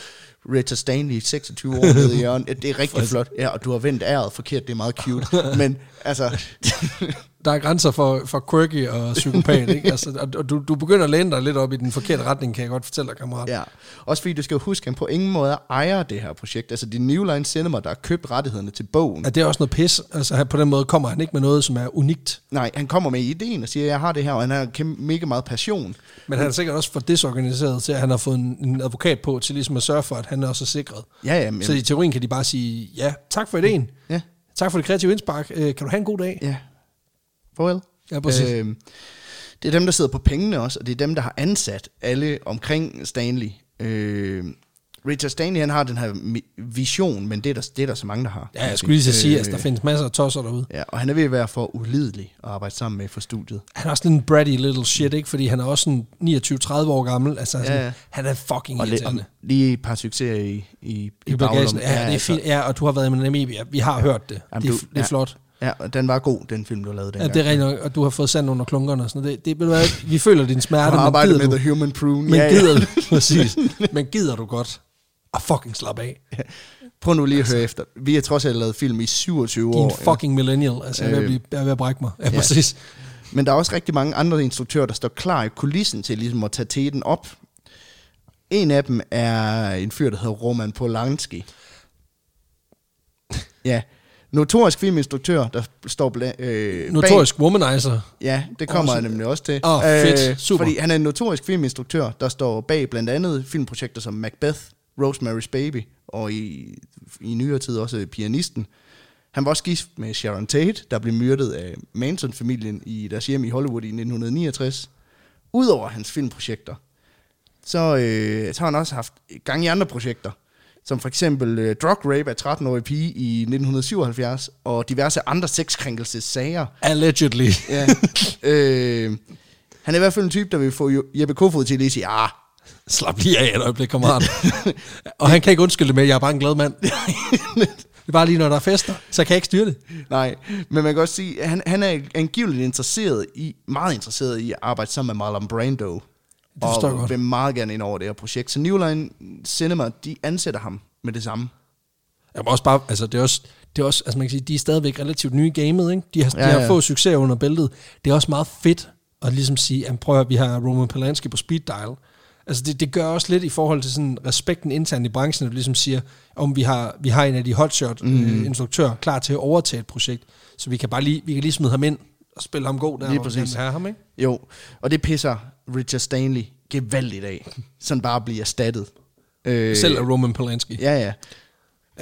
Speaker 2: Richard Stanley, 26 år, nede i hjørnet. Ja, Det er rigtig flot. Ja, og du har vendt æret forkert. Det er meget cute. Men altså,
Speaker 1: der er grænser for, for quirky og psykopat, ikke? Altså, og- og du, du begynder at læne dig lidt op i den forkerte retning, kan jeg godt fortælle dig, kammerat.
Speaker 2: Ja. Også fordi du skal jo huske, at han på ingen måde ejer det her projekt. Altså, det er New Line Cinema, der har købt rettighederne til bogen.
Speaker 1: At det er også noget pis. Altså, han- på den måde kommer han ikke med noget, som er unikt.
Speaker 2: Nej, han kommer med ideen og siger, at jeg har det her, og han har kæmpe, mega meget passion.
Speaker 1: Men
Speaker 2: Mm.
Speaker 1: han er sikkert også for desorganiseret til, at han har fået en, en advokat på til ligesom at sørge for, at han også er sikret.
Speaker 2: Ja, jamen,
Speaker 1: Så i teorien kan de bare sige, ja, tak for ideen.
Speaker 2: ja,
Speaker 1: Tak for det kreative indspark. Øh, kan du have en god dag?
Speaker 2: ja. Farvel.
Speaker 1: Ja, præcis.
Speaker 2: Øhm, det er dem, der sidder på pengene også, og det er dem, der har ansat alle omkring Stanley. Øhm, Richard Stanley, han har den her mi- vision, men det er der, det er der så mange, der har.
Speaker 1: Ja, jeg skulle lige så sige,
Speaker 2: Øh.
Speaker 1: at altså, der findes masser af tosser derude.
Speaker 2: Ja, og han er ved at være for ulidelig at arbejde sammen med for studiet.
Speaker 1: Han er også lidt en bratty little shit, ikke? Fordi han er også sådan 29-30 år gammel. Altså, sådan,
Speaker 2: ja.
Speaker 1: han er fucking
Speaker 2: Og, le- og
Speaker 1: irriterende.
Speaker 2: lige et par succeser i, i,
Speaker 1: I bagagen.
Speaker 2: baglommen.
Speaker 1: Ja, det er
Speaker 2: altså.
Speaker 1: fint. Ja, og du har været med Namibia. Vi har hørt det.
Speaker 2: Jamen,
Speaker 1: det, er,
Speaker 2: du-
Speaker 1: det er
Speaker 2: ja.
Speaker 1: flot.
Speaker 2: altså. Ja, og den var god, den film, du lavede
Speaker 1: Ja,
Speaker 2: dengang.
Speaker 1: det er rent nok, og du har fået sand under klunkerne og sådan noget. Det, det, ved du hvad, vi føler din smerte,
Speaker 2: Du har
Speaker 1: men
Speaker 2: arbejdet
Speaker 1: gider
Speaker 2: med
Speaker 1: du?
Speaker 2: The Human Prune.
Speaker 1: Men gider du? Præcis. Men gider du godt at fucking slappe af?
Speaker 2: Prøv nu lige at høre efter. Vi har trods alt lavet film i 27
Speaker 1: Din
Speaker 2: år.
Speaker 1: fucking millennial. Altså, jeg er ved at,
Speaker 2: Øh.
Speaker 1: blive, jeg er ved at brække mig. Ja, præcis.
Speaker 2: ikke? Men der er også rigtig mange andre instruktører, der står klar i kulissen til ligesom at tage teten op. En af dem er en fyr, der hedder Roman Polanski. Ja, notorisk filminstruktør, der står bla- øh, bag
Speaker 1: Notorisk womanizer.
Speaker 2: Ja, det kommer
Speaker 1: Åh,
Speaker 2: jeg nemlig også til. Øh,
Speaker 1: Åh, fedt. Super.
Speaker 2: Fordi han er en notorisk filminstruktør, der står bag blandt andet filmprojekter som Macbeth, Rosemary's Baby og i, i nyere tid også Pianisten. Han var også gift med Sharon Tate, der blev myrdet af Manson-familien i deres hjem i Hollywood i 1969. Udover hans filmprojekter, så, øh, så har han også haft gang i andre projekter. Som for eksempel øh, drug rape af 13-årige pige i 1977, og diverse andre sexkrænkelsessager,
Speaker 1: Allegedly.
Speaker 2: Ja. øh, han er i hvert fald en type, der vil få Jo- Jeppe Kofod til at lige sige, ah,
Speaker 1: Slap lige af et øjeblik, kammerat. og han kan ikke undskylde det med, at jeg er bare en glad mand. det er bare lige, når der er fester, så kan jeg ikke styre det.
Speaker 2: nej. Men man kan også sige, at han, han er angiveligt interesseret i, meget interesseret i at arbejde sammen med Marlon Brando.
Speaker 1: forstår jeg
Speaker 2: og
Speaker 1: godt.
Speaker 2: vil meget gerne ind over det her projekt. Så New Line Cinema, de ansætter ham med det samme.
Speaker 1: Jeg må også bare, altså det er også, det er også, altså man kan sige, de er stadigvæk relativt nye i gamet, ikke? De har, ja,
Speaker 2: Ja,
Speaker 1: de har
Speaker 2: ja.
Speaker 1: få succeser under bæltet. Det er også meget fedt at ligesom sige, jamen prøv at høre, vi har Roman Polanski på speed dial. Altså det, det gør også lidt i forhold til sådan respekten internt i branchen, at du ligesom siger, om vi har, vi har en af de hotshot mm.
Speaker 2: Mhm.
Speaker 1: øh, instruktører klar til at overtage et projekt, så vi kan bare lige, vi kan lige smide ham ind og spille ham god der,
Speaker 2: Lige
Speaker 1: hvor vi
Speaker 2: præcis.
Speaker 1: gerne vil have ham, ikke?
Speaker 2: Jo, og det pisser Richard Stanley gevaldigt af, som bare bliver erstattet. Øh,
Speaker 1: Selv af Roman Polanski.
Speaker 2: Ja, ja.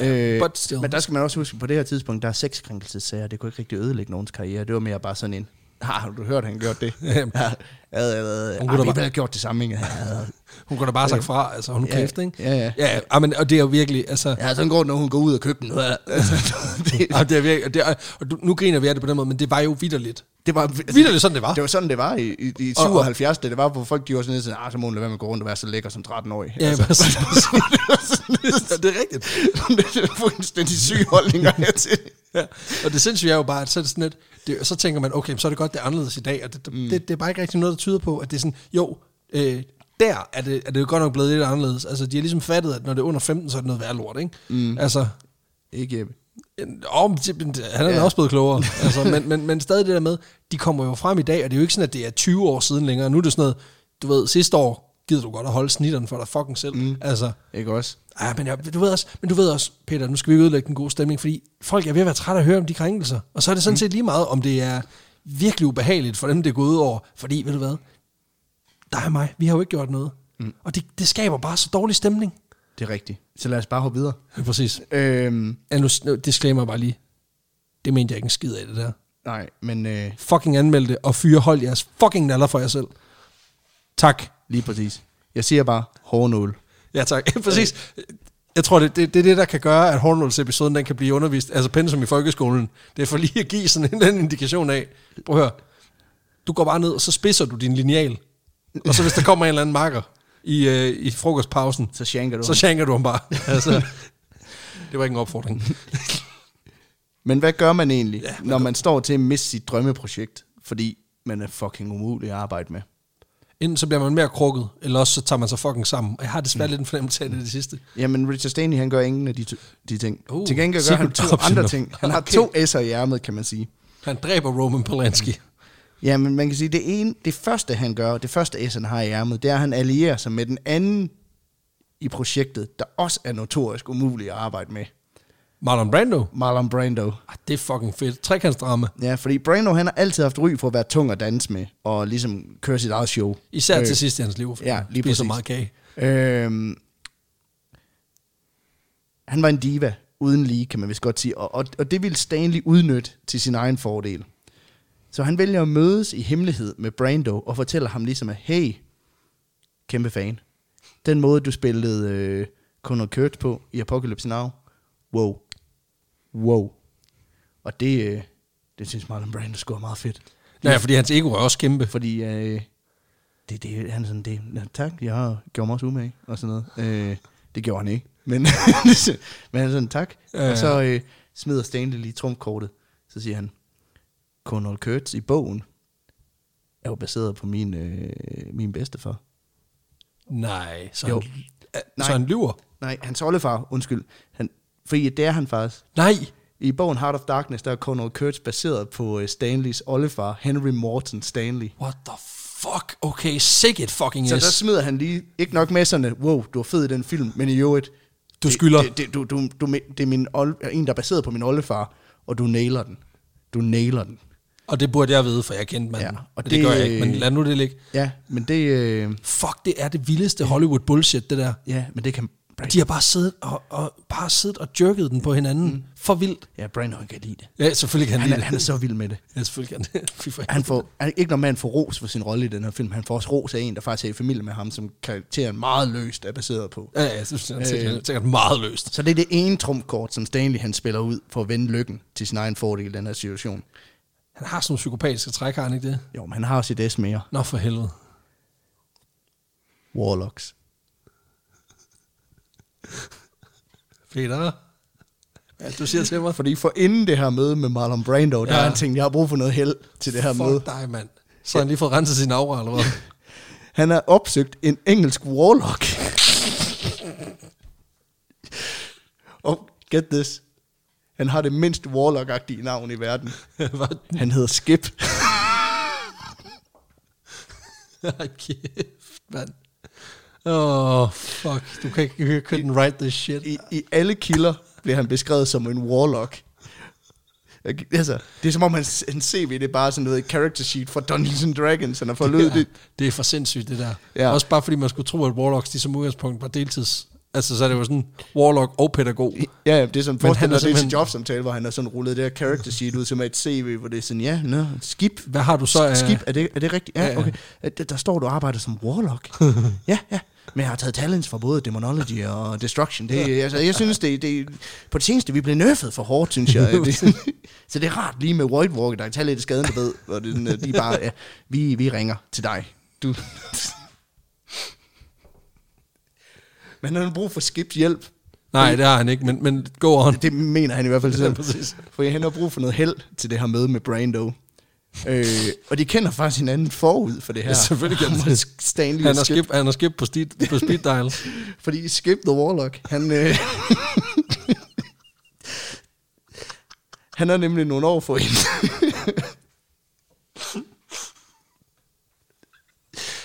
Speaker 2: Øh,
Speaker 1: but still.
Speaker 2: Men der skal man også huske, på det her tidspunkt, der er sexkrænkelsessager. Det kunne ikke rigtig ødelægge nogens karriere. Det var mere bare sådan en, har du hørt, han gjorde det? ja, ja, ja, ja. Ej,
Speaker 1: kunne da
Speaker 2: vi
Speaker 1: bare-
Speaker 2: havde gjort det samme, ikke? Ja, ja.
Speaker 1: Hun kunne da bare have sagt fra, altså hun
Speaker 2: Ja,
Speaker 1: ja, kæft, ikke?
Speaker 2: ja, ja.
Speaker 1: ja ja, men, og det er jo virkelig, altså...
Speaker 2: ja, sådan går det, når hun går ud af køkkenet. Ja. det,
Speaker 1: Ja, det er virkelig, og det er, og du, nu griner vi af det på den måde, men det var jo vidderligt.
Speaker 2: det, var, altså,
Speaker 1: Vitterligt sådan, det var.
Speaker 2: det var sådan, det var i, i, i
Speaker 1: Og- og-
Speaker 2: 77, da det var, hvor folk de var sådan lidt sådan, ah, så må hun lade være med at gå rundt og være så lækker som 13-årig.
Speaker 1: Ja,
Speaker 2: altså,
Speaker 1: præcis. Ja, det er rigtigt.
Speaker 2: det er fuldstændig syge holdninger hertil.
Speaker 1: Ja. Og det sindssyge er jo bare, at så, er det sådan lidt, det, så tænker man, okay, så er det godt, det er anderledes i dag, og det, mm. det, det er bare ikke rigtig noget, der tyder på, at det er sådan, jo, øh, der er det, er det jo godt nok blevet lidt anderledes. Altså, de har ligesom fattet, at når det er under 15, så er det noget værre lort, ikke? Mm. Altså,
Speaker 2: Ikke Jeppe.
Speaker 1: en- om, han er
Speaker 2: Ja.
Speaker 1: ja. også blevet klogere. Altså, men, men, men stadig det der med, de kommer jo frem i dag, og det er jo ikke sådan, at det er 20 år siden længere. Nu er det sådan noget, du ved, sidste år gider du godt at holde snitteren for dig fucking selv. Mm. Altså,
Speaker 2: Ikke også?
Speaker 1: Ja, men, jeg, du ved også, men du ved også, Peter, nu skal vi ikke ødelægge den gode stemning, fordi folk er ved at være trætte af at høre om de krænkelser. Og så er det sådan set lige meget, om det er virkelig ubehageligt for dem, det er gået ud over. Fordi, ved du hvad, der er mig, vi har jo ikke gjort noget. Mm. Og det, det skaber bare så dårlig stemning.
Speaker 2: Det er rigtigt. Så lad os bare hoppe videre.
Speaker 1: Ja, præcis.
Speaker 2: Øhm,
Speaker 1: Ja, nu, nu disclaimer jeg bare lige. Det mente jeg ikke en skid af, det der.
Speaker 2: nej, men... Øh,
Speaker 1: Fucking anmeld det, og fyre hold jeres fucking naller for jer selv. Tak.
Speaker 2: Lige præcis. Jeg siger bare hårnål.
Speaker 1: Ja, tak. præcis. Jeg tror, det, det, det er det, der kan gøre, at hårdnålsepisoden den kan blive undervist. Altså pensum i folkeskolen. Det er for lige at give sådan en eller anden indikation af. Prøv at høre. Du går bare ned, og så spidser du din lineal. Og så hvis der kommer en eller anden marker i, øh, i frokostpausen,
Speaker 2: Så shanker du.
Speaker 1: så
Speaker 2: Så
Speaker 1: shanker du ham bare. Altså, det var ikke en opfordring.
Speaker 2: Men hvad gør man egentlig, ja, når man står til at miste sit drømmeprojekt, fordi man er fucking umulig at arbejde med?
Speaker 1: Enten så bliver man mere krukket, eller også så tager man sig fucking sammen. Og jeg har desværre lidt en fornemmelse af det, det sidste.
Speaker 2: Jamen, Richard Stanley, han gør ingen af de, to, de ting.
Speaker 1: Uh,
Speaker 2: Uh, til gengæld gør
Speaker 1: secret
Speaker 2: han to
Speaker 1: option.
Speaker 2: andre ting. Han har
Speaker 1: Okay.
Speaker 2: to S'er i ærmet, kan man sige.
Speaker 1: Han dræber Roman Polanski.
Speaker 2: Ja, men man kan sige, det, ene, det første, han gør, det første S, han har i ærmet, det er, at han allierer sig med den anden i projektet, der også er notorisk umulig at arbejde med.
Speaker 1: Marlon Brando.
Speaker 2: Marlon Brando.
Speaker 1: Ah, det er fucking fedt. Trekantsdrama.
Speaker 2: Ja, fordi Brando, han har altid haft ry for at være tung at danse med, og ligesom køre sit eget show.
Speaker 1: Især øh. til sidst i hans liv, fordi
Speaker 2: ja,
Speaker 1: ja, han
Speaker 2: lige
Speaker 1: spiser
Speaker 2: præcis.
Speaker 1: meget kage.
Speaker 2: Øhm, han var en diva, uden lige, kan man vist godt sige, og, og, og det ville Stanley udnytte til sin egen fordel. Så han vælger at mødes i hemmelighed med Brando, og fortæller ham ligesom, at hey, kæmpe fan, den måde, du spillede øh, Conor Kurt på i Apocalypse Now, wow, wow. Og det, øh, det synes Marlon Brando skulle meget fedt.
Speaker 1: Ja, fordi hans ego er også kæmpe.
Speaker 2: Fordi øh, det, det, han er sådan, det, "Nå, tak, jeg har gjort mig også umage, og sådan noget. Øh, det gjorde han ikke, men, men han er sådan, tak.
Speaker 1: Ja,
Speaker 2: Øh.
Speaker 1: ja.
Speaker 2: Og så øh, smider Stanley lige trumfkortet, så siger han, Colonel Kurtz i bogen er jo baseret på min, øh, min bedstefar.
Speaker 1: Nej, så
Speaker 2: Jo.
Speaker 1: han, øh,
Speaker 2: Nej.
Speaker 1: så han lyver.
Speaker 2: Nej, hans oldefar, undskyld. Han, fordi det er han faktisk.
Speaker 1: Nej,
Speaker 2: I bogen Heart of Darkness, der er Colonel Kurtz baseret på øh, Stanleys oldefar, Henry Morton Stanley.
Speaker 1: what the fuck? Okay, sick it fucking
Speaker 2: Så
Speaker 1: is.
Speaker 2: der smider han lige, ikke nok messerne, wow, du var fed i den film, men i øvrigt,
Speaker 1: Du
Speaker 2: det-
Speaker 1: skylder.
Speaker 2: Det, det, du, du, du, det er min old, en, der er baseret på min oldefar, og du nailer den. Du nailer den.
Speaker 1: Og det burde jeg vide, for jeg kendte manden.
Speaker 2: Ja,
Speaker 1: Ja,
Speaker 2: og
Speaker 1: og det,
Speaker 2: det-
Speaker 1: det gør jeg ikke, men lad nu det ligge.
Speaker 2: Ja, men det, øh,
Speaker 1: Fuck, det er det vildeste Hollywood bullshit, det der.
Speaker 2: ja, men det kan...
Speaker 1: De har bare siddet og, og, bare siddet og jerket den på hinanden. Mm. For vildt.
Speaker 2: Ja, Brando, han kan lide det.
Speaker 1: Ja, selvfølgelig kan han,
Speaker 2: Han er,
Speaker 1: lide det.
Speaker 2: han er så vild med det.
Speaker 1: Ja, selvfølgelig kan han. Fy for helvede.
Speaker 2: Han får, han, ikke når man får ros for sin rolle i den her film, han får også ros af en, der faktisk er i familie med ham, som karakteren meget løst er baseret på.
Speaker 1: Ja, ja, så er han sikkert, øh, sikkert meget løst.
Speaker 2: Så det er det ene trumkort, som Stanley han spiller ud for at vende lykken til sin egen fordel i den her situation.
Speaker 1: Han har sådan nogle psykopatiske træk, har han ikke det?
Speaker 2: Jo, men han har sit S mere.
Speaker 1: Nå, for helvede.
Speaker 2: Warlocks.
Speaker 1: Peter, ja, du siger til mig, fordi
Speaker 2: Fordi for inden det her møde med Marlon Brando, ja. der
Speaker 1: Ja.
Speaker 2: har han tænkt, jeg har brug for noget held til det her
Speaker 1: fuck
Speaker 2: møde.
Speaker 1: dig, mand. Så har han lige fået renset sin aura, eller hvad?
Speaker 2: Han har opsøgt en engelsk warlock. Og get this. Han har det mindst warlock-agtige navn i verden.
Speaker 1: Hvad?
Speaker 2: Han hedder Skip.
Speaker 1: Ej, kæft, mand. Åh, oh, fuck. Du kan ikke, you couldn't write this shit.
Speaker 2: I, I alle kilder bliver han beskrevet som en warlock. Jeg- Altså, det er som om hans, hans CV, det er bare sådan noget character sheet fra Dungeons and Dragons, han har fået lød det.
Speaker 1: det er for sindssygt, det der.
Speaker 2: Ja.
Speaker 1: Ja. Også bare fordi man skulle tro, at Warlocks, de som udgangspunkt var deltids... Altså, så er det jo sådan Warlock og pædagog.
Speaker 2: Ja, ja, det er sådan,
Speaker 1: Men
Speaker 2: forestil
Speaker 1: han er
Speaker 2: dig, det er til
Speaker 1: simpelthen-
Speaker 2: jobsamtale, hvor han har sådan rullet det her character sheet ud som et CV, hvor det er sådan, ja, nå, skib.
Speaker 1: Hvad har du så af-
Speaker 2: Skib, er det, er det rigtigt?
Speaker 1: Ja,
Speaker 2: Ja,
Speaker 1: ja.
Speaker 2: okay. Er det- Der står, du arbejder som warlock. ja, ja. Men jeg har taget talents fra både Demonology og Destruction. Det, altså, jeg synes, det, det, på det seneste, vi blev nerfet for hårdt, synes jeg. Det, så det er rart lige med White Walker, der kan tage lidt af skaden, du ved. Og det, er sådan, at de er bare, ja, vi, vi ringer til dig. Du. Men han har brug for Skibs hjælp.
Speaker 1: Nej, det har han ikke, men, men go on.
Speaker 2: Det mener han i hvert fald selv.
Speaker 1: Ja, præcis.
Speaker 2: For han har brug for noget held til det her møde med Brando. Øh, og de kender faktisk hinanden forud for det her.
Speaker 1: Ja, selvfølgelig kan
Speaker 2: Ham
Speaker 1: han
Speaker 2: og
Speaker 1: det.
Speaker 2: Stanley
Speaker 1: Han
Speaker 2: han
Speaker 1: har
Speaker 2: skip.
Speaker 1: skib, han har skib på, sti, på speed dial.
Speaker 2: Fordi Skip the Warlock, han... Øh, han er nemlig nogle år for hende.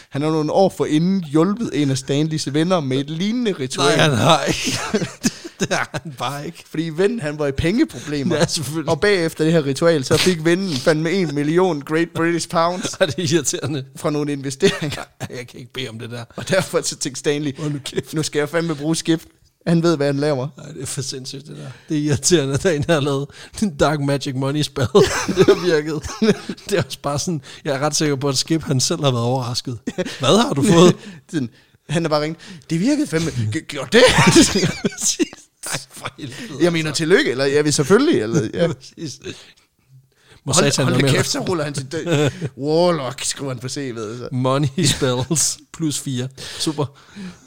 Speaker 2: han har nogle år for inden hjulpet en af Stanleys venner med et lignende
Speaker 1: Nej,
Speaker 2: ritual.
Speaker 1: han har ikke. det har han bare ikke.
Speaker 2: Fordi vennen, han var i pengeproblemer.
Speaker 1: Ja, selvfølgelig.
Speaker 2: Og bagefter det her ritual, så fik vennen fandme en million Great British Pounds
Speaker 1: Og det er irriterende.
Speaker 2: fra nogle investeringer.
Speaker 1: Jeg kan ikke bede om det der.
Speaker 2: Og derfor så tænkte Stanley,
Speaker 1: Hold nu kæft.
Speaker 2: nu skal jeg fandme bruge skib. Han ved, hvad han laver.
Speaker 1: Nej, det er for sindssygt, det der. Det er irriterende, at der er en, der har lavet den Dark Magic Money spell. det har virket. det er også bare sådan, jeg er ret sikker på, at Skip han selv har været overrasket. Hvad har du fået?
Speaker 2: Sådan, han er bare ringet, det virkede fandme. G- Gjorde det?
Speaker 1: Nej, for helvede.
Speaker 2: jeg mener, tillykke, eller jeg vil selvfølgelig. Eller, ja.
Speaker 1: Præcis. Må
Speaker 2: Hold,
Speaker 1: satan
Speaker 2: hold
Speaker 1: være
Speaker 2: da
Speaker 1: med.
Speaker 2: kæft, så ruller han til død. Warlock, skriver han på CV'et. Så.
Speaker 1: Money spells plus 4. Super.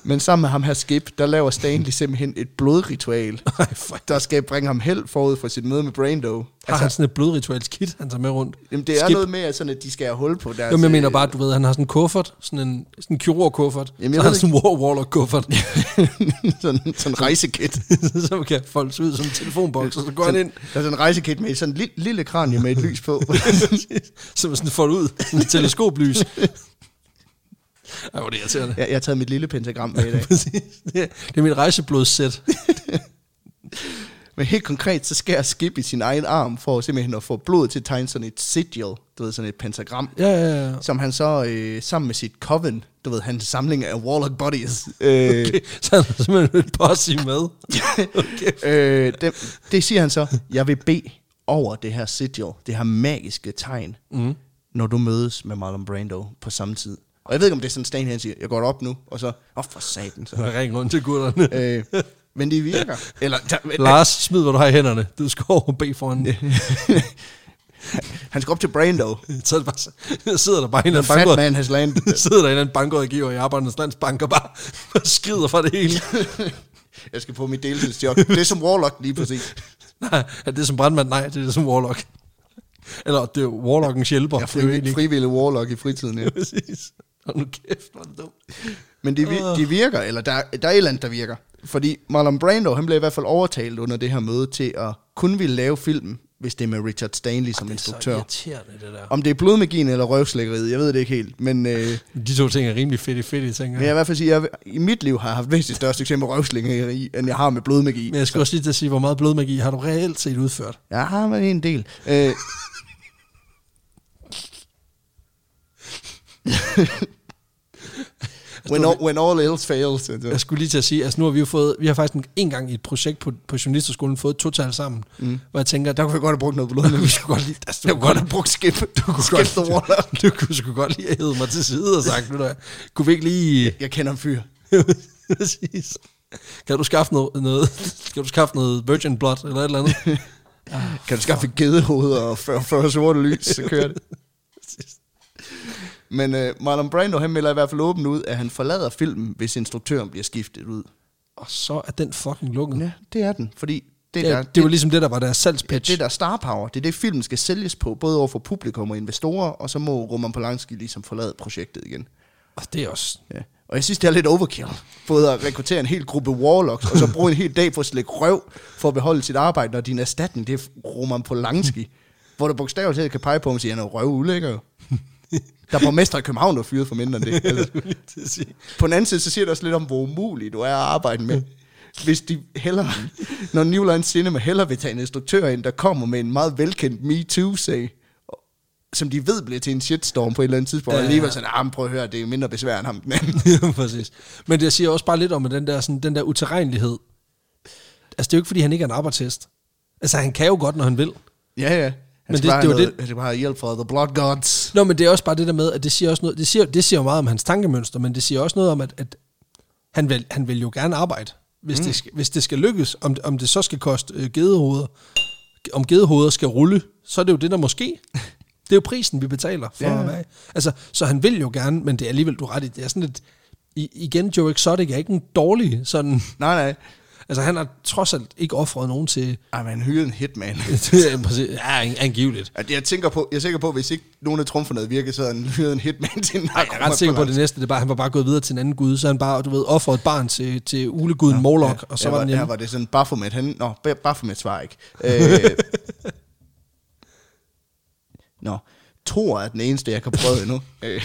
Speaker 2: Men sammen med ham her Skip, der laver Stanley simpelthen et blodritual,
Speaker 1: Ej, for
Speaker 2: der skal bringe ham held forud for sit møde med Brando.
Speaker 1: Har altså, han sådan et blodrituals kit, han tager med rundt?
Speaker 2: Jamen, det er
Speaker 1: Skip.
Speaker 2: noget med, at, sådan, at de skal hul på deres...
Speaker 1: Jamen, jeg mener
Speaker 2: øh,
Speaker 1: bare, du ved, han har sådan en kuffert, sådan en, sådan en kirurg-kuffert, Jamen,
Speaker 2: Jamen, jeg
Speaker 1: så har
Speaker 2: ved
Speaker 1: han sådan en war warlock-kuffert,
Speaker 2: sådan, sådan en rejsekit.
Speaker 1: som kan foldes ud som en telefonboks, og så går han
Speaker 2: Sådan,
Speaker 1: ind,
Speaker 2: der er sådan en rejsekit med sådan en lille, lille kranje med et lys på.
Speaker 1: så man sådan foldet ud, sådan et teleskoplys. Ej, hvor er det irriterende.
Speaker 2: jeg, jeg har taget mit lille pentagram med i dag.
Speaker 1: Præcis. Det, er- det er mit rejseblodssæt.
Speaker 2: Men helt konkret, så skærer Skip i sin egen arm for simpelthen at få blodet til at tegne sådan et sigil, du ved, sådan et pentagram,
Speaker 1: Ja, ja, ja.
Speaker 2: som han så øh, sammen med sit coven, du ved, hans samling af warlock bodies, øh,
Speaker 1: Okay. Så han har simpelthen et posse med. Okay.
Speaker 2: øh, dem, det siger han så, jeg vil bede over det her sigil, det her magiske tegn,
Speaker 1: Mhm.
Speaker 2: mm. når du mødes med Marlon Brando på samme tid. Og jeg ved ikke, om det er sådan, Stan han siger, jeg går op nu, og så, åh oh, for satan. Så.
Speaker 1: Jeg ringer rundt til gutterne.
Speaker 2: øh, men det virker. Eller,
Speaker 1: Lars, smid, hvad du har i hænderne. Du skal over og bede foran.
Speaker 2: han skal op til Brando.
Speaker 1: Så er det bare, så sidder der bare en eller anden
Speaker 2: Fat
Speaker 1: banker,
Speaker 2: man has landed.
Speaker 1: sidder der en eller anden bankrådgiver i Arbejdernes Landsbank og bare og skrider fra det hele.
Speaker 2: Jeg skal få mit deltidsjob. Det er som Warlock lige præcis.
Speaker 1: Nej, er det som brandmand? Nej, det er det som Warlock. Eller det er Warlockens hjælper.
Speaker 2: Jeg er
Speaker 1: det er jo egentlig
Speaker 2: frivillig,
Speaker 1: ikke.
Speaker 2: frivillig Warlock i fritiden, ja.
Speaker 1: Præcis. Og nu kæft, hvor er det dumt.
Speaker 2: Men det,
Speaker 1: Øh.
Speaker 2: vir- det virker, eller der, der er et eller andet, der virker. Fordi Marlon Brando, han blev i hvert fald overtalt under det her møde til at kun ville lave filmen, hvis det er med Richard Stanley som
Speaker 1: Så
Speaker 2: instruktør.
Speaker 1: irriterende, det der.
Speaker 2: Om det er blodmagien eller røvslækkeriet, jeg ved det ikke helt. Men, øh,
Speaker 1: De to ting er rimelig fedt i fedt, tænker
Speaker 2: men jeg vil i hvert fald sige, at jeg i mit liv har jeg haft væsentligt større succes med røvslækkeri, end jeg har med blodmagi.
Speaker 1: Men jeg skulle også lige til at sige, hvor meget blodmagi har du reelt set udført?
Speaker 2: Jeg har været en del. Øh, when, all, when all else fails.
Speaker 1: Jeg skulle lige til at sige, altså nu har vi jo fået, vi har faktisk en, en gang i et projekt på, på journalisterskolen fået et total sammen, mm. hvor jeg tænker, der kunne
Speaker 2: Jeg kunne
Speaker 1: jeg
Speaker 2: godt have brugt noget blod.
Speaker 1: godt, vi skulle godt lige, altså, jeg kunne godt have brugt skip, du kunne
Speaker 2: Skip the water.
Speaker 1: du, du kunne sgu godt lige have hævet mig til side og sagt, nu der, kunne vi ikke lige,
Speaker 2: Jeg kender en fyr.
Speaker 1: præcis, kan du skaffe noget, noget, kan du skaffe noget virgin blood eller et eller andet?
Speaker 2: Kan du skaffe gedehoveder og 40, 40 sorte lys, så kører det. Men øh, Marlon Brando, han melder i hvert fald åbent ud, at han forlader filmen, hvis instruktøren bliver skiftet ud.
Speaker 1: Og så er den fucking lukket. Ja,
Speaker 2: Ja, det er den, fordi det,
Speaker 1: det,
Speaker 2: der,
Speaker 1: er, det var ligesom det, der var deres
Speaker 2: Ja,
Speaker 1: salgspitch.
Speaker 2: det er der star power. Det er det, filmen skal sælges på, både over for publikum og investorer, og så må Roman Polanski ligesom forlade projektet igen.
Speaker 1: Og det er også,
Speaker 2: Ja. Og jeg synes, det er lidt overkill. Både at rekruttere en hel gruppe warlocks, og så bruge en hel dag på at slække røv for at beholde sit arbejde, når din erstatning, det er Roman Polanski. hvor du bogstaveligt talt kan pege på, og sige, at han er røv ulækker. jo." Der er borgmester i København, der er fyret for mindre end det. Altså. På den anden side, så siger det også lidt om, hvor umulig du er at arbejde med. Hvis de heller, når New Line Cinema heller vil tage en instruktør ind, der kommer med en meget velkendt Me Too-sag, som de ved bliver til en shitstorm på et eller andet tidspunkt, og
Speaker 1: Ja.
Speaker 2: alligevel sådan, ah, men prøv at høre, det er mindre besvær end ham den anden.
Speaker 1: Ja, præcis. Men det siger også bare lidt om at den der, sådan, den der uterrenlighed. Altså, det er jo ikke, fordi han ikke er en arbejdshest. Altså, han kan jo godt, når han vil.
Speaker 2: Ja, ja. Han men
Speaker 1: Men
Speaker 2: skal det,
Speaker 1: det- det
Speaker 2: bare det,
Speaker 1: var
Speaker 2: noget, det. skal bare have hjælp fra The Blood Gods.
Speaker 1: Nå, men det er også bare det der med, at det siger også noget, det siger, det siger jo meget om hans tankemønster, men det siger også noget om, at, at han, vil, han vil jo gerne arbejde, hvis, mm. det, skal, hvis det skal lykkes, om, om det så skal koste øh, gedehoveder, om gedehoveder skal rulle, så er det jo det, der måske. Det er jo prisen, vi betaler for
Speaker 2: Ja.
Speaker 1: ja. at være. Altså, så han vil jo gerne, men det er alligevel, du har ret i, det er sådan lidt, i, igen, Joe Exotic er ikke en dårlig sådan
Speaker 2: Nej, nej.
Speaker 1: Altså, han har trods alt ikke offret nogen til...
Speaker 2: Ej, men hyrer en hitman.
Speaker 1: ja, angiveligt.
Speaker 2: At jeg, tænker på, jeg er sikker på, at hvis ikke nogen af trumferne havde virket, så havde han hyret en hitman til en
Speaker 1: Jeg er ret sikker på, at det næste, det er bare, han var bare gået videre til en anden gud, så han bare, du ved, offret et barn til, til uleguden ja, Moloch, og så
Speaker 2: ja,
Speaker 1: var den
Speaker 2: ja,
Speaker 1: hjemme.
Speaker 2: var det sådan Baphomet. Han, nå, Ba- Baphomet svarer ikke. Øh, nå, Thor er den eneste, jeg kan prøve endnu. Øh.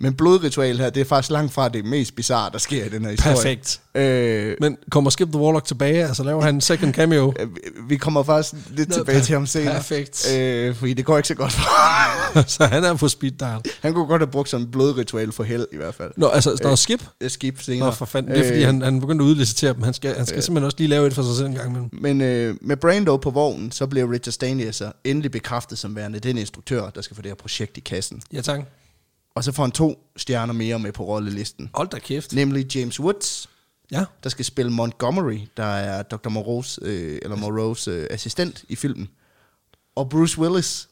Speaker 2: Men blodritual her, det er faktisk langt fra det mest bizarre, der sker i den her historie.
Speaker 1: Perfekt.
Speaker 2: Øh,
Speaker 1: Men kommer Skip the Warlock tilbage, altså laver han en second cameo?
Speaker 2: Øh, vi- Vi kommer faktisk lidt
Speaker 1: Nå,
Speaker 2: tilbage
Speaker 1: per-
Speaker 2: til ham senere.
Speaker 1: perfekt.
Speaker 2: Øh, fordi det går ikke så godt for ham.
Speaker 1: så han er på speed dial.
Speaker 2: Han kunne godt have brugt sådan et blodritual for held i hvert fald.
Speaker 1: Nå, altså, der er Skip.
Speaker 2: Jeg skib senere. Øh,
Speaker 1: Nå, for fanden. Det er, fordi han, han begyndte at udlicitere dem. Han skal, han skal simpelthen også lige lave et for sig selv en gang imellem.
Speaker 2: Men øh, med Brando på vognen, så blev Richard Stanley så endelig bekræftet som værende den instruktør, der skal få det her projekt i kassen.
Speaker 1: Ja, tak.
Speaker 2: Og så får han to stjerner mere med på rollelisten.
Speaker 1: Hold da kæft.
Speaker 2: Nemlig James Woods,
Speaker 1: Ja.
Speaker 2: der skal spille Montgomery, der er Dr. Moreau's, øh, eller Moreau's øh, assistent i filmen. Og Bruce Willis,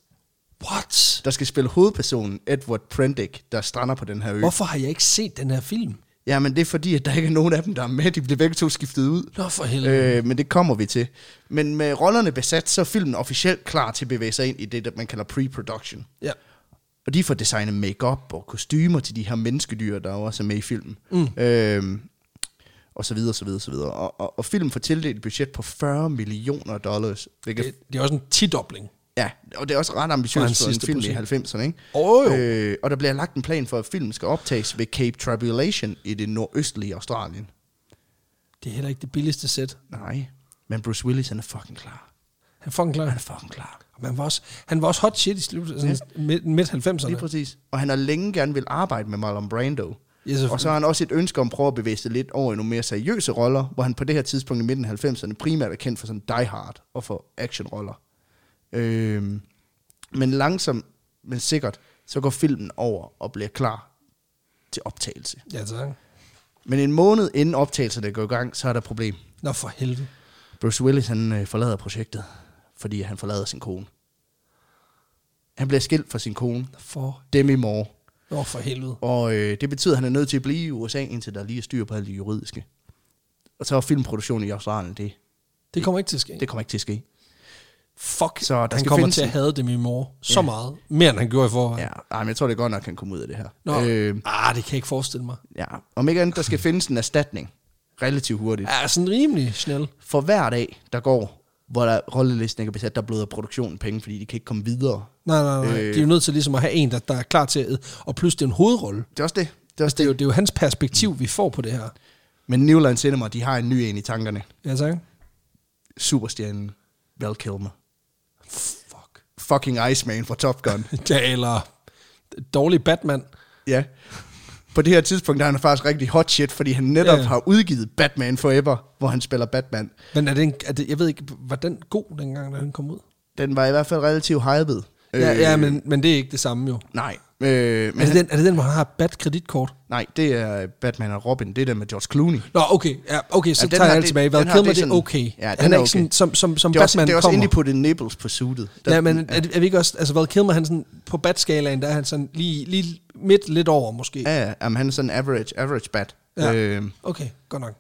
Speaker 1: What? Øh.
Speaker 2: der skal spille hovedpersonen Edward Prendick, der strander på den her ø.
Speaker 1: Hvorfor har jeg ikke set den her film?
Speaker 2: Jamen, det er fordi, at der ikke er nogen af dem, der er med. De bliver begge to skiftet ud.
Speaker 1: Nå for helvede.
Speaker 2: Øh, men det kommer vi til. Men med rollerne besat, så er filmen officielt klar til at bevæge sig ind i det, der man kalder pre-production.
Speaker 1: Ja.
Speaker 2: Og de får designet makeup og kostymer til de her menneskedyr, der jo også er med i filmen. Mm. Øhm, og så videre, så videre, så videre. Og, og, og filmen får tildelt et budget på 40 millioner dollars. Hvilket,
Speaker 1: Det, det er også en tidobling.
Speaker 2: ja, og det er også ret
Speaker 1: For
Speaker 2: ambitiøst
Speaker 1: hans
Speaker 2: for en
Speaker 1: sidste
Speaker 2: film
Speaker 1: projekt.
Speaker 2: i 90'erne, ikke?
Speaker 1: Åh, jo.
Speaker 2: Øh, og der bliver lagt en plan for, at filmen skal optages ved Cape Tribulation i det nordøstlige Australien.
Speaker 1: Det er heller ikke det billigste sæt.
Speaker 2: Nej, men Bruce Willis, han er fucking klar.
Speaker 1: Han er fucking
Speaker 2: Han
Speaker 1: klar.
Speaker 2: er fucking klar.
Speaker 1: Man var også, han var også hot shit i slut, sådan midt, midt
Speaker 2: Lige
Speaker 1: 90'erne.
Speaker 2: præcis. Og han har længe gerne vil arbejde med Marlon Brando.
Speaker 1: Ja, selvfølgelig.
Speaker 2: og så har han også et ønske om at prøve at bevæge sig lidt over i nogle mere seriøse roller, hvor han på det her tidspunkt i midten af 90'erne primært er kendt for sådan Die Hard og for actionroller. Øhm, men langsomt, men sikkert, så går filmen over og bliver klar til optagelse.
Speaker 1: Ja, tak.
Speaker 2: Men en måned inden optagelserne går i gang, så er der et problem.
Speaker 1: Nå for helvede.
Speaker 2: Bruce Willis han øh, forlader projektet, fordi han forlader sin kone. Han bliver skilt fra sin kone,
Speaker 1: For,
Speaker 2: Demi Moore.
Speaker 1: nå for helvede.
Speaker 2: Og øh, det betyder, at han er nødt til at blive i USA, indtil der lige er styr på alt det juridiske. Og så er filmproduktionen i Australien, det,
Speaker 1: Det kommer ikke til at ske.
Speaker 2: det kommer ikke til at ske.
Speaker 1: Fuck,
Speaker 2: Så
Speaker 1: så
Speaker 2: der
Speaker 1: der han
Speaker 2: skal
Speaker 1: kommer
Speaker 2: findes
Speaker 1: til at
Speaker 2: en-
Speaker 1: have det min mor så
Speaker 2: Ja.
Speaker 1: meget. Mere end han gjorde i forvejen.
Speaker 2: Ja, ej, men jeg tror, det er godt nok, at han kommer ud af det her.
Speaker 1: Nå, øh, ah, det kan jeg ikke forestille mig.
Speaker 2: ja. Om ikke andet, der skal findes en erstatning relativt hurtigt.
Speaker 1: Ja, Ah, sådan rimelig snel.
Speaker 2: For hver dag, der går, hvor der rollelisten ikke er besat, der bløder produktionen penge, fordi de kan ikke komme videre.
Speaker 1: Nej, nej, nej. Øh. De er jo nødt til ligesom at have en, der, der er klar til at... Og plus, det er en hovedrolle. Altså,
Speaker 2: Det er også det. Det er også
Speaker 1: Det er, jo,
Speaker 2: det.
Speaker 1: det er jo hans perspektiv, vi får på det her.
Speaker 2: Men New Line Cinema, de har en ny en i tankerne.
Speaker 1: Ja, tak.
Speaker 2: Superstjernen Val Kilmer.
Speaker 1: Fuck.
Speaker 2: Fucking Iceman fra Top Gun.
Speaker 1: Ja, eller dårlig Batman.
Speaker 2: Ja. På det her tidspunkt der er han faktisk rigtig hot shit, fordi han netop
Speaker 1: Ja.
Speaker 2: yeah. har udgivet Batman Forever, hvor han spiller Batman.
Speaker 1: Men er det en, er det, jeg ved ikke, var den god dengang, da den kom ud?
Speaker 2: Den var i hvert fald relativt hyped.
Speaker 1: Øh. Ja, ja men, Altså, men det er ikke det samme jo.
Speaker 2: Nej. Øh, men
Speaker 1: Er det,
Speaker 2: han,
Speaker 1: den, er det den, hvor han har et bat kreditkort?
Speaker 2: nej, det er Batman og Robin. Det er den med George Clooney.
Speaker 1: Nå, okay, ja, okay så
Speaker 2: Ja,
Speaker 1: ja,
Speaker 2: den
Speaker 1: tager
Speaker 2: har
Speaker 1: jeg alt
Speaker 2: det-
Speaker 1: tilbage.
Speaker 2: den
Speaker 1: Hvad
Speaker 2: har
Speaker 1: keder
Speaker 2: det
Speaker 1: mig, det er
Speaker 2: sådan-
Speaker 1: okay.
Speaker 2: Ja, den
Speaker 1: han er
Speaker 2: er
Speaker 1: ikke sådan,
Speaker 2: okay.
Speaker 1: som, som, som
Speaker 2: det er også,
Speaker 1: Batman
Speaker 2: det er også
Speaker 1: kommer.
Speaker 2: indie på det nipples på suitet.
Speaker 1: Ja, men er, er vi ikke også, altså hvad keder mig, han sådan, på batskalaen, der er han sådan lige, lige midt lidt over måske. Ja.
Speaker 2: Ja, ja, jamen, han er sådan average, average bat.
Speaker 1: Ja.
Speaker 2: Øh,
Speaker 1: Okay, godt nok.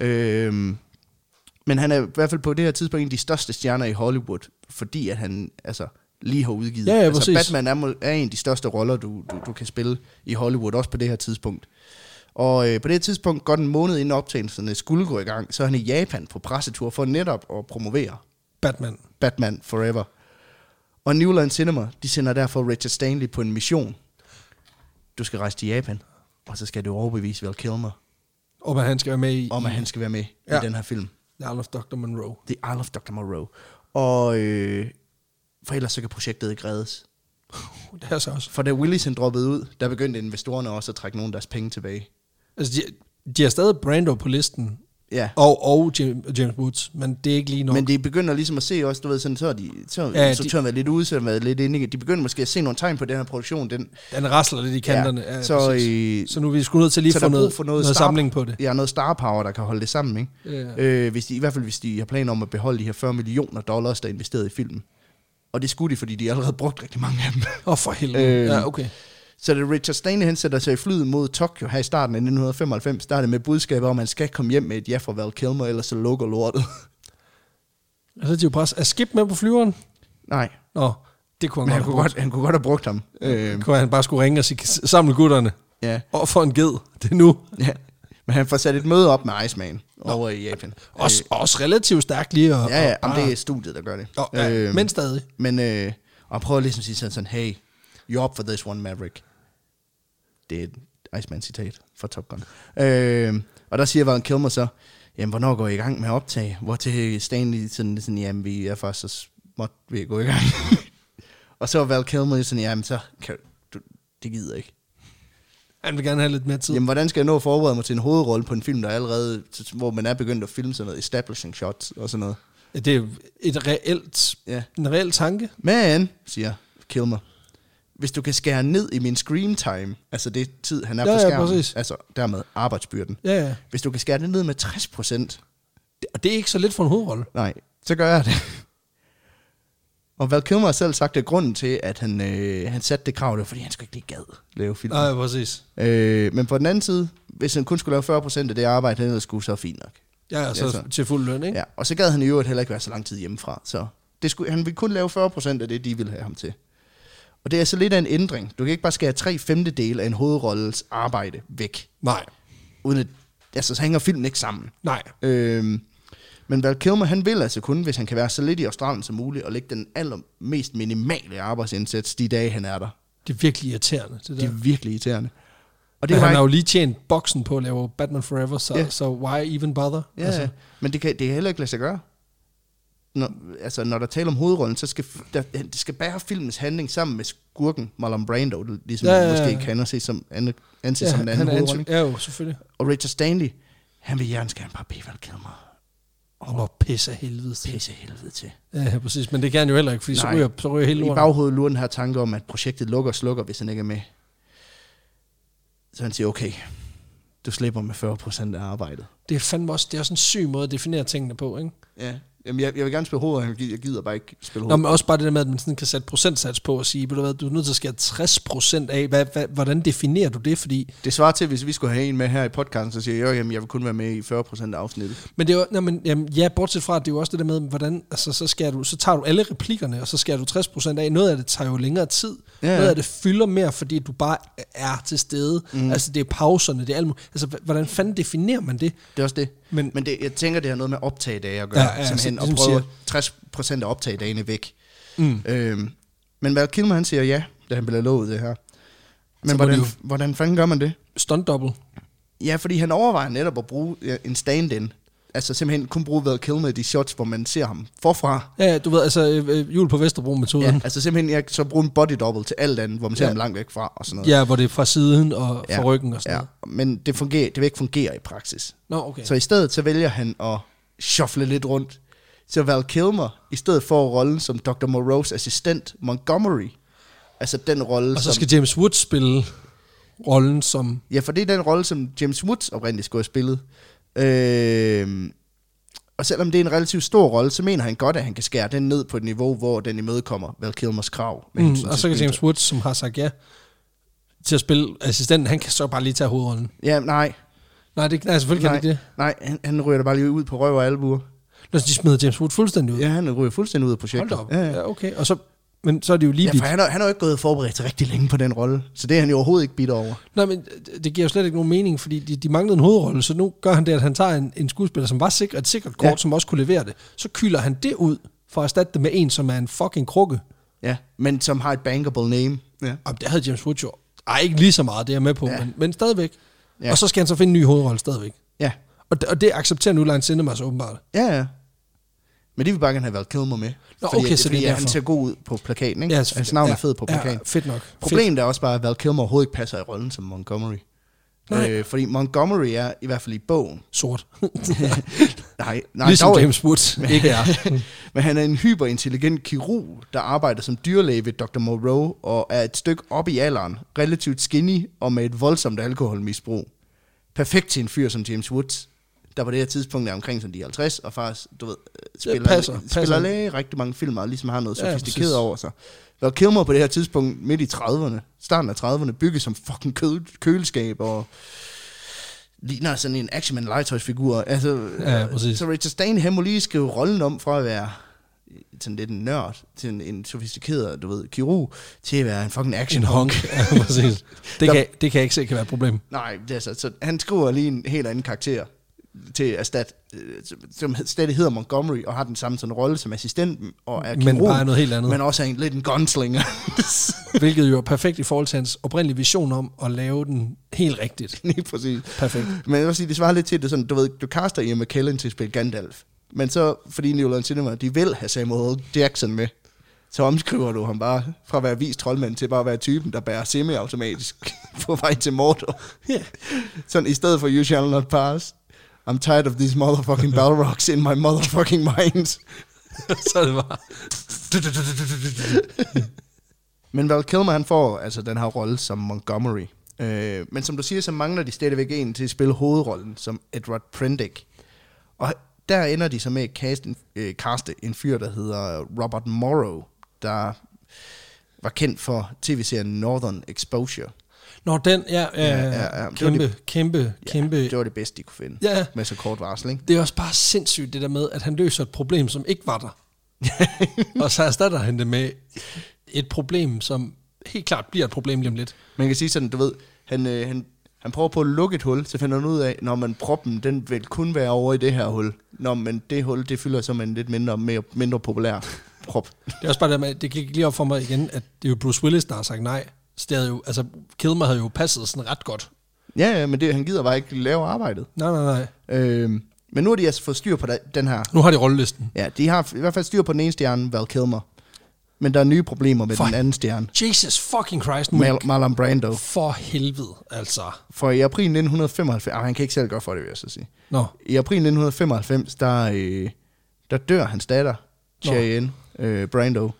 Speaker 2: Øhm, men han er i hvert fald på det her tidspunkt en af de største stjerner i Hollywood, fordi at han altså, lige har udgivet.
Speaker 1: Ja, ja,
Speaker 2: altså,
Speaker 1: præcis.
Speaker 2: Batman er, må- er en af de største roller, du, du, du kan spille i Hollywood, også på det her tidspunkt. Og øh, på det her tidspunkt, godt en måned inden optagelserne skulle gå i gang, så er han i Japan på pressetur for netop at promovere
Speaker 1: Batman.
Speaker 2: Batman Forever. Og New Line Cinema, de sender derfor Richard Stanley på en mission. Du skal rejse til Japan, og så skal du overbevise Val Kilmer
Speaker 1: Om at han skal være med i,
Speaker 2: om, at han skal være med ja.
Speaker 1: Ja.
Speaker 2: i den her film.
Speaker 1: The Isle of Dr. Monroe.
Speaker 2: The Isle of Dr. Moreau. Og øh, for ellers så kan projektet ikke reddes.
Speaker 1: Det er så også.
Speaker 2: For da Willis han droppede ud, der begyndte investorerne også at trække nogle af deres penge tilbage.
Speaker 1: Altså, de, de har stadig Brando på listen,
Speaker 2: Ja.
Speaker 1: og, og Jam- James Woods, men det er ikke lige nok.
Speaker 2: Men de begynder ligesom at se også, du ved, sådan, så er de, så, ja,
Speaker 1: Ja,
Speaker 2: så
Speaker 1: de-
Speaker 2: tør de... været lidt ude, så har været lidt inde. igen. De begynder måske at se nogle tegn på den her produktion. Den,
Speaker 1: Den rasler lidt i kanterne. Ja,
Speaker 2: så,
Speaker 1: præcis.
Speaker 2: øh,
Speaker 1: så nu er vi sgu nødt til lige
Speaker 2: så
Speaker 1: at få
Speaker 2: der er brug
Speaker 1: noget,
Speaker 2: for
Speaker 1: for noget,
Speaker 2: noget
Speaker 1: noget
Speaker 2: star-
Speaker 1: samling på det.
Speaker 2: ja, noget star power, der kan holde det sammen, ikke?
Speaker 1: Ja.
Speaker 2: Øh, hvis de, I hvert fald hvis de har planer om at beholde de her 40 millioner dollars, der er investeret i filmen. Og det skulle de, fordi de allerede brugt rigtig mange af dem.
Speaker 1: Åh, oh, for helvede.
Speaker 2: Øh,
Speaker 1: Øh, ja, okay.
Speaker 2: Så da Richard Stanley han sætter sig i flyet mod Tokyo her i starten af 1995, der er det med budskabet om, at man skal komme hjem med et ja fra Val Kilmer, ellers så lukker lortet.
Speaker 1: Og så er de jo pres. Er Skip med på flyveren?
Speaker 2: Nej,
Speaker 1: Nå, det kunne
Speaker 2: men
Speaker 1: han,
Speaker 2: han kunne,
Speaker 1: have
Speaker 2: godt, han kunne godt have brugt ham. Øh,
Speaker 1: brugt. Kunne han bare skulle ringe og sige, samle gutterne.
Speaker 2: ja.
Speaker 1: Og for en ged. Det er nu.
Speaker 2: ja. Men han får sat et møde op med Iceman over i Japan.
Speaker 1: Også, også relativt stærkt lige. Og,
Speaker 2: Øh, ja, ja,
Speaker 1: og
Speaker 2: om
Speaker 1: bare-
Speaker 2: det er studiet, der gør det.
Speaker 1: Nå, ja,
Speaker 2: Øh,
Speaker 1: men stadig.
Speaker 2: Men øh, og prøver ligesom at sige sådan, sådan, hey, you're up for this one, Maverick. Det er et Iceman-citat fra Top Gun. Øh, og der siger Val Kilmer så, jamen, hvornår går I i gang med at optage? Hvor til Stanley sådan, sådan jamen, vi er faktisk så småt ved at gå i gang. og så er Val Kilmer sådan, jamen, så kan du, det gider jeg ikke.
Speaker 1: Han vil gerne have lidt mere tid.
Speaker 2: Jamen, hvordan skal jeg nå at forberede mig til en hovedrolle på en film, der allerede, hvor man er begyndt at filme sådan noget establishing shots og sådan noget?
Speaker 1: Ja, Det er et reelt,
Speaker 2: Ja.
Speaker 1: en reel tanke.
Speaker 2: Men, siger Kilmer, hvis du kan skære ned i min screen time, altså det tid, han er
Speaker 1: Ja,
Speaker 2: på
Speaker 1: ja,
Speaker 2: skærmen,
Speaker 1: præcis.
Speaker 2: altså dermed arbejdsbyrden,
Speaker 1: Ja, ja.
Speaker 2: hvis du kan skære det ned med 60 procent,
Speaker 1: Og det er ikke så lidt for en hovedrolle.
Speaker 2: nej, så gør jeg det. Og Val Kilmer har selv sagt, at grunden til, at han, øh, han satte det krav, det var, fordi han skulle ikke lige gad lave film.
Speaker 1: Nej, præcis.
Speaker 2: Øh, men på den anden side, hvis han kun skulle lave 40% af det arbejde, han ellers skulle, så er fint nok.
Speaker 1: Ja, altså
Speaker 2: Ja, så-
Speaker 1: til fuld løn, ikke?
Speaker 2: Ja, og så gad han i øvrigt heller ikke være så lang tid hjemmefra. Så det skulle, han ville kun lave 40% af det, de ville have ham til. Og det er så lidt af en ændring. Du kan ikke bare skære tre femtedele af en hovedrolles arbejde væk,
Speaker 1: Nej,
Speaker 2: uden at, altså, så hænger filmen ikke sammen.
Speaker 1: nej.
Speaker 2: Øhm, men Val Kilmer, han vil altså kun, hvis han kan være så lidt i Australien som muligt, og lægge den allermest minimale arbejdsindsats de dage, han er der.
Speaker 1: Det er virkelig irriterende, det der.
Speaker 2: Det er virkelig irriterende.
Speaker 1: det
Speaker 2: Og det
Speaker 1: men
Speaker 2: var
Speaker 1: han har
Speaker 2: ikke,
Speaker 1: jo lige tjent boksen på at lave Batman Forever, så,
Speaker 2: Ja.
Speaker 1: yeah. så why even bother?
Speaker 2: ja, altså. men det kan, det kan heller ikke lade sig gøre. Når, altså, når der taler om hovedrollen, så skal f- der, det skal bære filmens handling sammen med skurken Marlon Brando, ligesom
Speaker 1: Ja,
Speaker 2: ja,
Speaker 1: ja,
Speaker 2: ja,
Speaker 1: ja.
Speaker 2: måske kan anses som, an, anses
Speaker 1: ja,
Speaker 2: ja, som en anden
Speaker 1: han er
Speaker 2: hovedrolle.
Speaker 1: ansøg- Ja, jo, selvfølgelig.
Speaker 2: Og Richard Stanley, han vil hjernes gerne bare bede Val Kilmer
Speaker 1: Om at pisse af helvede til.
Speaker 2: pisse helvede til.
Speaker 1: Ja, præcis. Men det kan han jo heller ikke, fordi så
Speaker 2: Nej.
Speaker 1: ryger, så ryger hele
Speaker 2: I
Speaker 1: lorten.
Speaker 2: baghovedet lurer den her tanke om, at projektet lukker og slukker, hvis han ikke er med. Så han siger, okay, du slipper med 40% af arbejdet.
Speaker 1: Det er fandme også, det er også en syg måde at definere tingene på, ikke?
Speaker 2: Ja, Jamen, jeg, jeg vil gerne spille hovedet, jeg gider- jeg gider bare ikke spille
Speaker 1: Nå,
Speaker 2: hovedet.
Speaker 1: men også bare det der med, at man sådan kan sætte procentsats på og sige, ved du hvad, du er nødt til at skære 60% af. Hvad, hvad, hvordan definerer du det? Fordi,
Speaker 2: Det svarer til, hvis vi skulle have en med her i podcasten, så siger jeg, jo, jamen, jeg vil kun være med i 40% af afsnittet.
Speaker 1: men det er jo, nej, men, jamen, ja, bortset fra, at det er jo også det der med, hvordan, altså, så, skærer du, så tager du alle replikkerne, og så skærer du 60% af. Noget af det tager jo længere tid.
Speaker 2: Ja,
Speaker 1: Ja.
Speaker 2: ja.
Speaker 1: Noget af det fylder mere, fordi du bare er til stede.
Speaker 2: Mhm.
Speaker 1: Mm. Altså, det er pauserne, det er alt muligt. Altså, h- hvordan fanden definerer man det?
Speaker 2: Det er også det.
Speaker 1: Men-
Speaker 2: Men, men det, jeg tænker, det har noget med optagedage at gøre.
Speaker 1: Ja,
Speaker 2: Ja,
Speaker 1: ja,
Speaker 2: ja, simpelthen
Speaker 1: så
Speaker 2: at
Speaker 1: ligesom
Speaker 2: prøve 60% af optagedagene væk. Mm. Øhm, men Val Kilmer, han siger ja, da han bliver lovet det her.
Speaker 1: Så
Speaker 2: Men
Speaker 1: må det
Speaker 2: hvordan,
Speaker 1: jo-
Speaker 2: hvordan fanden gør man det?
Speaker 1: Stunt double.
Speaker 2: Ja, fordi han overvejer netop at bruge øh, en stand-in. Altså simpelthen kun bruge Val Kilmer i de shots, hvor man ser ham forfra.
Speaker 1: Ja, ja, du ved, altså, øh, øh, jul på Vesterbro-metoden.
Speaker 2: Ja, altså simpelthen jeg, så bruge en body double til alt andet, hvor man ser
Speaker 1: Ja.
Speaker 2: ja. ham langt væk fra og sådan noget.
Speaker 1: Ja, hvor det er fra siden og fra ryggen og sådan ja.
Speaker 2: ja.
Speaker 1: noget.
Speaker 2: Men det, fungerer, det vil ikke fungere i praksis.
Speaker 1: Nå, okay.
Speaker 2: Så i stedet så vælger han at shuffle lidt rundt. Så Val Kilmer, i stedet for rollen som Dr. Moreau's assistent Montgomery, altså den rolle,
Speaker 1: og så
Speaker 2: som,
Speaker 1: skal James Wood spille rollen som...
Speaker 2: Ja, for det er den rolle, som James Woods oprindeligt skulle have spillet. Øh, og selvom det er en relativt stor rolle, så mener han godt, at han kan skære den ned på et niveau, hvor den imødekommer Val Kilmers krav. med
Speaker 1: Mm,
Speaker 2: hensyn
Speaker 1: og
Speaker 2: til
Speaker 1: så kan
Speaker 2: spilletid.
Speaker 1: James Wood, som har sagt ja til at spille assistenten, han kan så bare lige tage hovedrollen.
Speaker 2: Ja, nej.
Speaker 1: Nej, det, nej selvfølgelig
Speaker 2: Nej,
Speaker 1: kan han ikke det.
Speaker 2: nej han, han ryger da bare lige ud på røv og albuer.
Speaker 1: Nå, så de smider James Wood fuldstændig ud.
Speaker 2: Ja, han ryger fuldstændig ud af projektet.
Speaker 1: Hold da op.
Speaker 2: Ja,
Speaker 1: Ja,
Speaker 2: ja.
Speaker 1: ja. okay. Og så, men så er det jo lige
Speaker 2: ja
Speaker 1: vidt.
Speaker 2: for han har, han har jo ikke gået forberedt rigtig længe på den rolle, så det er han jo overhovedet ikke bitter over.
Speaker 1: Nej, men øh, det- det giver jo slet ikke nogen mening, fordi de, de manglede en hovedrolle, så nu gør han det, at han tager en, en skuespiller, som var sikkert, et sikkert kort, ja.
Speaker 2: Ja.
Speaker 1: som også kunne levere det. Så kylder han det ud for at erstatte det med en, som er en fucking krukke.
Speaker 2: Ja, men som har et bankable name. Ja.
Speaker 1: Og det havde James Wood jo. Ej, ikke lige så meget, det er jeg med på, ja.
Speaker 2: Ja.
Speaker 1: men, men stadigvæk. Ja.
Speaker 2: Ja.
Speaker 1: Og så skal han så finde en ny hovedrolle stadigvæk.
Speaker 2: Ja,
Speaker 1: Og det, og det accepterer nu Line Cinemas åbenbart.
Speaker 2: ja, ja. Men de vil bare gerne have været Kilmer med.
Speaker 1: Nå,
Speaker 2: fordi
Speaker 1: okay,
Speaker 2: at-
Speaker 1: så det er
Speaker 2: fordi at han
Speaker 1: derfor.
Speaker 2: ser god ud på plakaten, ikke?
Speaker 1: Ja,
Speaker 2: altså, Hans navn
Speaker 1: ja,
Speaker 2: er fed på plakaten.
Speaker 1: Ja, fedt nok. Fedt.
Speaker 2: Problemet er også bare, at Val Kilmer overhovedet ikke passer i rollen som Montgomery.
Speaker 1: Nej.
Speaker 2: Øh, fordi Montgomery er, i hvert fald i bogen...
Speaker 1: Sort.
Speaker 2: nej,
Speaker 1: Nej,
Speaker 2: nej,
Speaker 1: ligesom
Speaker 2: dog ikke.
Speaker 1: James Wood ikke er.
Speaker 2: Men han er en hyperintelligent kirurg, der arbejder som dyrlæge ved Dr. Moreau, og er et stykke op i alderen, relativt skinny og med et voldsomt alkoholmisbrug. Perfekt til en fyr som James Woods, der på det her tidspunkt er omkring som de 50, og faktisk, du ved, øh, spiller,
Speaker 1: passer, passer.
Speaker 2: spiller læge rigtig mange filmer, og ligesom har noget
Speaker 1: Ja,
Speaker 2: sofistikeret
Speaker 1: præcis.
Speaker 2: ja, over sig. Val Kilmer på det her tidspunkt, midt i 30'erne, starten af 30'erne, bygget som fucking kød, køleskab, og ligner sådan en Action Man legetøjsfigur. Altså,
Speaker 1: Ja,
Speaker 2: øh,
Speaker 1: præcis.
Speaker 2: Så Richard Stain, han må lige skrive rollen om fra at være øh, sådan lidt en nørd, til en, en sofistikeret, du ved, kirurg, til at være en fucking
Speaker 1: en
Speaker 2: action
Speaker 1: honk.
Speaker 2: hunk.
Speaker 1: ja, præcis. Det kan, det kan jeg ikke se kan være et problem.
Speaker 2: Nej, det er så, så han skriver lige en helt anden karakter til erstat, øh, som hed- stadig hedder Montgomery, og har den samme sådan rolle som assistenten, og er
Speaker 1: Men
Speaker 2: kirurg,
Speaker 1: bare er noget helt andet.
Speaker 2: men også er en, lidt en gunslinger.
Speaker 1: Hvilket jo er perfekt i forhold til hans oprindelige vision om at lave den helt rigtigt.
Speaker 2: lige præcis.
Speaker 1: Perfekt.
Speaker 2: Men jeg vil også sige, det svarer lidt til det er sådan, du ved, du kaster Ian McKellen til at spille Gandalf, men så, fordi New Cinema, de vil have Samuel Jackson med, så omskriver du ham bare fra at være vist troldmand til bare at være typen, der bærer semi-automatisk på vej til Mordor.
Speaker 1: Ja.
Speaker 2: Sådan i stedet for You shall not pass. I'm tired of these motherfucking Balrogs in my motherfucking mind.
Speaker 1: så er det bare...
Speaker 2: Men Val Kilmer han får altså den her rolle som Montgomery. Øh, men som du siger, så mangler de stadigvæk en til at spille hovedrollen som Edward Prendick. Og der ender de så med at kaste en, øh, kaste en fyr, der hedder Robert Morrow, der var kendt for tv-serien Northern Exposure.
Speaker 1: Nå, den, ja, ja,
Speaker 2: Ja,
Speaker 1: ja,
Speaker 2: ja,
Speaker 1: ja,
Speaker 2: ja.
Speaker 1: kæmpe,
Speaker 2: Det
Speaker 1: kæmpe, kæmpe.
Speaker 2: Det var det bedste, de kunne finde.
Speaker 1: Øh. Ja,
Speaker 2: Med så kort varsel, ikke?
Speaker 1: det er også bare sindssygt det der med, at han løser et problem, som ikke var der. og så erstatter han det med et problem, som helt klart bliver et problem lige om lidt.
Speaker 2: Man kan sige sådan, du ved, han, øh, han, han prøver på at lukke et hul, så finder han ud af, når man proppen, den vil kun være over i det her hul. Når man det hul, det fylder som en lidt mindre, mere, mindre populær prop.
Speaker 1: Det er også bare det med, det gik lige op for mig igen, at det er jo Bruce Willis, der har sagt nej. Så det havde jo, altså, Kilmer havde jo passet sådan ret godt.
Speaker 2: Ja, ja, men det, han gider bare ikke lave arbejdet.
Speaker 1: Nej, nej, nej.
Speaker 2: Øhm, men nu har de altså fået styr på da- den her.
Speaker 1: Nu har de rollelisten.
Speaker 2: Ja, de har i hvert fald styr på den ene stjerne, Val Kilmer. Men der er nye problemer med
Speaker 1: For-
Speaker 2: den anden stjerne,
Speaker 1: Jesus fucking Christ, nu
Speaker 2: Mal- Marlon Brando.
Speaker 1: for helvede, altså.
Speaker 2: For i april 1995, ah, han kan ikke selv gøre for det, vil jeg så sige.
Speaker 1: Nå,
Speaker 2: I april 1995, der, øh, der dør hans datter,
Speaker 1: Nå.
Speaker 2: Cheyenne øh, Brando,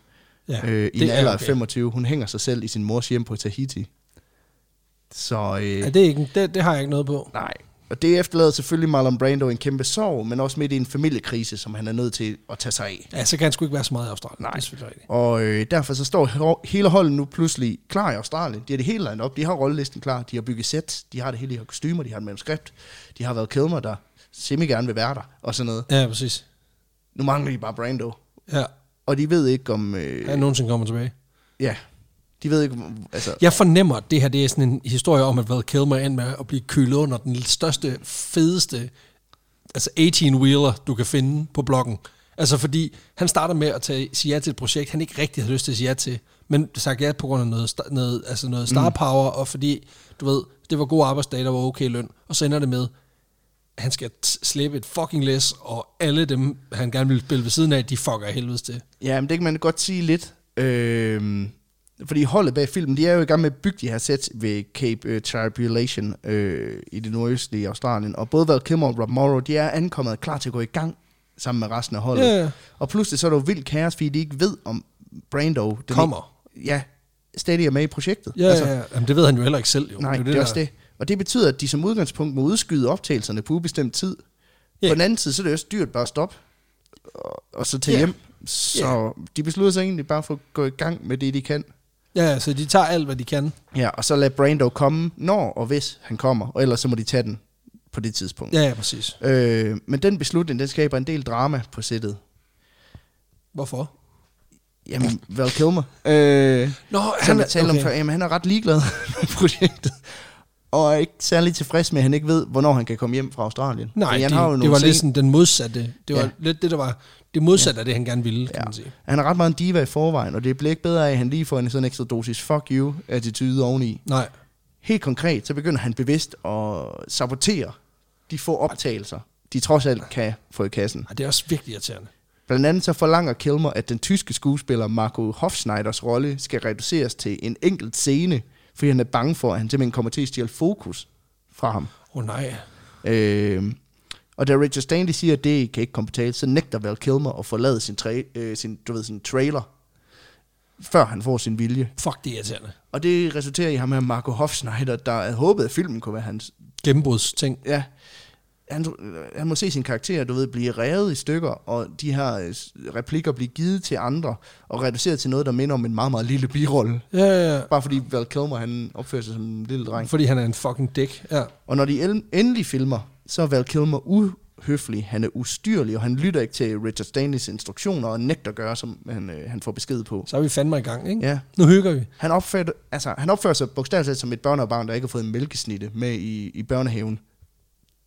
Speaker 1: ja,
Speaker 2: øh, i
Speaker 1: det
Speaker 2: en alder af
Speaker 1: okay.
Speaker 2: 25. Hun hænger sig selv i sin mors hjem på Tahiti. Så øh,
Speaker 1: Ja, det, er ikke, det, det har jeg ikke noget på.
Speaker 2: nej. Og det efterlader selvfølgelig Marlon Brando en kæmpe sorg, men også midt i en familiekrise, som han er nødt til at tage sig af.
Speaker 1: Ja, så kan han sgu ikke være så meget i Australien.
Speaker 2: Nej.
Speaker 1: Det er selvfølgelig rigtigt.
Speaker 2: Og øh, derfor så står he- hele holdet nu pludselig klar i Australien. De har det hele landet op. De har rollelisten klar. De har bygget sæt. De har det hele. De har kostymer. De har et manuskript. De har været kædmer, der semi gerne vil være der. Og sådan noget.
Speaker 1: Ja, præcis.
Speaker 2: Nu mangler de bare Brando.
Speaker 1: Ja,
Speaker 2: Og de ved ikke om... Øh,
Speaker 1: han nogensinde kommer tilbage.
Speaker 2: ja. De ved ikke om... Altså,
Speaker 1: Jeg fornemmer, at det her det er sådan en historie om, at hvad Kilmer end med at blive kølet under den største, fedeste, altså 18-wheeler, du kan finde på bloggen. Altså fordi, han starter med at tage, sige ja til et projekt, han ikke rigtig havde lyst til at sige ja til, men sagt ja på grund af noget, sta- noget, altså noget star power, mm. og fordi, du ved, det var gode arbejdsdage, der var okay løn, og så ender det med, at han skal t- slæbe et fucking læs, og alle dem, han gerne vil spille ved siden af, de fucker af helvedes til.
Speaker 2: ja, men det kan man godt sige lidt. Øh, fordi holdet bag filmen, de er jo i gang med at bygge de her sæt ved Cape øh, Tribulation øh, i det nordøstlige Australien. Og både Val Kilmer og Rob Morrow, de er ankommet og klar til at gå i gang sammen med resten af holdet.
Speaker 1: Ja.
Speaker 2: Og pludselig så er der jo vildt kaos, fordi de ikke ved, om Brando... den
Speaker 1: Kommer.
Speaker 2: Ikke, ja, stadig er med i projektet.
Speaker 1: Ja, altså, ja, ja. Jamen, det ved han jo heller ikke selv. Jo.
Speaker 2: Nej, det er, det
Speaker 1: der-
Speaker 2: også det. Og det betyder, at de som udgangspunkt må udskyde optagelserne på ubestemt tid.
Speaker 1: Ja.
Speaker 2: På den anden side, så er det også dyrt bare at stoppe, og, og så tage
Speaker 1: Ja.
Speaker 2: hjem. Så de beslutter sig egentlig bare for at gå i gang med det, de kan.
Speaker 1: Ja, så de tager alt, hvad de kan.
Speaker 2: Ja, og så lade Brando komme, når og hvis han kommer, og ellers så må de tage den på det tidspunkt.
Speaker 1: Ja, ja, præcis.
Speaker 2: Øh, men den beslutning, den skaber en del drama på sættet.
Speaker 1: Hvorfor?
Speaker 2: Jamen, Val Kilmer. Øh,
Speaker 1: Nå,
Speaker 2: som jeg talte okay. om før, jamen, han er ret ligeglad med projektet. Og er ikke særlig tilfreds med, at han ikke ved, hvornår han kan komme hjem fra Australien.
Speaker 1: Nej,
Speaker 2: Fordi
Speaker 1: det,
Speaker 2: han har jo
Speaker 1: det
Speaker 2: nogle
Speaker 1: var
Speaker 2: scen-
Speaker 1: lidt sådan den modsatte. Det var
Speaker 2: Ja.
Speaker 1: ja. lidt det, der var det modsatte af det, han gerne ville, kan
Speaker 2: Ja.
Speaker 1: man sige.
Speaker 2: Han er ret meget en diva i forvejen, og det bliver ikke bedre af, at han lige får en sådan ekstra dosis fuck you-attitude oveni.
Speaker 1: Nej.
Speaker 2: Helt konkret, så begynder han bevidst at sabotere de få optagelser, de trods alt kan få i kassen.
Speaker 1: Ej, det er også virkelig irriterende.
Speaker 2: Blandt andet så forlanger Kilmer, at den tyske skuespiller Marco Hofschneiders rolle skal reduceres til en enkelt scene, fordi han er bange for, at han simpelthen kommer til at stjæle fokus fra ham.
Speaker 1: Åh oh, nej.
Speaker 2: Øh, og da Richard Stanley siger, at det kan ikke komme på tale, så nægter Val Kilmer at forlade sin, tra- øh, sin, du ved, sin trailer, før han får sin vilje.
Speaker 1: Fuck, det er irriterende.
Speaker 2: Og det resulterer i ham her Marco Hofschneider, der havde håbet, at filmen kunne være hans.
Speaker 1: Gennembrudsting.
Speaker 2: Ja, han, han må se sin karakter, du ved, blive revet i stykker, og de her øh, replikker blive givet til andre, og reduceret til noget, der minder om en meget, meget lille birolle.
Speaker 1: Ja, ja,
Speaker 2: Bare fordi Val Kilmer, han opfører sig som en lille
Speaker 1: ja.
Speaker 2: dreng.
Speaker 1: Fordi han er en fucking dæk. Ja.
Speaker 2: Og når de el- endelig filmer, så er Val Kilmer uhøflig, han er ustyrlig, og han lytter ikke til Richard Stanleys instruktioner og nægter at gøre, som han, øh, han får besked på.
Speaker 1: Så er vi fandme i gang, ikke?
Speaker 2: Ja.
Speaker 1: Nu hygger vi.
Speaker 2: Han, opfører, altså, han opfører sig bogstaveligt talt som et børnebarn, der ikke har fået en mælkesnitte med i, i børnehaven,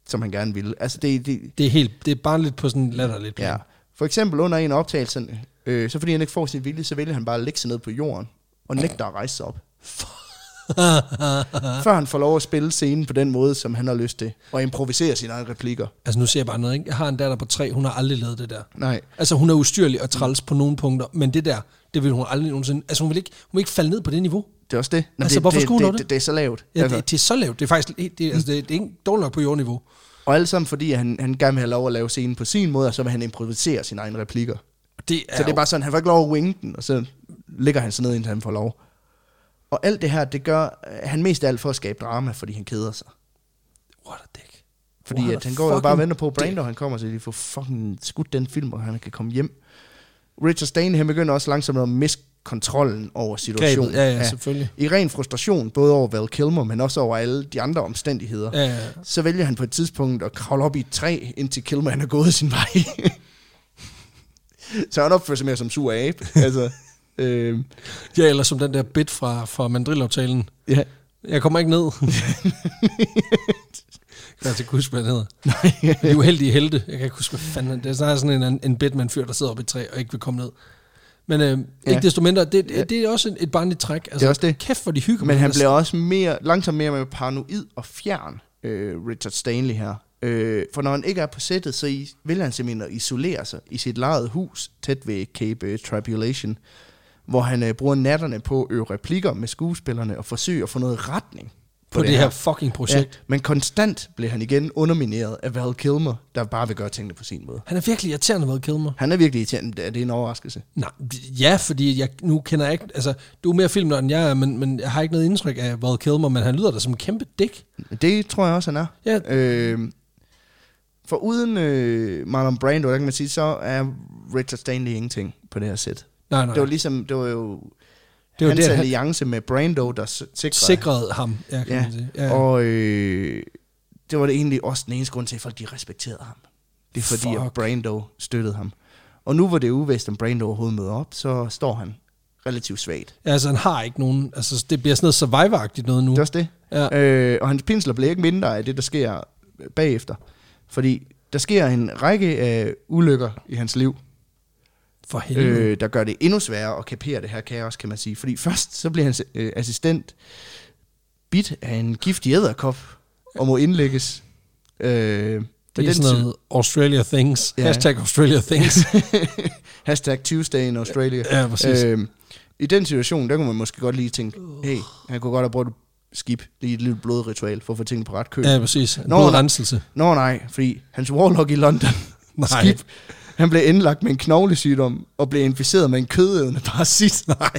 Speaker 2: som han gerne ville. Altså, det, det,
Speaker 1: Det er, helt, det er bare lidt på sådan en latterligt plan.
Speaker 2: ja. For eksempel under en af optagelserne, øh, så fordi han ikke får sin vilje, så vælger han bare at lægge sig ned på jorden og nægter at rejse sig op. Før han får lov at spille scenen på den måde, som han har lyst til, og improvisere sine egne replikker.
Speaker 1: Altså nu ser jeg bare noget, ikke? Jeg har en datter på tre, hun har aldrig lavet det der.
Speaker 2: Nej.
Speaker 1: Altså hun er ustyrlig og træls på nogle punkter, men det der, det vil hun aldrig nogensinde... Altså hun vil ikke, hun vil ikke falde ned på det niveau.
Speaker 2: Det er også det. Nå,
Speaker 1: Altså,
Speaker 2: det,
Speaker 1: hvorfor
Speaker 2: det,
Speaker 1: skulle hun nå
Speaker 2: det, det?
Speaker 1: det?
Speaker 2: det? Det er så lavt. Altså,
Speaker 1: Ja, det, det, er så lavt. Det er faktisk det, det, altså, det, det er ikke dårligt nok på jordniveau.
Speaker 2: Og alt sammen fordi, at han, han gerne vil have lov at lave scenen på sin måde, og så vil han improvisere sine egne replikker.
Speaker 1: Og Det er,
Speaker 2: Så det er bare sådan, han får ikke lov at winge den, og så ligger han sig ned, indtil han får lov. Og alt det her, det gør øh, han mest af alt for at skabe drama, fordi han keder sig.
Speaker 1: What a dick.
Speaker 2: Fordi
Speaker 1: What
Speaker 2: at
Speaker 1: a
Speaker 2: han går jo bare og
Speaker 1: fucking
Speaker 2: venter på, at
Speaker 1: dick.
Speaker 2: Brando han kommer, så de får fucking skudt den film, og han kan komme hjem. Richard Stainham begynder også langsomt at miste kontrollen over situationen.
Speaker 1: Grebet, ja, ja, selvfølgelig.
Speaker 2: I ren frustration, både over Val Kilmer, men også over alle de andre omstændigheder.
Speaker 1: Ja, ja.
Speaker 2: Så vælger han på et tidspunkt at kravle op i et træ, indtil Kilmer han er gået sin vej. så han opfører sig mere som sur abe. altså, øh,
Speaker 1: ja, eller som den der bit fra, fra mandrilaftalen.
Speaker 2: ja.
Speaker 1: Jeg kommer ikke ned. jeg kan altså ikke huske, hvad den hedder. Nej. De uheldige helte. Jeg kan ikke huske, hvad fanden han- det er. snarere sådan en, en Batman-fyr, der sidder oppe i et træ og ikke vil komme ned. Men øh, ja. ikke desto mindre, det, det, det er også et barnligt træk. Altså,
Speaker 2: også det.
Speaker 1: Kæft, hvor de hygger altså, med
Speaker 2: Men han
Speaker 1: det.
Speaker 2: bliver også mere, langsomt mere med paranoid og fjern, øh, Richard Stanley her. Øh, for når han ikke er på sættet, så i, vil han simpelthen at isolere sig i sit lejet hus tæt ved Cape øh, Tribulation, hvor han øh, bruger natterne på at øve replikker med skuespillerne og forsøge at få noget retning på,
Speaker 1: på det her fucking projekt.
Speaker 2: Ja, men konstant bliver han igen undermineret af Val Kilmer, der bare vil gøre tingene på sin måde.
Speaker 1: Han er virkelig irriterende ved Kilmer.
Speaker 2: Han er virkelig irriterende. Er det en overraskelse?
Speaker 1: Nej, ja, fordi jeg, nu kender jeg ikke... Altså, du er mere filmnørd end jeg er, men, men jeg har ikke noget indtryk af Val Kilmer, men han lyder da som en kæmpe dæk.
Speaker 2: Det tror jeg også, han er.
Speaker 1: Ja.
Speaker 2: Øh, for uden øh, Marlon Brando, der kan man sige, så er Richard Stanley ingenting på det her sæt.
Speaker 1: Nej, nej.
Speaker 2: Det var ligesom, det var jo
Speaker 1: Det var
Speaker 2: det var hans
Speaker 1: det,
Speaker 2: det,
Speaker 1: han-
Speaker 2: alliance med Brando, der s- sikrede.
Speaker 1: Sikrede ham, ja, kan ja. man sige.
Speaker 2: ja. Og øh, det var det egentlig også den eneste grund til, at folk de respekterede ham. Det er fordi,
Speaker 1: Fuck.
Speaker 2: at Brando støttede ham. Og nu hvor det er uvist, om Brando overhovedet møder op, så står han relativt svagt.
Speaker 1: Ja, altså han har ikke nogen, altså det bliver sådan noget survivor noget nu.
Speaker 2: Det er også det.
Speaker 1: Ja.
Speaker 2: Øh, og hans pinsler bliver ikke mindre af det, der sker bagefter. Fordi der sker en række af ulykker i hans liv,
Speaker 1: For helvede. Øh,
Speaker 2: øh, der gør det endnu sværere at kapere det her kaos, kan man sige. Fordi først så bliver hans øh, assistent bidt af en giftig æderkop og må indlægges. Øh, det
Speaker 1: det er sådan noget Australia Things. Ja.
Speaker 2: Ja.
Speaker 1: Hashtag Australia Things.
Speaker 2: Hashtag Tuesday in Australia.
Speaker 1: Ja, præcis.
Speaker 2: Øhm, I den situation, der kunne man måske godt lige tænke, hey, han kunne godt have brugt et skib, lige et lille blodritual, for at få tingene på ret køl.
Speaker 1: ja, præcis. En
Speaker 2: Nå,
Speaker 1: god
Speaker 2: nej.
Speaker 1: renselse.
Speaker 2: Nå nej, fordi hans warlock i London,
Speaker 1: Nej.
Speaker 2: Skip, han blev indlagt med en knoglesygdom og blev inficeret med en kødædende parasit.
Speaker 1: Nej.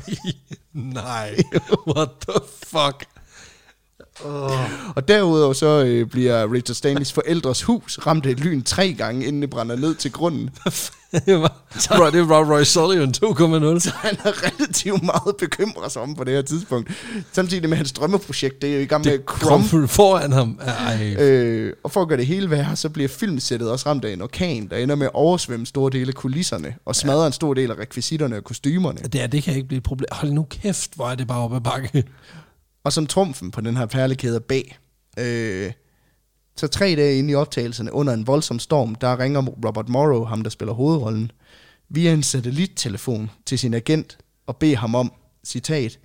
Speaker 1: Nej. What the fuck?
Speaker 2: Og derudover så øh, bliver Richard Stanleys forældres hus ramt af et lyn tre gange, inden det brænder ned til grunden.
Speaker 1: det var, bro, det var Roy Sullivan 2.0.
Speaker 2: Han er relativt meget bekymret sig om på det her tidspunkt. Samtidig med at hans drømmeprojekt, det er jo i gang med at crumble.
Speaker 1: Krumfuld foran ham. Ej.
Speaker 2: Øh, og for at gøre det hele værre, så bliver filmsættet også ramt af en orkan, der ender med at oversvømme store dele af kulisserne, og smadrer ja. en stor del af rekvisitterne og kostymerne.
Speaker 1: Det, her, det kan ikke blive et problem. Hold nu kæft, hvor er det bare oppe ad bakke.
Speaker 2: Og som trumfen på den her perlekæde bag, øh, så tre dage inde i optagelserne, under en voldsom storm, der ringer Robert Morrow, ham der spiller hovedrollen, via en satellittelefon til sin agent og beder ham om, citat,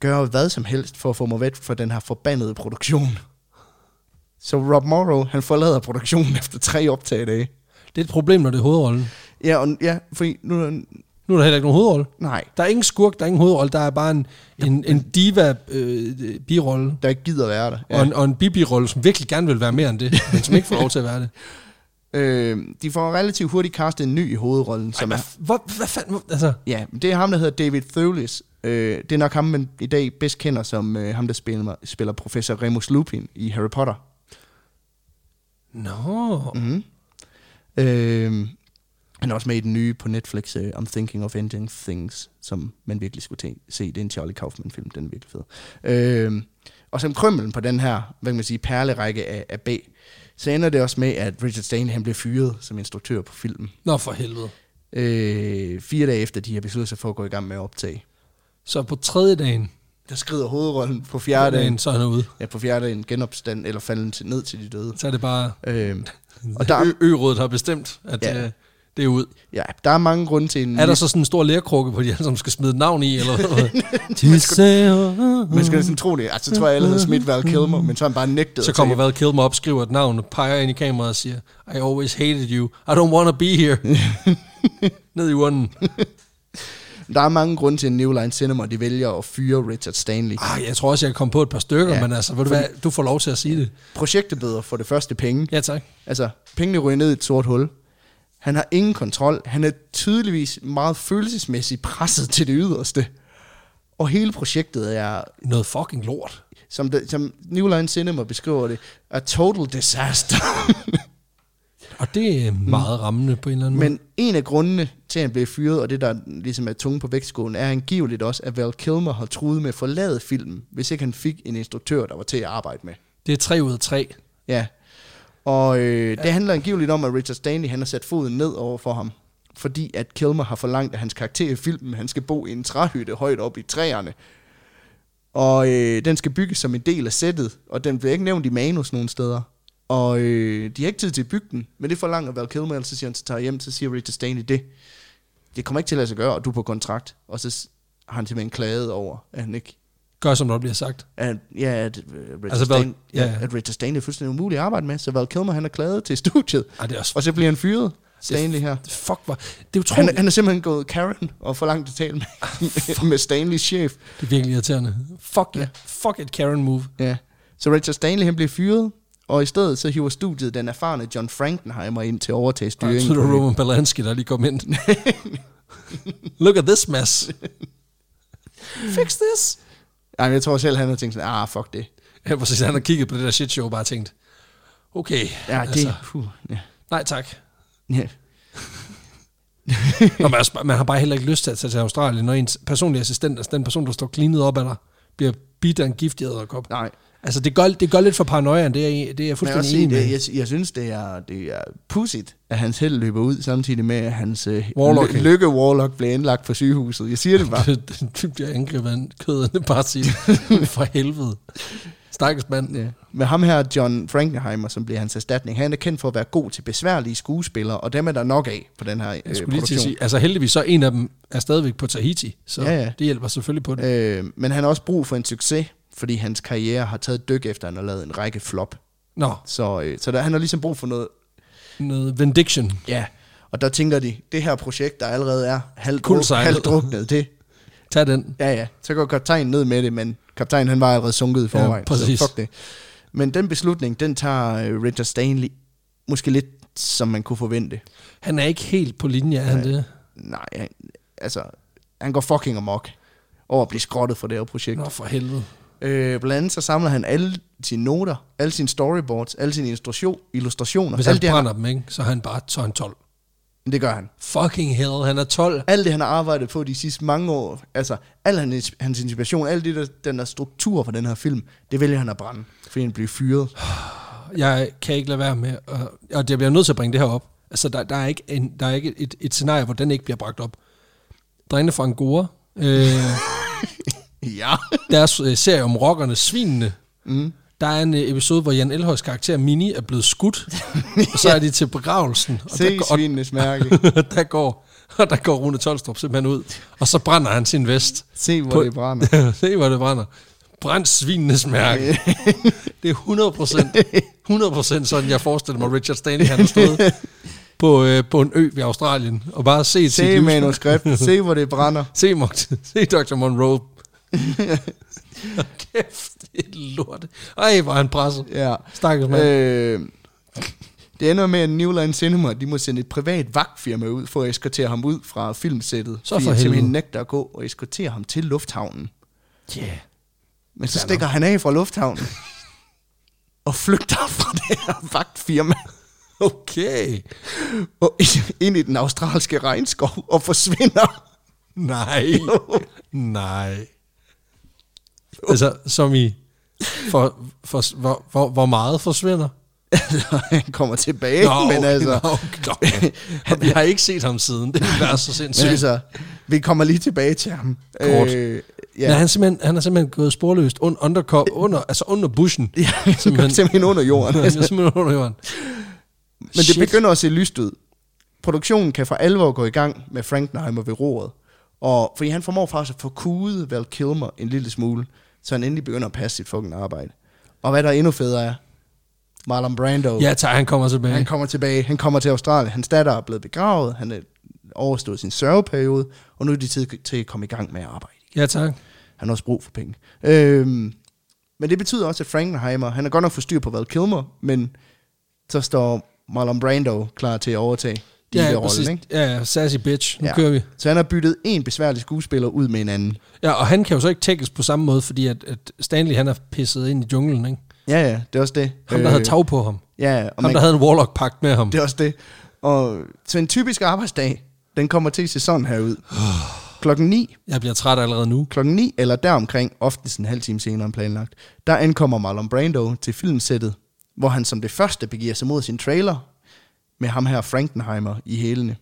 Speaker 2: gør hvad som helst for at få mig væk fra den her forbandede produktion. Så Rob Morrow, han forlader produktionen efter tre optagedage.
Speaker 1: Det er et problem, når det er hovedrollen.
Speaker 2: Ja, og, ja, fordi nu... er-
Speaker 1: Nu er der heller ikke nogen hovedrolle.
Speaker 2: Nej,
Speaker 1: Der er ingen skurk, der er ingen hovedrolle. Der er bare en, en, en diva-birolle.
Speaker 2: der ikke gider være der.
Speaker 1: Ja. Og en, og en bibirolle, som virkelig gerne vil være mere end det, men som ikke får lov til at være det.
Speaker 2: Øh, de får relativt hurtigt castet en ny i hovedrollen, som er...
Speaker 1: Hvor, hvad fanden? Hvor, altså,
Speaker 2: Ja, men det er ham, der hedder David Thewlis. Øh, det er nok ham, man i dag bedst kender som øh, ham, der spiller, spiller professor Remus Lupin i Harry Potter.
Speaker 1: nå. No.
Speaker 2: Mm-hmm. Øh, han er også med i den nye på Netflix, øh, I'm Thinking of Ending Things, som man virkelig skulle te- se. Det er en Charlie Kaufman-film, den er virkelig fed. Øh, og som krømmelen på den her, hvad kan man sige, perlerække af, af B, så ender det også med, at Richard Stanley han bliver fyret som instruktør på filmen.
Speaker 1: Nå, for helvede.
Speaker 2: øh, fire dage efter, de har besluttet sig for at gå i gang med at optage.
Speaker 1: Så på tredje dagen,
Speaker 2: Der skrider hovedrollen på
Speaker 1: ja,
Speaker 2: fjerde dagen.
Speaker 1: dagen så er han ude.
Speaker 2: Ja, på fjerde dagen genopstand, eller falden til, ned til de døde.
Speaker 1: Så er det bare,
Speaker 2: Øh,
Speaker 1: og
Speaker 2: Og
Speaker 1: der...
Speaker 2: der-
Speaker 1: Ø- ø-rådet har bestemt, at ja.
Speaker 2: Ja. Mm.
Speaker 1: øh, det er ud.
Speaker 2: ja, der er mange grunde til en...
Speaker 1: Er der så sådan en stor lærkrukke på de alle, som skal smide et navn i, eller hvad? De sagde-
Speaker 2: Man skal næsten tro det. Altså, så tror jeg, alle havde smidt Val Kilmer, men så har han bare nægtet.
Speaker 1: Mm. så
Speaker 2: at
Speaker 1: kommer
Speaker 2: tage-
Speaker 1: Val Kilmer op, skriver et navn, og peger ind i kameraet og siger, I always hated you, I don't wanna be here. Ned i urnen.
Speaker 2: Der er mange grunde til, at New Line Cinema de vælger at fyre Richard Stanley.
Speaker 1: Ah, jeg tror også, jeg kom på et par stykker, ja.
Speaker 2: Ja,
Speaker 1: men altså, ved du hvad, du får lov til at sige det.
Speaker 2: Projektet bedre for det første penge.
Speaker 1: Ja, tak.
Speaker 2: Altså, pengene ryger ned i et sort hul. Han har ingen kontrol. Han er tydeligvis meget følelsesmæssigt presset til det yderste. Og hele projektet er
Speaker 1: Noget fucking lort.
Speaker 2: som, det, som New Line Cinema beskriver det, a total disaster.
Speaker 1: Og det er meget rammende på en eller anden
Speaker 2: Mm. Men en af grundene til, at han blev fyret, og det der ligesom er tunge på vægtskålen, er angiveligt også, at Val Kilmer har truet med at forlade filmen, hvis ikke han fik en instruktør, der var til at arbejde med.
Speaker 1: måde. Det er tre ud af tre.
Speaker 2: Ja. Og øh, det handler angiveligt om, at Richard Stanley han har sat foden ned over for ham, fordi at Kilmer har forlangt, at hans karakter i filmen, han skal bo i en træhytte højt op i træerne. Og øh, den skal bygges som en del af sættet, og den bliver ikke nævnt i manus nogen steder. Og øh, de har ikke tid til at bygge den, men det forlanger Val Kilmer, og så siger han, så tager jeg hjem, så siger Richard Stanley det. Det kommer ikke til at lade sig gøre, og du er på kontrakt. Og så s- har han simpelthen klaget over, at han ikke
Speaker 1: Gør, som der bliver sagt.
Speaker 2: at, ja, at, øh, Richard
Speaker 1: Altså,
Speaker 2: altså,
Speaker 1: Val-
Speaker 2: Stain, ja,
Speaker 1: ja.
Speaker 2: at Richard Stanley er fuldstændig umulig at arbejde med, så Val Kilmer han er klaget til studiet,
Speaker 1: Ej, Ah, det er også
Speaker 2: og så bliver han fyret, Stanley her.
Speaker 1: Fuck, hvor... Det er utroligt.
Speaker 2: Han, han er simpelthen gået Karen og forlangt at tale med, med Stanleys chef.
Speaker 1: Det er virkelig irriterende. Fuck, ja.
Speaker 2: Ja.
Speaker 1: fuck et Karen move.
Speaker 2: Ja. Så Richard Stanley han bliver fyret, og i stedet så hiver studiet den erfarne John Frankenheimer ind til at overtage
Speaker 1: Ej, Jeg
Speaker 2: styringen.
Speaker 1: tror, det var Roman Polanski, der lige kom ind. Look at this mess. Fix this.
Speaker 2: Ej, men jeg tror selv, han har tænkt sådan, ah, fuck det.
Speaker 1: Ja, præcis. Han har kigget på det der shit show og bare tænkt, okay,
Speaker 2: Ja, det, altså. puh, ja.
Speaker 1: nej tak.
Speaker 2: ja.
Speaker 1: Nå, man, er sp- man har bare heller ikke lyst til at tage til Australien, når ens personlige assistent, altså den person, der står klinet op af dig, bliver bidt af en giftig æderkop.
Speaker 2: Nej,
Speaker 1: Altså, det gør, det gør lidt for paranoiaen, det er, jeg- det er jeg
Speaker 2: Men jeg, vil også
Speaker 1: fuldstændig
Speaker 2: sige,
Speaker 1: enig med.
Speaker 2: det, jeg, jeg synes, det er, det er pudsigt, at hans held løber ud, samtidig med, at hans øh,
Speaker 1: Warlock.
Speaker 2: ly- lykke Warlock bliver indlagt på sygehuset. Jeg siger det bare.
Speaker 1: Du bliver angrebet af en kødende parasit. For helvede. Stakkels mand.
Speaker 2: Ja. Med ham her, John Frankenheimer, som bliver hans erstatning, han er kendt for at være god til besværlige skuespillere, og dem er der nok af på den her øh,
Speaker 1: Jeg skulle lige til
Speaker 2: produktion.
Speaker 1: at sige, altså heldigvis så en af dem er stadigvæk på Tahiti, så ja,
Speaker 2: Ja,
Speaker 1: ja.
Speaker 2: ja.
Speaker 1: det hjælper selvfølgelig på det.
Speaker 2: Øh, men han har også brug for en succes, fordi hans karriere har taget et dyk efter, at han har lavet en række flop.
Speaker 1: Nå,
Speaker 2: Så, øh, så der, han har ligesom brug for noget.
Speaker 1: noget Vendiction.
Speaker 2: Ja, og der tænker de, det her projekt, der allerede er halvdruk-
Speaker 1: Kuldsejlet.
Speaker 2: halvdruknet, det,
Speaker 1: Tag den.
Speaker 2: Ja, ja. Så går kaptajnen ned med det, men kaptajnen han var allerede sunket i forvejen.
Speaker 1: præcis.
Speaker 2: Så fuck det. Men den beslutning, den tager øh, Richard Stanley måske lidt, som man kunne forvente.
Speaker 1: Han er ikke helt på linje, er han det?
Speaker 2: Nej, han, altså, han går fucking amok over at blive skrottet fra det her projekt.
Speaker 1: Nå, for helvede.
Speaker 2: Øh, blandt andet så samler han alle sine noter, alle sine storyboards, alle sine illustration, illustrationer.
Speaker 1: Hvis
Speaker 2: alt
Speaker 1: han
Speaker 2: det, han,
Speaker 1: brænder dem, ikke, så er han bare så er han 12.
Speaker 2: det gør han.
Speaker 1: Fucking hell, han er 12.
Speaker 2: Alt det, han har arbejdet på de sidste mange år, altså al hans, hans inspiration, alt det der, den der struktur for den her film, det vælger han at brænde, fordi han bliver fyret.
Speaker 1: Jeg kan ikke lade være med, og, og jeg bliver nødt til at bringe det her op. Altså, der, der er ikke, en, der er ikke et, et scenarie, hvor den ikke bliver bragt op. Drengene fra Angora, øh,
Speaker 2: Ja.
Speaker 1: deres øh, serie om rockerne, Svinene, mm. der er en øh, episode, hvor Jan Elhøjs karakter Mini er blevet skudt, og så er de til begravelsen, og der,
Speaker 2: Se
Speaker 1: går,
Speaker 2: svinenes mærke.
Speaker 1: og der går, og der går Rune Tolstrup simpelthen ud, og så brænder han sin vest.
Speaker 2: Se, hvor
Speaker 1: På-
Speaker 2: det brænder.
Speaker 1: Se, hvor det brænder. Brænd svinenes mærke. Det er 100 procent, 100 procent sådan, jeg forestiller mig, Richard Stanley, han har stået på, øh, på en ø ved Australien, og bare set sit
Speaker 2: Se
Speaker 1: livs-
Speaker 2: manuskriptet. Se, hvor det brænder.
Speaker 1: Se, Mon- se Dr. Monroe. Kæft, det er lort. Ej, hvor er han presset.
Speaker 2: Ja.
Speaker 1: Stakkels mand. Øh,
Speaker 2: Øh, det ender med, at Newline Cinema de må sende et privat vagtfirma ud for at eskortere ham ud fra filmsættet.
Speaker 1: Så
Speaker 2: fordi
Speaker 1: for
Speaker 2: han simpelthen
Speaker 1: helvede.
Speaker 2: nægter at gå og eskortere ham til lufthavnen.
Speaker 1: yeah.
Speaker 2: Men så stikker han af fra lufthavnen. og flygter fra det her vagtfirma.
Speaker 1: Okay.
Speaker 2: Og ind i den australske regnskov og forsvinder.
Speaker 1: Nej. Nej. Altså, som i... For, for, hvor, hvor, hvor meget forsvinder?
Speaker 2: Altså, han kommer tilbage, men altså...
Speaker 1: nå, okay. Han, jeg har ikke set ham siden. Det ville være så
Speaker 2: Men
Speaker 1: sindssygt.
Speaker 2: altså, vi kommer lige tilbage til ham.
Speaker 1: Kort.
Speaker 2: Øh,
Speaker 1: Ja. Nej,
Speaker 2: ja,
Speaker 1: han, er simpelthen, han er simpelthen gået sporløst un, under, under, altså under buschen. Ja,
Speaker 2: han
Speaker 1: simpelthen,
Speaker 2: simpelthen under jorden.
Speaker 1: han er simpelthen under jorden.
Speaker 2: Men det
Speaker 1: Shit.
Speaker 2: begynder at se lyst ud. Produktionen kan for alvor gå i gang med Frankenheimer ved roret. Og, fordi han formår faktisk at få kuget Val Kilmer en lille smule, så han endelig begynder at passe sit fucking arbejde. Og hvad der er endnu federe er, Marlon Brando,
Speaker 1: Ja, tak, han kommer tilbage.
Speaker 2: han kommer tilbage, han kommer til Australien, hans datter er blevet begravet, han er overstået sin sørgeperiode, og nu er det tid til at komme i gang med at arbejde.
Speaker 1: Ja, tak.
Speaker 2: Han har også brug for penge. Øhm, men det betyder også, at Frankenheimer, han er godt nok for styr på Val Kilmer, men så står Marlon Brando klar til at overtage de ja,
Speaker 1: ja,
Speaker 2: der
Speaker 1: præcis.
Speaker 2: rollen, ikke?
Speaker 1: Ja, ja, sassy bitch. Nu ja.
Speaker 2: Ja.
Speaker 1: kører vi.
Speaker 2: Så han har byttet en besværlig skuespiller ud med en anden.
Speaker 1: Ja, og han kan jo så ikke tækkes på samme måde, fordi at, at Stanley han er pisset ind i junglen, ikke?
Speaker 2: Ja, ja, det er også det.
Speaker 1: Ham, der havde tag på ham.
Speaker 2: Ja, ja, Øh. og
Speaker 1: Ham,
Speaker 2: man,
Speaker 1: der havde en warlock-pagt med ham.
Speaker 2: det er også det. Og så en typisk arbejdsdag, den kommer til at se sådan her ud. Klokken 9,
Speaker 1: Jeg bliver træt allerede nu.
Speaker 2: klokken 9 eller deromkring, oftest en halv time senere end planlagt, der ankommer Marlon Brando til filmsættet, hvor han som det første begiver sig mod sin trailer med ham her Frankenheimer i hælene.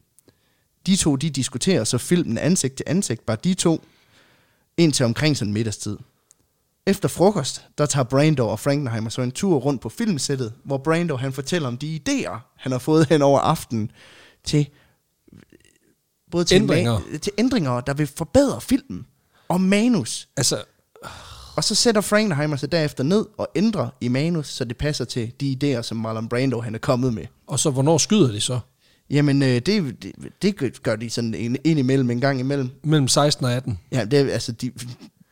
Speaker 2: De to, de diskuterer så filmen ansigt til ansigt, bare de to, indtil omkring sådan middagstid. Efter frokost, der tager Brando og Frankenheimer så en tur rundt på filmsættet, hvor Brando han fortæller om de idéer, han har fået hen over aftenen til både til
Speaker 1: Ændringer.
Speaker 2: Ma- til ændringer, der vil forbedre filmen og manus.
Speaker 1: Altså,
Speaker 2: Og så sætter Frankenheimer sig derefter ned og ændrer i manus, så det passer til de idéer, som Marlon Brando han er kommet med.
Speaker 1: og så hvornår skyder de så?
Speaker 2: Jamen, øh, det, det, det gør de sådan en, ind imellem, en gang imellem.
Speaker 1: Mellem 16 og 18.
Speaker 2: Ja, det, er- altså, de,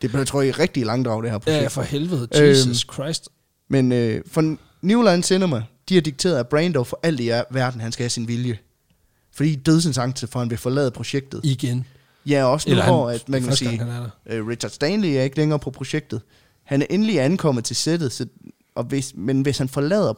Speaker 2: det bliver, tror jeg, er rigtig langdrag, det her projekt.
Speaker 1: Ja, for helvede.
Speaker 2: Øhm.
Speaker 1: Jesus Christ.
Speaker 2: Men øh, for New Line Cinema, de har dikteret, at Brando for alt i verden, han skal have sin vilje. Fordi dødsensangst for, at han vil forlade projektet.
Speaker 1: Igen.
Speaker 2: Ja, også nu
Speaker 1: Eller han-
Speaker 2: hvor, at man kan
Speaker 1: første gang,
Speaker 2: sige,
Speaker 1: han er
Speaker 2: øh, Richard Stanley er ikke længere på projektet. Han er endelig ankommet til sættet, så, og hvis, men hvis han forlader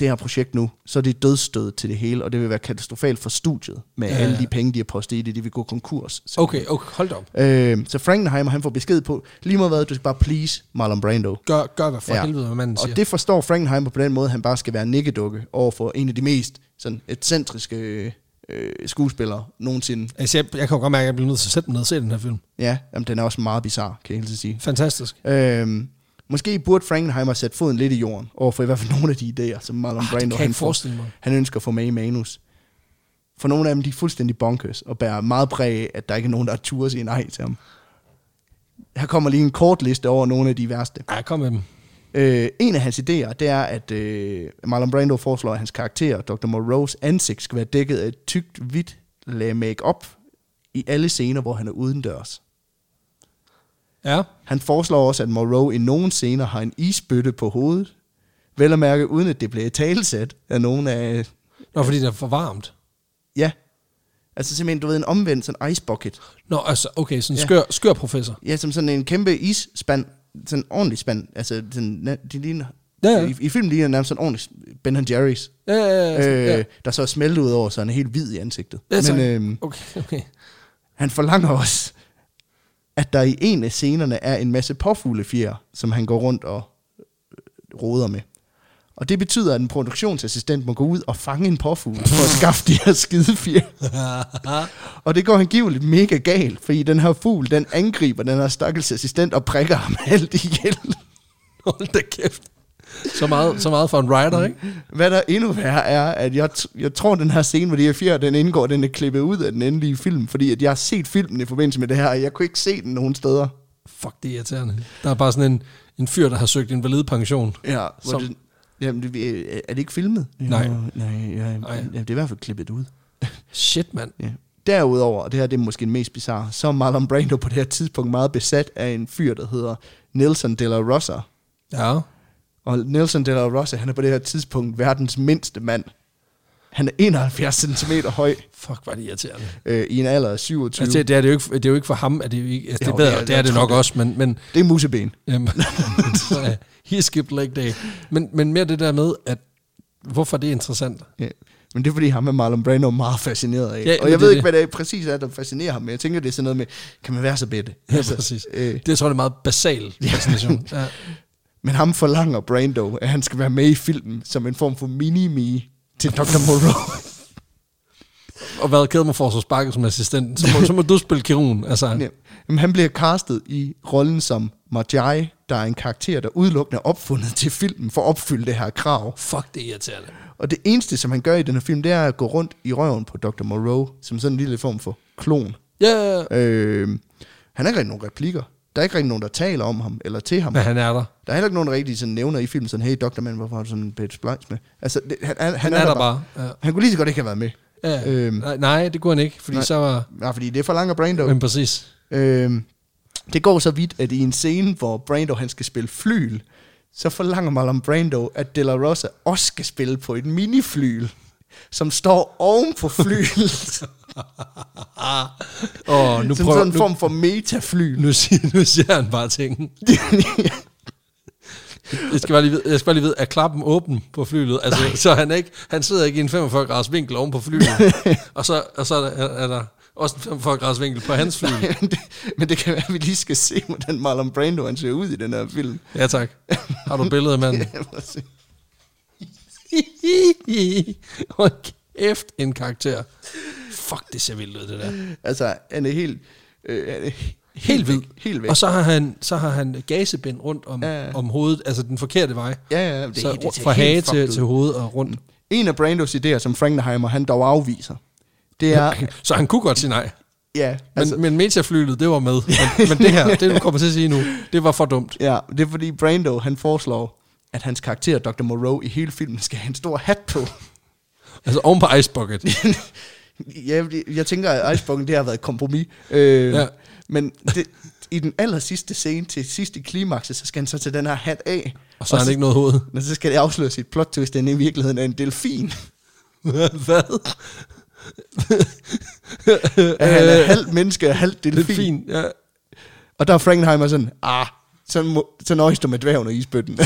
Speaker 2: det her projekt nu, så er det dødsstød til det hele, og det vil være katastrofalt for studiet med
Speaker 1: Ja, Oh.
Speaker 2: ja,
Speaker 1: ja,
Speaker 2: alle
Speaker 1: ja.
Speaker 2: de penge, de har postet i det. De vil gå konkurs. Så,
Speaker 1: Okay, okay, hold da op.
Speaker 2: øh, så Frankenheimer, han får besked på, lige meget hvad, du skal bare please Marlon Brando.
Speaker 1: Gør, gør hvad for ja. helvede, hvad manden
Speaker 2: Og
Speaker 1: siger.
Speaker 2: det forstår Frankenheimer på den måde, at han bare skal være en nikkedukke over for en af de mest sådan, ekscentriske øh, øh, skuespillere nogensinde.
Speaker 1: Altså, jeg, jeg kan jo godt mærke, at jeg bliver nødt til at sætte mig ned og se den her film.
Speaker 2: Ja, jamen, den er også meget bizarre, kan jeg helt sige.
Speaker 1: Fantastisk.
Speaker 2: Øhm, måske burde Frankenheimer sætte foden lidt i jorden, overfor i hvert fald nogle af de idéer, som Marlon
Speaker 1: Ah, det
Speaker 2: Brando
Speaker 1: kan jeg
Speaker 2: han,
Speaker 1: ikke
Speaker 2: får,
Speaker 1: forestille mig.
Speaker 2: han ønsker at få med i manus. For nogle af dem, de er fuldstændig bonkers, og bærer meget præg af, at der ikke er nogen, der turde sige nej til ham. Her kommer lige en kort liste over nogle af de værste.
Speaker 1: Ej, kom med dem.
Speaker 2: Øh, en af hans idéer, det er, at øh, Marlon Brando foreslår, at hans karakter, Dr. Moreau's ansigt, skal være dækket af et tykt, hvidt lag makeup i alle scener, hvor han er udendørs.
Speaker 1: Ja,
Speaker 2: Han foreslår også, at Moreau i nogle scener har en isbøtte på hovedet. Vel at mærke, uden at det bliver talsat af nogen af...
Speaker 1: Nå, fordi det er for varmt.
Speaker 2: Ja. Altså simpelthen, du ved, en omvendt sådan ice bucket.
Speaker 1: Nå, altså, okay, sådan en
Speaker 2: Ja.
Speaker 1: skør, skør professor.
Speaker 2: Ja, som sådan en kæmpe isspand. Sådan en ordentlig spand. Altså, den, de ligner...
Speaker 1: Ja, ja.
Speaker 2: I, I filmen ligner den nærmest sådan ordentlig Ben Jerry's.
Speaker 1: Ja, ja, ja,
Speaker 2: øh,
Speaker 1: ja.
Speaker 2: der så er smeltet ud over, så han er helt hvid i ansigtet.
Speaker 1: Ja, tak.
Speaker 2: Men øh,
Speaker 1: Okay, okay.
Speaker 2: han forlanger også, at der i en af scenerne er en masse påfuglefjer, som han går rundt og øh, roder med. Og det betyder, at en produktionsassistent må gå ud og fange en påfugl for at skaffe de her skidefjer. Og det går angiveligt mega galt, fordi den her fugl, den angriber den her stakkels assistent og prikker ham alt ihjel.
Speaker 1: Hold da kæft. Så meget, så meget for en rider, ikke?
Speaker 2: Hvad der endnu værre er, at jeg, t- jeg tror, den her scene, hvor de her fjer, den indgår, den er klippet ud af den endelige film, fordi at jeg har set filmen i forbindelse med det her, og jeg kunne ikke se den nogen steder.
Speaker 1: Fuck, det er irriterende. Der er bare sådan en, en fyr, der har søgt en valid pension.
Speaker 2: Ja, hvor
Speaker 1: Som-
Speaker 2: det, jamen, det, øh, er det ikke filmet?
Speaker 1: Nej.
Speaker 2: Jo, nej, ja,
Speaker 1: Nej.
Speaker 2: nej. Ja, det er i hvert fald klippet ud.
Speaker 1: Shit, mand.
Speaker 2: Ja. Derudover, og det her det er måske den mest bizarre, så er Marlon Brando på det her tidspunkt meget besat af en fyr, der hedder Nelson de la Rosa.
Speaker 1: Ja.
Speaker 2: Og Nelson de la Rosa, han er på det her tidspunkt verdens mindste mand. Han er 71 cm høj
Speaker 1: Fuck, var det irriterende.
Speaker 2: øh, i en alder af 27.
Speaker 1: Altså, det, det, er det, jo ikke, det er jo ikke for ham, at det, er jo ikke, altså, det,
Speaker 2: Jo,
Speaker 1: er bedre,
Speaker 2: det
Speaker 1: det er, det,
Speaker 2: er-
Speaker 1: er det
Speaker 2: jeg tror
Speaker 1: nok det. også, men, men
Speaker 2: det er museben.
Speaker 1: Øhm, så, he skipped leg day. Men, men mere det der med, at hvorfor det er interessant.
Speaker 2: Ja. Men det er fordi, ham er Marlon Brando meget fascineret af.
Speaker 1: Ja,
Speaker 2: Ja,
Speaker 1: det
Speaker 2: og
Speaker 1: er
Speaker 2: jeg ved
Speaker 1: det.
Speaker 2: ikke, hvad det er, præcis er, der fascinerer ham. Men jeg tænker, det er sådan noget med, kan man være så bedre?
Speaker 1: Ja, præcis.
Speaker 2: øh,
Speaker 1: Det tror jeg er en meget basal fascination. Ja.
Speaker 2: men ham forlanger Brando, at han skal være med i filmen som en form for mini-me til Dr. Moreau.
Speaker 1: Og hvad keder mig for at så sparket som assistent, så må, så må du spille kirurgen. Altså,
Speaker 2: Ja. Jamen, han bliver castet i rollen som Marjai, der er en karakter, der udelukkende er opfundet til filmen for at opfylde det her krav.
Speaker 1: fuck, det er irriterende.
Speaker 2: Og det eneste, som han gør i den her film, det er at gå rundt i røven på Dr. Moreau, som sådan en lille form for klon.
Speaker 1: Ja,
Speaker 2: Øh, han har ikke rigtig nogen replikker. Der er ikke rigtig nogen, der taler om ham eller til ham.
Speaker 1: men han er der.
Speaker 2: Der er heller ikke nogen, der rigtig sådan nævner i filmen sådan, hey, Dr. Man, hvorfor har du sådan en bedt splejs med? Altså, det, han, han, han,
Speaker 1: er der bare, ja.
Speaker 2: Han kunne lige så godt ikke have været med.
Speaker 1: Ja.
Speaker 2: Øhm.
Speaker 1: Øhm. Nej, det kunne han ikke, fordi nej. så var...
Speaker 2: Nej, fordi det forlanger Brando.
Speaker 1: Men præcis.
Speaker 2: Øhm, det går så vidt, at i en scene, hvor Brando han skal spille flyl, så forlanger Marlon Brando, at De La Rosa også skal spille på et miniflyl, som står oven på flylet.
Speaker 1: Og nu
Speaker 2: som
Speaker 1: prøver...
Speaker 2: sådan en
Speaker 1: Nu,
Speaker 2: form for metaflyl.
Speaker 1: nu, siger, nu siger han bare ting. Jeg skal bare lige vide, jeg skal bare lige vide er klappen åben på flyet? Altså, så han, er ikke, han sidder ikke i en 45 graders vinkel oven på flyet. og så, og så er, der, er der også en 45 graders vinkel på hans fly.
Speaker 2: men, det, men det kan være, at vi lige skal se, hvordan Marlon Brando han ser ud i den her film.
Speaker 1: Ja tak. Har du billedet af manden?
Speaker 2: Ja, prøv at se.
Speaker 1: Hold kæft, en karakter. Fuck, det ser vildt ud, det der.
Speaker 2: altså, han er helt... Øh, han er helt,
Speaker 1: Helt hvid.
Speaker 2: væk, Helt væk.
Speaker 1: Og så har han, så har han gasebind rundt om,
Speaker 2: Ja, ja.
Speaker 1: om hovedet, altså den forkerte vej.
Speaker 2: ja, ja, det,
Speaker 1: så
Speaker 2: det, ser
Speaker 1: fra
Speaker 2: helt
Speaker 1: hage
Speaker 2: fucked
Speaker 1: til,
Speaker 2: ud.
Speaker 1: til hovedet og rundt.
Speaker 2: En af Brandos idéer, som Frankenheimer han dog afviser, det er...
Speaker 1: Så han kunne godt sige nej.
Speaker 2: ja,
Speaker 1: Men,
Speaker 2: altså,
Speaker 1: altså, men Metaflylet, det var med. Men, men det her, det du kommer til at sige nu, det var for dumt.
Speaker 2: ja, det er fordi Brando, han foreslår, at hans karakter, Dr. Moreau, i hele filmen skal have en stor hat på.
Speaker 1: Altså oven på Ice Bucket.
Speaker 2: ja, jeg tænker, at Icebukken, det har været et kompromis. Øh, ja.
Speaker 1: Ja.
Speaker 2: Men det, i den aller sidste scene, til sidst i klimakset, så skal han så tage den her hat af.
Speaker 1: Og så har han ikke noget hoved.
Speaker 2: Men så skal det afsløre sit plot twist, den i virkeligheden er en delfin.
Speaker 1: Øh. Hvad?
Speaker 2: At han er halvt menneske og halvt
Speaker 1: Øh, Det
Speaker 2: delfin.
Speaker 1: er fint, ja.
Speaker 2: Og der er Frankenheimer sådan, ah, så, må, så nøjes du med dværgen og isbøtten.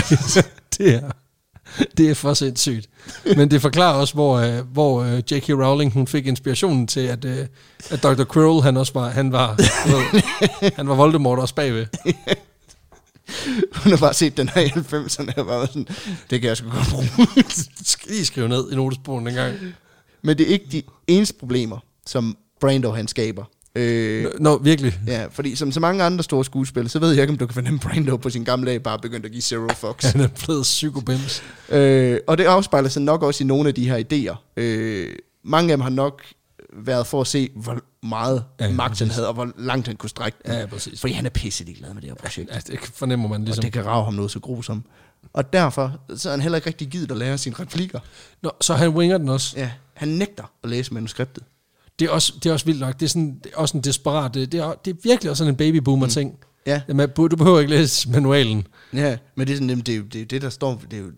Speaker 1: Det er, det er for sindssygt. Men det forklarer også, hvor, øh, hvor øh, J.K. Rowling hun fik inspirationen til, at, øh, at Dr. Quirrell, han også var, han var, du ved, han var Voldemort også bagved.
Speaker 2: Hun har bare set den her i 90'erne, og bare været sådan, det kan jeg sgu godt bruge.
Speaker 1: Skal lige skrive ned i notesbogen dengang.
Speaker 2: Men det er ikke de eneste problemer, som Brando han skaber. Øh,
Speaker 1: Nå, virkelig.
Speaker 2: Ja, fordi som så mange andre store skuespillere, så ved jeg ikke, om du kan fornemme Brando på sin gamle dag bare begyndt at give zero fucks.
Speaker 1: Han er blevet psykobims.
Speaker 2: øh, og det afspejler sig nok også i nogle af de her idéer. Øh, mange af dem har nok været for at se, hvor meget ja,
Speaker 1: Ja,
Speaker 2: magt han havde, og hvor langt han kunne strække den.
Speaker 1: Ja, ja, præcis.
Speaker 2: Fordi han er pisse ligeglad med det her projekt,
Speaker 1: Ja, det fornemmer man
Speaker 2: og
Speaker 1: ligesom.
Speaker 2: det kan rave ham noget så grusomt. Og derfor så er han heller ikke rigtig givet at lære sine replikker.
Speaker 1: Nå, så han winger den også.
Speaker 2: Ja, han nægter at læse manuskriptet.
Speaker 1: Det er også, det er også vildt nok. Det er, sådan, det er også en desperat... øh, Det det er, det er virkelig også sådan en babyboomer-ting. Mm.
Speaker 2: Ja,
Speaker 1: Jamen, du behøver ikke læse manualen.
Speaker 2: Ja, men det er sådan, jamen, det, er jo- det er jo det, der står, det er jo, det er jo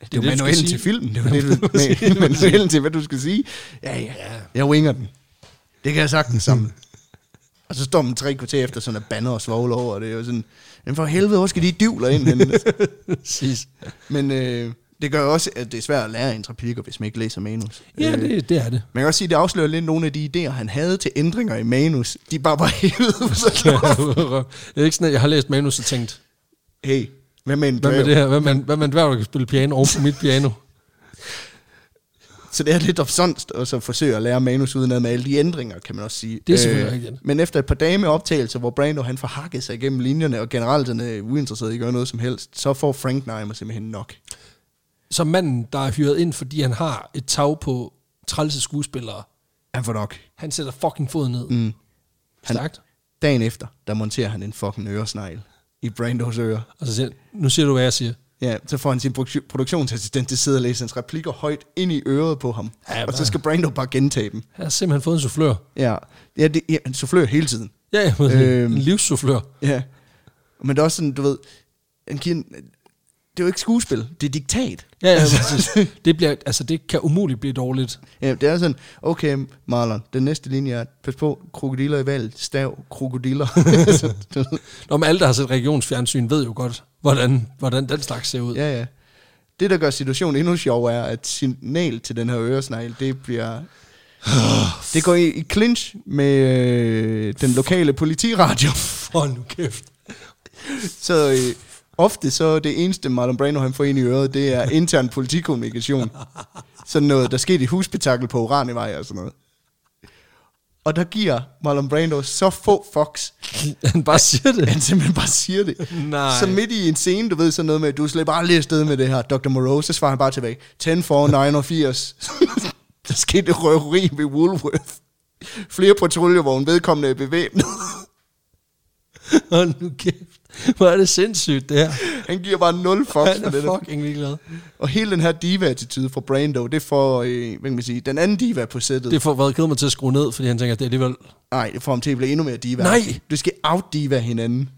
Speaker 1: det, du skal
Speaker 2: manualen
Speaker 1: sige.
Speaker 2: til filmen. Det er jo det, du,
Speaker 1: Præcis,
Speaker 2: nej, manualen til, hvad du skal sige. Ja, ja, jeg winger den. Det kan jeg sagtens sammen. og så står man tre kvarter efter sådan at banner og svogler over, og det er jo sådan, men for helvede, hvor skal de divler ind henne?
Speaker 1: Præcis.
Speaker 2: men øh, det gør jo også, at det er svært at lære en replikker, hvis man ikke læser manus.
Speaker 1: Ja,
Speaker 2: Øh,
Speaker 1: det, det er det.
Speaker 2: man kan også sige, at det afslører lidt nogle af de idéer, han havde til ændringer i manus. De bare var helt ud, så
Speaker 1: det er ikke sådan, at jeg har læst manus og tænkt,
Speaker 2: hey, hvad med en
Speaker 1: hvad med
Speaker 2: dværg?
Speaker 1: det her? Hvad med, en- hvad med en dværg, der kan spille piano oven på mit piano?
Speaker 2: Så det er lidt opsonst at så forsøge at lære manus udenad med alle de ændringer, kan man også sige. Øh,
Speaker 1: Det er selvfølgelig rigtigt.
Speaker 2: Men efter et par dage med optagelser, hvor Brando han får hakket sig igennem linjerne, og generelt han er uinteresseret i at gøre noget som helst, så får Frank Neimer simpelthen nok.
Speaker 1: Så manden, der er hyret ind, fordi han har et tag på trælse skuespillere,
Speaker 2: Han får nok.
Speaker 1: han sætter fucking foden ned. Mm. Stærkt.
Speaker 2: Dagen efter, der monterer han en fucking øresnegl i Brandos øre.
Speaker 1: Og så siger han, nu siger du, hvad jeg siger.
Speaker 2: Ja, så får han sin produk- produktionsassistent til at sidde og læse hans replikker højt ind i øret på ham.
Speaker 1: Ja,
Speaker 2: og så
Speaker 1: bare-
Speaker 2: skal Brando bare gentage dem.
Speaker 1: Jeg har simpelthen fået en soufflør.
Speaker 2: Ja, ja, det, ja han soufflør hele tiden.
Speaker 1: Ja, jeg må
Speaker 2: Øhm.
Speaker 1: øhm. en livssoufflør.
Speaker 2: Ja. Men det er også sådan, du ved, han giver, en- det er jo ikke skuespil, det er diktat.
Speaker 1: Ja, ja, præcis. Det, bliver, altså, det kan umuligt blive dårligt.
Speaker 2: Ja, det er sådan, okay Marlon, den næste linje er, pas på, krokodiller i valget, stav, krokodiller. Så, du ved,
Speaker 1: Nå, men alle, der har set regionsfjernsyn, ved jo godt, hvordan, hvordan den slags ser ud. Ja.
Speaker 2: ja, ja. Det, der gør situationen endnu sjovere, er, at signal til den her øresnegl, det bliver... Det går i, i clinch med øh, den lokale politiradio.
Speaker 1: Hold nu kæft.
Speaker 2: Så øh, ofte så det eneste Marlon Brando han får ind i øret, det er intern politikommunikation. Sådan noget, der skete i husbetakkel på Uranevej og sådan noget. Og der giver Marlon Brando så få fucks,
Speaker 1: Han bare siger det.
Speaker 2: at han simpelthen bare siger det.
Speaker 1: Nej.
Speaker 2: Så midt i en scene, du ved sådan noget med, du slipper aldrig afsted med det her, Dr. Moreau, så svarer han bare tilbage, 10 for 89. der skete et røveri ved Woolworth. Flere patruljevogne, vedkommende er bevæbnet.
Speaker 1: Hold nu kæft. Hvor er det sindssygt, det her.
Speaker 2: Han giver bare nul fucks
Speaker 1: Han
Speaker 2: for det
Speaker 1: er
Speaker 2: der.
Speaker 1: fucking ligeglad.
Speaker 2: Og hele den her diva-attitude fra Brando, det får, øh, hvad kan man sige, den anden diva på sættet.
Speaker 1: Det får været ked mig til at skrue ned, fordi han tænker, at det er alligevel...
Speaker 2: Nej, det får ham til at blive endnu mere diva.
Speaker 1: Nej!
Speaker 2: Du skal out-diva hinanden.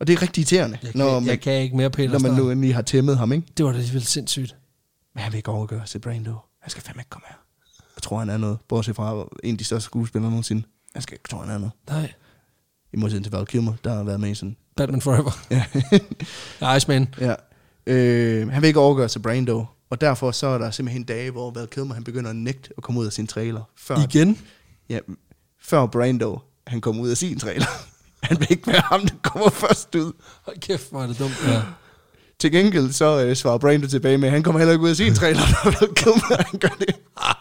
Speaker 2: Og det er rigtig irriterende,
Speaker 1: Jeg kan,
Speaker 2: når man,
Speaker 1: jeg kan ikke mere, Peter
Speaker 2: når man nu
Speaker 1: nu...
Speaker 2: endelig har tæmmet ham, ikke?
Speaker 1: Det var da alligevel sindssygt.
Speaker 2: Men han vil ikke overgøre sig, Brando. Han skal fandme ikke komme her. Jeg tror, han er noget. Bortset fra en af de største skuespillere nogensinde. Jeg skal ikke tro, han er noget.
Speaker 1: Nej.
Speaker 2: I modsætning til Val Kilmer, der har været med i sådan.
Speaker 1: Batman Forever.
Speaker 2: Ja.
Speaker 1: Ja, Iceman.
Speaker 2: ja. Øh, han vil ikke overgøre sig Brando, og derfor så er der simpelthen dage, hvor Val Kilmer han begynder at nægte at komme ud af sin trailer. Før,
Speaker 1: Igen?
Speaker 2: ja, før Brando han kommer ud af sin trailer. han vil ikke være ham, der kommer først ud.
Speaker 1: Hold kæft, hvor er det dumt. Ja.
Speaker 2: Til gengæld så øh, svarer Brando tilbage med, at han kommer heller ikke ud af sin trailer, når Val Kilmer han gør det.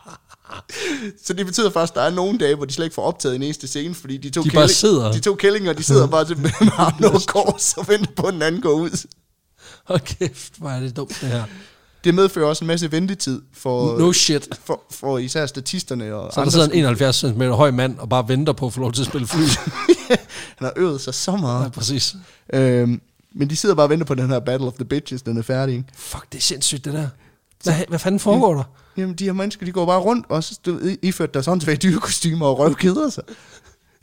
Speaker 2: Så det betyder faktisk, at der er nogle dage, hvor de slet ikke får optaget en eneste scene, fordi de to,
Speaker 1: De bare sidder.
Speaker 2: de to kællinger, de sidder bare tilbage med armene over kors og venter på, at den anden går ud.
Speaker 1: Hold kæft, hvor er det dumt, det her.
Speaker 2: Det medfører også en masse ventetid for,
Speaker 1: No shit.
Speaker 2: for, for især statisterne og
Speaker 1: Så der
Speaker 2: andre.
Speaker 1: sidder en 71 cm høj mand og bare venter på at få lov til at spille fly.
Speaker 2: Han har øvet sig så
Speaker 1: ja,
Speaker 2: meget.
Speaker 1: præcis.
Speaker 2: Øhm, men de sidder bare og venter på den her Battle of the Bitches, den er færdig. ikke?
Speaker 1: Fuck, det er sindssygt, det der. Hvad, hvad fanden foregår der?
Speaker 2: Jamen, de her mennesker, de går bare rundt, og så du ved, iført deres åndssvage dyrekostymer og røvkeder sig.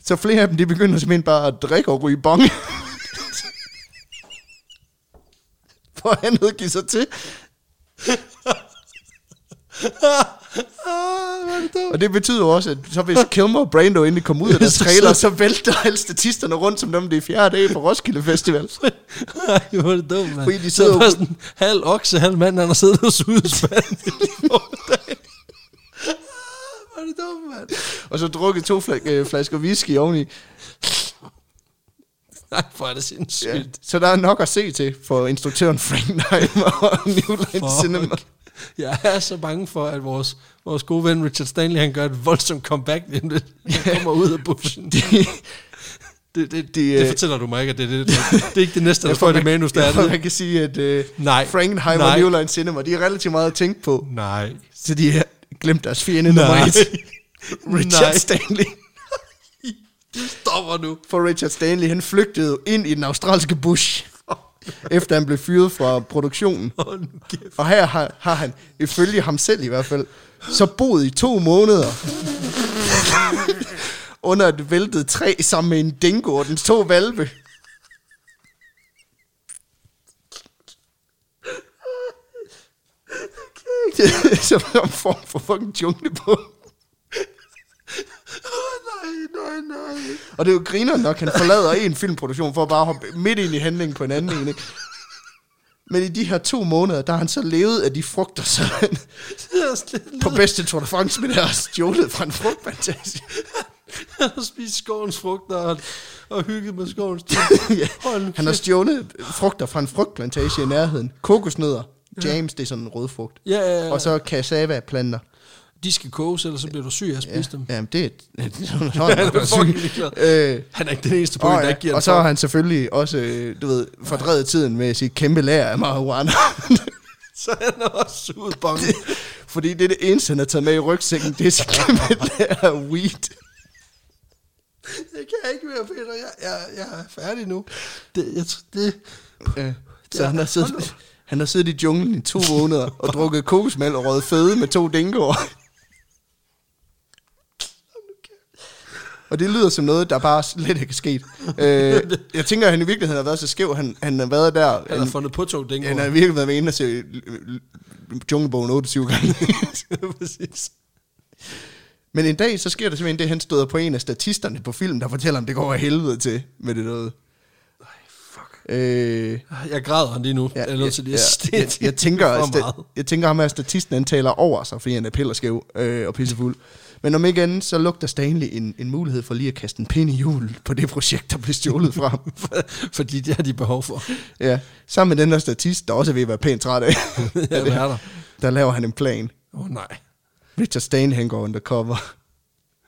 Speaker 2: Så flere af dem, de begynder simpelthen bare at drikke og ryge bong. For at andet give sig til. Og Ah, det betyder jo også, at så hvis Kilmer og Brando endelig kommer ud af deres trailer, så vælter alle statisterne rundt, som dem det er fjerde dag på Roskilde Festival.
Speaker 1: Ej, hvor er det dumt, mand.
Speaker 2: Fordi de
Speaker 1: Så
Speaker 2: sidder
Speaker 1: er
Speaker 2: jo-
Speaker 1: bare sådan halv okse, halv mand, han har siddet og suget spand.
Speaker 2: Hvor er det dumt, mand. Og så drukket to fla- øh, flasker whisky oveni.
Speaker 1: Nej, hvor er det
Speaker 2: Ja.
Speaker 1: sindssygt.
Speaker 2: Øh, Så der er nok at se til for instruktøren Frank Neimer og New Line
Speaker 1: Fuck.
Speaker 2: Cinema.
Speaker 1: Jeg er så bange for, at vores, vores gode ven Richard Stanley, han gør et voldsomt comeback, lige om lidt. Han kommer ud af bussen. Det,
Speaker 2: Det, det,
Speaker 1: det fortæller du mig ikke, at det, er det, det, det er ikke det næste, der står i det manus, der er
Speaker 2: det. Man
Speaker 1: det.
Speaker 2: kan sige, at øh,
Speaker 1: Nej.
Speaker 2: Frank Neimer
Speaker 1: Nej.
Speaker 2: og New Line Cinema, de er relativt meget at tænke på.
Speaker 1: Nej.
Speaker 2: Så de har glemt deres fjende nummer
Speaker 1: Nej.
Speaker 2: et. Richard
Speaker 1: Nej.
Speaker 2: Stanley.
Speaker 1: Du stopper nu.
Speaker 2: For Richard Stanley, han flygtede ind i den australske bush, efter han blev fyret fra produktionen.
Speaker 1: Hold nu kæft.
Speaker 2: Og her har, har han, ifølge ham selv i hvert fald, så boet i to måneder under et væltet træ sammen med en dingo og dens to valpe. Det er som en form for fucking jungle på.
Speaker 1: Nej, nej, nej.
Speaker 2: Og det er jo griner nok, han forlader en filmproduktion for at bare hoppe midt ind i handlingen på en anden en. Ikke? Men i de her to måneder, der har han så levet af de frugter, så han,
Speaker 1: Det er slet
Speaker 2: på bedste Tour de France, men jeg har stjålet fra en frugtplantage.
Speaker 1: Han har spist skovens frugter og, og hygget med skovens ting. Hold nu
Speaker 2: Han har
Speaker 1: kæft.
Speaker 2: stjålet frugter fra en frugtplantage i nærheden. Kokosnødder, James, det er sådan en rødfrugt.
Speaker 1: Ja, ja, ja.
Speaker 2: Og så cassava-planter.
Speaker 1: De skal koges, ellers så bliver du syg af at spise dem.
Speaker 2: Jamen, det er... det er sådan,
Speaker 1: Han er fucking ligeglad.
Speaker 2: Øh,
Speaker 1: Han er ikke den eneste på, oh,
Speaker 2: og,
Speaker 1: der
Speaker 2: ja.
Speaker 1: ikke giver
Speaker 2: og
Speaker 1: en
Speaker 2: så har
Speaker 1: fuck.
Speaker 2: han selvfølgelig også, øh, du ved, fordrevet tiden med sit kæmpe lager af marihuana.
Speaker 1: Så han er også suget bongen.
Speaker 2: Fordi det er det eneste, han har taget med i rygsækken, det er sit kæmpe lager af weed.
Speaker 1: Det kan jeg ikke mere, Peter. Jeg, jeg, jeg er færdig nu. Det, jeg, tr- det,
Speaker 2: Øh, så
Speaker 1: Ja,
Speaker 2: han har
Speaker 1: hold nu.
Speaker 2: siddet... Han har siddet i junglen i to måneder og drukket kokosmælk og røget fede med to dingoer. Og det lyder som noget, der bare slet ikke er sket. Øh, jeg tænker, at han i virkeligheden har været så skæv. Han, han har været der...
Speaker 1: han har fundet på to dænker.
Speaker 2: han har virkelig været med inde og se øh, øh, Junglebogen 28 gange.
Speaker 1: Præcis.
Speaker 2: Men en dag, så sker der simpelthen det, han støder på en af statisterne på filmen, der fortæller, om det går af helvede til med det noget.
Speaker 1: Fuck.
Speaker 2: Øh,
Speaker 1: Jeg græder lige nu. Ja, jeg er nødt til lige at ja,
Speaker 2: jeg, jeg, tænker,
Speaker 1: for
Speaker 2: at
Speaker 1: meget.
Speaker 2: sta- jeg tænker ham, at statisten han taler over sig, fordi han er pillerskæv øh, og pissefuld. Men om ikke andet, så lugter Stanley en, en mulighed for lige at kaste en pind i hjulet på det projekt, der blev stjålet fra ham.
Speaker 1: Fordi det har de behov for.
Speaker 2: ja. Sammen med den der statist, der også er ved at være pænt træt af,
Speaker 1: Ja, det er der.
Speaker 2: der laver han en plan.
Speaker 1: Åh oh, nej.
Speaker 2: Richard Stanley han går undercover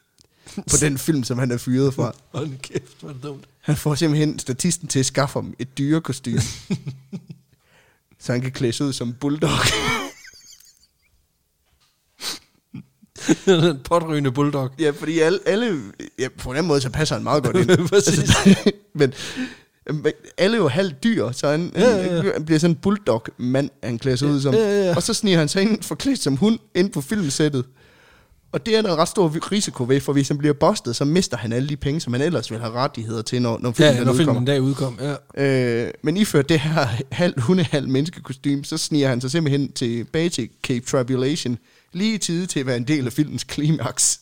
Speaker 2: på den film, som han er fyret fra.
Speaker 1: Hold nu kæft, hvor er det dumt.
Speaker 2: Han får simpelthen statisten til at skaffe ham et dyrekostyme. så han kan klæde sig ud som bulldog.
Speaker 1: Den potrygende bulldog.
Speaker 2: ja, fordi alle, alle ja, på den måde, så passer han meget godt ind. Altså,
Speaker 1: Præcis.
Speaker 2: men, men alle er jo halvt dyr, så han, ja,
Speaker 1: Ja, ja,
Speaker 2: ja, ja. han bliver sådan en bulldog-mand, han klæder sig ud som.
Speaker 1: ja, ja.
Speaker 2: Og så sniger han sig ind forklædt som hund ind på filmsættet. Og det er der en ret stor risiko ved, for hvis han bliver bustet, så mister han alle de penge, som han ellers ville have rettigheder til, når, når filmen,
Speaker 1: Ja,
Speaker 2: den
Speaker 1: når
Speaker 2: udkommer.
Speaker 1: filmen en dag udkom. Ja.
Speaker 2: Øh, men iført det her halv hunde, halv menneskekostyme, så sniger han sig simpelthen tilbage til Cape Tribulation, lige i tide til at være en del af filmens klimaks.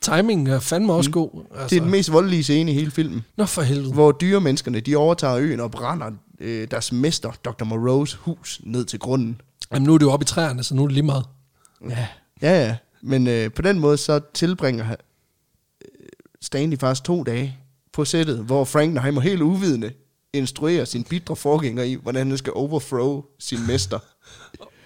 Speaker 1: Timingen er fandme også mm. god. Altså.
Speaker 2: Det er den mest voldelige scene i hele filmen,
Speaker 1: Nå for helvede.
Speaker 2: hvor dyremenneskerne de overtager øen og brænder øh, deres mester, Dr. Moreau's hus, ned til grunden.
Speaker 1: Jamen, nu er det jo oppe i træerne, så nu er det lige meget.
Speaker 2: Ja, ja, ja. Men øh, på den måde så tilbringer han- øh, Stanley faktisk to dage på sættet, hvor Frankenheimer helt uvidende instruerer sin bitre forgænger i, hvordan han skal overthrow sin mester.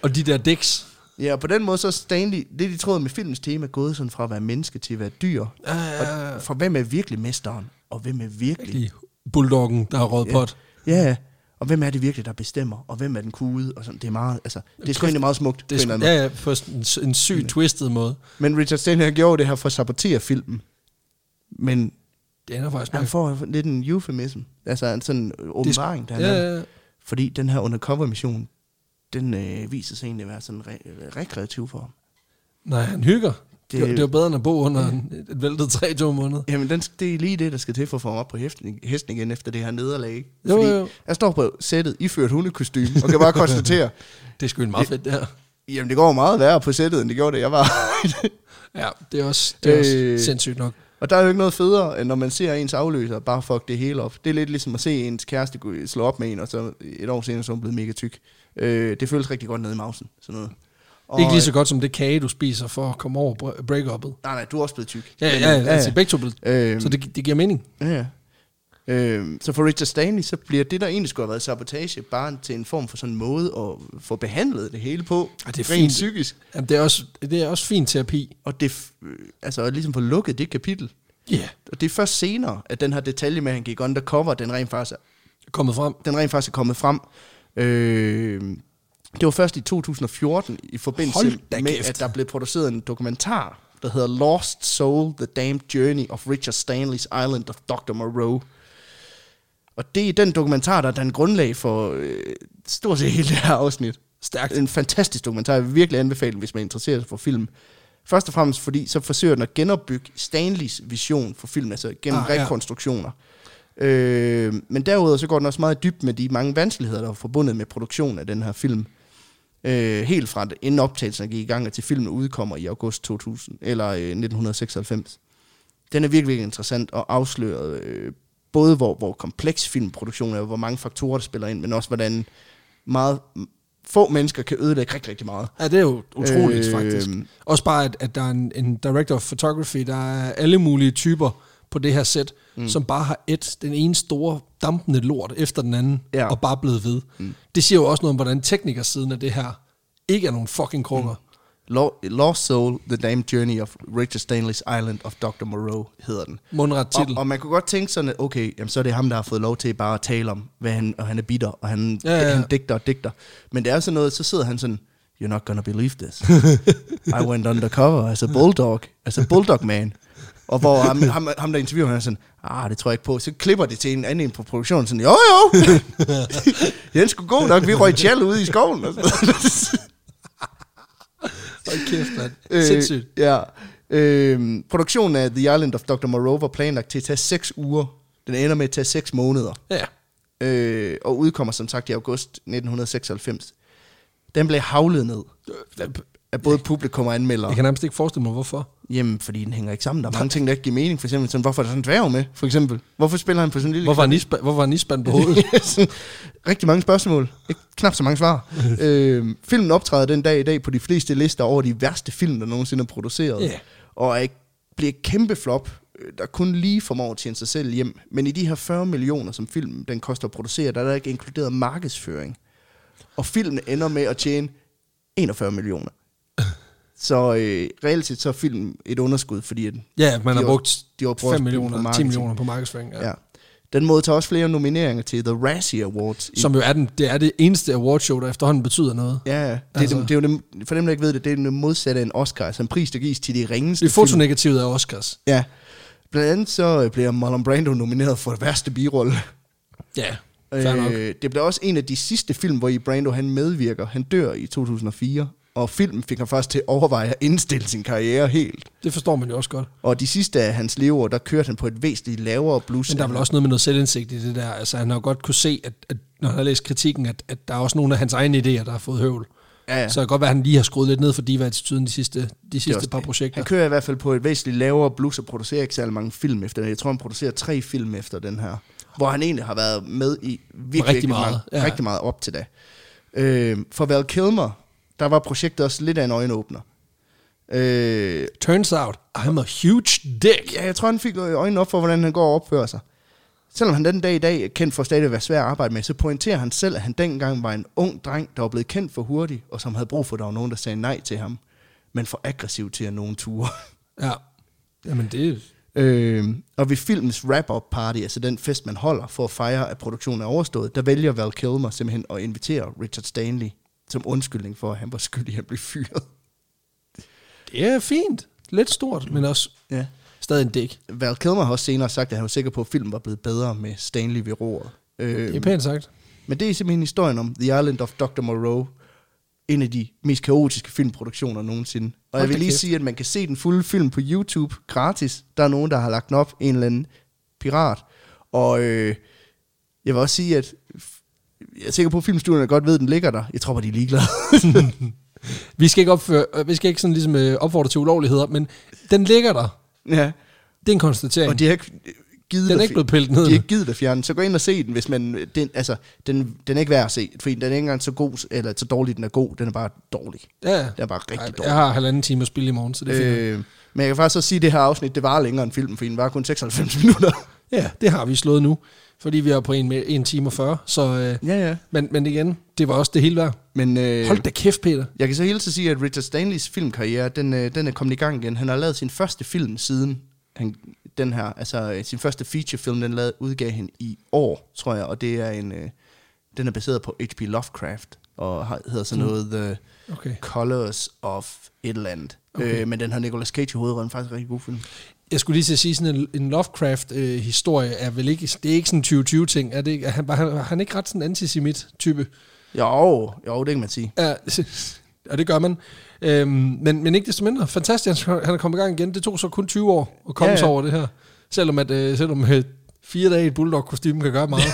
Speaker 1: Og de der dæks.
Speaker 2: Ja, og på den måde så er Stanley lidt i tråd med filmens tema gået sådan fra at være menneske til at være dyr.
Speaker 1: Ja, ja, ja.
Speaker 2: Og fra hvem er virkelig mesteren, og hvem er virkelig...
Speaker 1: I bulldoggen, der har råd pot.
Speaker 2: Ja, og hvem er det virkelig, der bestemmer, og hvem er den kude, og sådan. Det er meget, altså, det er sgu egentlig meget smukt. på en
Speaker 1: Det
Speaker 2: eller
Speaker 1: er,
Speaker 2: anden
Speaker 1: ja, ja, på sådan en, en syg,
Speaker 2: Mm.
Speaker 1: twisted måde.
Speaker 2: måde. Men Richard Stanley har gjort det her for at sabotere filmen. Men
Speaker 1: Det ender faktisk
Speaker 2: Han
Speaker 1: med.
Speaker 2: får lidt en euphemism, altså en sådan åbenbaring, der
Speaker 1: Ja,
Speaker 2: ja, ja.
Speaker 1: ja, ja.
Speaker 2: Fordi den her undercover-mission, den øh, viser sig egentlig at være sådan re- rekreativ for ham.
Speaker 1: Nej, han hygger. Det,
Speaker 2: Det-
Speaker 1: det, var bedre end at bo under en, et væltet træ i to måneder.
Speaker 2: Jamen, den, det er lige det, der skal til for at få ham op på hesten, hesten igen efter det her nederlag. ikke?
Speaker 1: Jo,
Speaker 2: Fordi
Speaker 1: jo, jo.
Speaker 2: jeg står på sættet, iført hundekostyme, og kan bare konstatere,
Speaker 1: Det er sgu en meget fedt, det her.
Speaker 2: jamen det går meget værre på sættet, end det gjorde, da jeg var.
Speaker 1: Ja, det er også, det er øh,
Speaker 2: Øh.
Speaker 1: også sindssygt nok.
Speaker 2: og der er jo ikke noget federe, end når man ser ens afløser bare fuck det hele op. Det er lidt ligesom at se ens kæreste gå- slå op med en, og så et år senere, så er hun blevet mega tyk. Øh, det føles rigtig godt nede i mausen, sådan noget. Og,
Speaker 1: Ikke lige så godt som det kage, du spiser for at komme over bre- break-uppet.
Speaker 2: Nej, nej, du er også blevet tyk.
Speaker 1: Ja, ja, ja, altså begge to blev,
Speaker 2: Øhm,
Speaker 1: Så det, det giver mening.
Speaker 2: ja, ja. Øhm, så for Richard Stanley, så bliver det, der egentlig skulle have været sabotage, bare til en form for sådan en måde at få behandlet det hele på.
Speaker 1: Ja, det er
Speaker 2: rent
Speaker 1: fint.
Speaker 2: psykisk.
Speaker 1: Jamen, det, er også, det er også fin terapi.
Speaker 2: Og det, f- øh, altså at ligesom få lukket det kapitel.
Speaker 1: Ja, yeah.
Speaker 2: Og det er først senere, at den her detalje med, at han gik undercover, den rent faktisk er,
Speaker 1: kommet frem.
Speaker 2: den rent faktisk er kommet frem. Øh, det var først i 2014, i forbindelse
Speaker 1: Hold da
Speaker 2: med,
Speaker 1: kæft.
Speaker 2: at der blev produceret en dokumentar, der hedder Lost Soul, The Damned Journey of Richard Stanley's Island of Dr. Moreau. Og det er den dokumentar, der er en grundlag for øh, stort set hele det her afsnit.
Speaker 1: Stærkt.
Speaker 2: En fantastisk dokumentar, jeg vil virkelig anbefale, den, hvis man interesserer sig for film. Først og fremmest fordi, så forsøger den at genopbygge Stanleys vision for film, altså gennem
Speaker 1: Ah,
Speaker 2: ah,
Speaker 1: ja.
Speaker 2: rekonstruktioner. Ja. Øh, men derudover så går den også meget dybt med de mange vanskeligheder, der er forbundet med produktionen af den her film. Øh, helt fra det, inden optagelsen gik i gang, og til filmen udkommer i august 2000, eller øh, 1996 den er virkelig, virkelig interessant og afsløret øh, både hvor, hvor kompleks filmproduktionen er, og hvor mange faktorer, der spiller ind, men også hvordan meget få mennesker kan ødelægge rigtig, rigtig meget.
Speaker 1: Ja, det er jo utroligt, øh,
Speaker 2: Øh,
Speaker 1: faktisk. Også bare, at, at der er en, en director of photography, der er alle mulige typer på det her sæt, mm. som bare har et, den ene store dampende lort efter den anden, ja.
Speaker 2: Ja.
Speaker 1: og bare blevet ved. Mm. Det siger jo også noget om, hvordan teknikersiden af det her ikke er nogen fucking krukker. Mm.
Speaker 2: Lo- Lost Soul, The Damned Journey of Richard Stanley's Island of Dr. Moreau hedder den.
Speaker 1: Mundret titel.
Speaker 2: Og, og man kunne godt tænke sådan, at okay, jamen, så er det ham, der har fået lov til bare at tale om, hvad han, og han er bitter, og han,
Speaker 1: Ja, ja, ja.
Speaker 2: han digter og digter. Men det er sådan noget, så sidder han sådan, you're not gonna believe this. I went undercover as a bulldog, as a bulldog man. Og hvor ham, ham, ham der interviewer, han er sådan, ah, det tror jeg ikke på. Så klipper det til en anden på produktionen, sådan, jo jo, Jens skulle god nok, vi røg tjal ude i skoven. Og sådan.
Speaker 1: Hold kæft, mand.
Speaker 2: Øh,
Speaker 1: Sindssygt.
Speaker 2: Ja. Øh, produktionen af The Island of Dr. Moreau var planlagt til at tage 6 uger. Den ender med at tage 6 måneder.
Speaker 1: Ja.
Speaker 2: Øh, og udkommer som sagt i august 1996. Den blev havlet ned af både publikum og anmeldere.
Speaker 1: Jeg kan nærmest ikke forestille mig, hvorfor.
Speaker 2: Jamen, fordi den hænger ikke sammen. Der er mange ting, der ikke giver mening. For eksempel, sådan, hvorfor er der sådan en dværg med? For eksempel, hvorfor spiller han på sådan en lille...
Speaker 1: Hvorfor er nisba- hvorfor er nisband på hovedet?
Speaker 2: Sådan Rigtig mange spørgsmål. Ikke knap så mange svar. øhm, filmen optræder den dag i dag på de fleste lister over de værste film, der nogensinde er produceret.
Speaker 1: Ja.
Speaker 2: Og er ikke, bliver et kæmpe flop, øh, der kun lige formår at tjene sig selv hjem. Men i de her 40 millioner, som filmen den koster at producere, der er der ikke inkluderet markedsføring. Og filmen ender med at tjene 41 millioner. Så øh, reelt set så er filmen et underskud, fordi at
Speaker 1: ja, man
Speaker 2: De
Speaker 1: har
Speaker 2: har-
Speaker 1: brugt
Speaker 2: de har brugt
Speaker 1: 5
Speaker 2: på
Speaker 1: millioner, 10
Speaker 2: marketing.
Speaker 1: millioner på markedsføring. Ja.
Speaker 2: ja. den modtager også flere nomineringer til The Razzie Awards i
Speaker 1: Som jo er, den, det er det eneste awardshow, der efterhånden betyder noget.
Speaker 2: Ja, ja. det,
Speaker 1: Altså.
Speaker 2: altså. det, det er jo dem, for dem, der ikke ved det, det er den modsatte af en Oscar, altså en pris, der gives til de ringeste
Speaker 1: Det er fotonegativet af Oscars.
Speaker 2: film. Ja. Blandt andet så øh, bliver Marlon Brando nomineret for værste birolle.
Speaker 1: Ja, fair nok.
Speaker 2: Øh, det blev også en af de sidste film, hvor i Brando han medvirker. Han dør i 2004, og filmen fik ham først til at overveje at indstille sin karriere helt.
Speaker 1: Det forstår man jo også godt.
Speaker 2: Og de sidste af hans leveår, der kørte han på et væsentligt lavere blus.
Speaker 1: Men der er vel også noget med noget selvindsigt i det der. Altså, han har jo godt kunne se, at, at når han har læst kritikken, at, at der er også nogle af hans egne idéer, der har fået høvl.
Speaker 2: Ja, ja.
Speaker 1: Så det kan godt være, at han lige har skruet lidt ned for diva-attituden de sidste, de
Speaker 2: Det er
Speaker 1: sidste
Speaker 2: også
Speaker 1: par
Speaker 2: det.
Speaker 1: projekter.
Speaker 2: Han kører i hvert fald på et væsentligt lavere blus og producerer ikke særlig mange film efter det. Jeg tror, han producerer tre film efter den her. Hvor han egentlig har været med i virkelig,
Speaker 1: Rigtig
Speaker 2: rigtig,
Speaker 1: meget,
Speaker 2: meget, mange,
Speaker 1: ja.
Speaker 2: ja. rigtig meget op til det. Øh, for Val Kilmer, der var projektet også lidt af en øjenåbner. Øh,
Speaker 1: Turns out, I'm a huge dick.
Speaker 2: ja, jeg tror, han fik øjnene op for, hvordan han går og opfører sig. Selvom han den dag i dag er kendt for stadig at være svær at arbejde med, så pointerer han selv, at han dengang var en ung dreng, der var blevet kendt for hurtigt, og som havde brug for, at der var nogen, der sagde nej til ham, men for aggressiv til at nogen ture.
Speaker 1: Ja. Jamen, det,
Speaker 2: Øh, og ved filmens wrap-up party, altså den fest, man holder for at fejre, at produktionen er overstået, der vælger Val Kilmer simpelthen at invitere Richard Stanley som undskyldning for, at han var skyldig at blive fyret.
Speaker 1: det er fint. Lidt stort, men også
Speaker 2: Ja.
Speaker 1: stadig en dick.
Speaker 2: Val Kilmer har også senere sagt, at han var sikker på, at filmen var blevet bedre med Stanley ved roret.
Speaker 1: Det
Speaker 2: Øh,
Speaker 1: er pænt sagt.
Speaker 2: men det er simpelthen historien om The Island of Dr. Moreau, en af de mest kaotiske filmproduktioner nogensinde. Og
Speaker 1: Hold
Speaker 2: jeg
Speaker 1: da
Speaker 2: vil lige
Speaker 1: kæft.
Speaker 2: sige, at man kan se den fulde film på YouTube gratis. Der er nogen, der har lagt den op, en eller anden pirat. Og øh, jeg vil også sige, at f- jeg er sikker på, at filmstudierne godt ved, at den ligger der. Jeg tror bare, de er ligeglade.
Speaker 1: Vi skal ikke, opføre, øh, vi skal ikke sådan ligesom øh, opfordre til ulovligheder, men den ligger der.
Speaker 2: ja.
Speaker 1: Det er en konstatering.
Speaker 2: Og de har ikke givet
Speaker 1: Den er
Speaker 2: at
Speaker 1: ikke
Speaker 2: fi-
Speaker 1: blevet pillet ned
Speaker 2: De
Speaker 1: nu.
Speaker 2: har ikke givet at fjerne. den. Så gå ind og se den, hvis man... Den, altså, den, den er ikke værd at se, fordi den er ikke engang så god, eller så dårlig, den er god. Den er bare dårlig.
Speaker 1: ja, ja.
Speaker 2: Den er bare rigtig
Speaker 1: Ej,
Speaker 2: dårlig.
Speaker 1: Jeg har halvanden time at spille i morgen, så det er fint.
Speaker 2: Øh, men jeg kan faktisk også sige, at det her afsnit, det var længere end filmen, for den var kun 96 minutter.
Speaker 1: Ja, det har vi slået nu, fordi vi er på en, med- en time og 40. Så, øh,
Speaker 2: ja, ja.
Speaker 1: men, men igen, det var også det hele værd.
Speaker 2: Men øh,
Speaker 1: Hold da kæft, Peter.
Speaker 2: jeg kan så hele tiden sige, at Richard Stanleys filmkarriere, den, øh, den er kommet i gang igen. Han har lavet sin første film siden han, den her, altså øh, sin første featurefilm, den lavede, udgav han i år, tror jeg, og det er en, øh, den er baseret på H.P. Lovecraft, og har, hedder sådan noget The
Speaker 1: Okay.
Speaker 2: Colors of et eller andet. Okay. Øh, men den har Nicolas Cage i hovedrollen, faktisk en rigtig god film.
Speaker 1: Jeg skulle lige til at sige, sådan en, en Lovecraft-historie er vel ikke, det er ikke sådan en 2020-ting. Er, det ikke, er han, var han, var han ikke ret sådan en antisemit-type?
Speaker 2: Jo, jo, det kan man sige.
Speaker 1: Ja, og det gør man. Øhm, men, men ikke desto mindre. Fantastisk, han han er kommet i gang igen. Det tog så kun 20 år at komme ja,
Speaker 2: Ja, ja.
Speaker 1: ja. sig over det her. Selvom, at, øh, selvom øh, fire dage i et bulldog-kostyme kan gøre meget.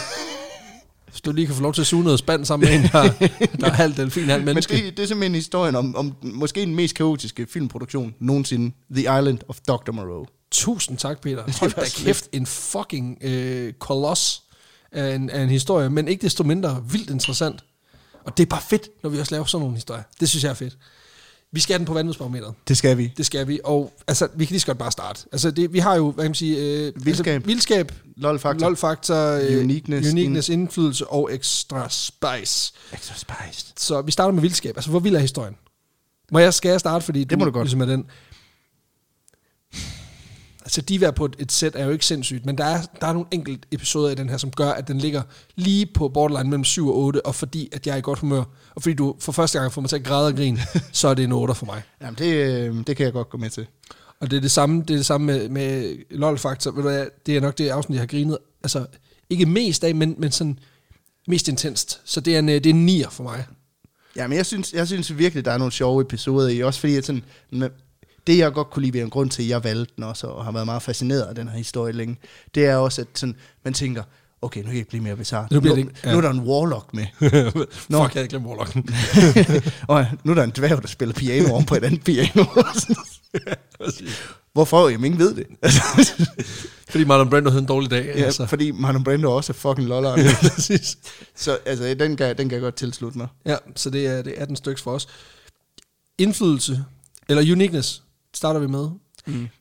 Speaker 1: Hvis du lige kan få lov til at suge noget spand sammen med en, der, der er halvt delfin, halvt menneske.
Speaker 2: Men det, det er simpelthen historien om, om måske den mest kaotiske filmproduktion nogensinde. The Island of Dr. Moreau.
Speaker 1: Tusind tak, Peter.
Speaker 2: Det
Speaker 1: Hold
Speaker 2: var
Speaker 1: da
Speaker 2: så
Speaker 1: kæft, en fucking øh, koloss af en, af en historie, men ikke desto mindre vildt interessant. Og det er bare fedt, når vi også laver sådan nogle historier. Det synes jeg er fedt. Vi skal have den på vandhedsbarometeret.
Speaker 2: Det skal vi.
Speaker 1: Det skal vi, og altså, vi kan lige så godt bare starte. Altså, det, vi har jo, hvad kan man sige... Øh,
Speaker 2: Vildskab.
Speaker 1: Altså, vildskab,
Speaker 2: LOL Factor. LOL.
Speaker 1: lol-faktor, øh,
Speaker 2: Uniqueness.
Speaker 1: uniqueness indflydelse og extra spice.
Speaker 2: Extra spiced.
Speaker 1: Så vi starter med vildskab. Altså, hvor vild er historien? Må jeg, skal jeg starte, fordi
Speaker 2: Det må du godt.
Speaker 1: Ligesom er den. Altså, de er på et, et sæt er jo ikke sindssygt, men der er, der er nogle enkelte episoder i den her, som gør, at den ligger lige på borderline mellem 7 og 8, og fordi at jeg er i godt humør, og fordi du for første gang får mig til at græde og grine, så er det en 8 for mig.
Speaker 2: Jamen, det, øh, det kan jeg godt gå med til.
Speaker 1: Og det er det samme, det er det samme med, med LOL-faktor. Ved du hvad, det er nok det afsnit, jeg har grinet. Altså, ikke mest af, men, men sådan mest intenst. Så det er en, øh, det er en nier for mig.
Speaker 2: Jamen, jeg synes, jeg synes virkelig, der er nogle sjove episoder i. Også fordi, at sådan, men det jeg godt kunne lide ved en grund til, at jeg valgte den også, og har været meget fascineret af den her historie længe, det er også, at sådan, man tænker, okay, nu kan jeg ikke blive mere bizarre.
Speaker 1: Nu bliver
Speaker 2: nu,
Speaker 1: det ikke- ja.
Speaker 2: nu er der en warlock med.
Speaker 1: Nå. Fuck, jeg havde glemt Warlocken.
Speaker 2: og nu er der en dværg, der spiller piano om på et andet piano. Hvorfor? Jamen, ingen ved det.
Speaker 1: Fordi Marlon Brando havde en dårlig dag.
Speaker 2: Ja, altså. fordi Marlon Brando også er fucking lolleren.
Speaker 1: præcis.
Speaker 2: så altså, den kan, den kan jeg godt tilslutte mig.
Speaker 1: Ja, så det er, det er 18 styks for os. Indflydelse, eller uniqueness, starter vi med.
Speaker 2: Mm.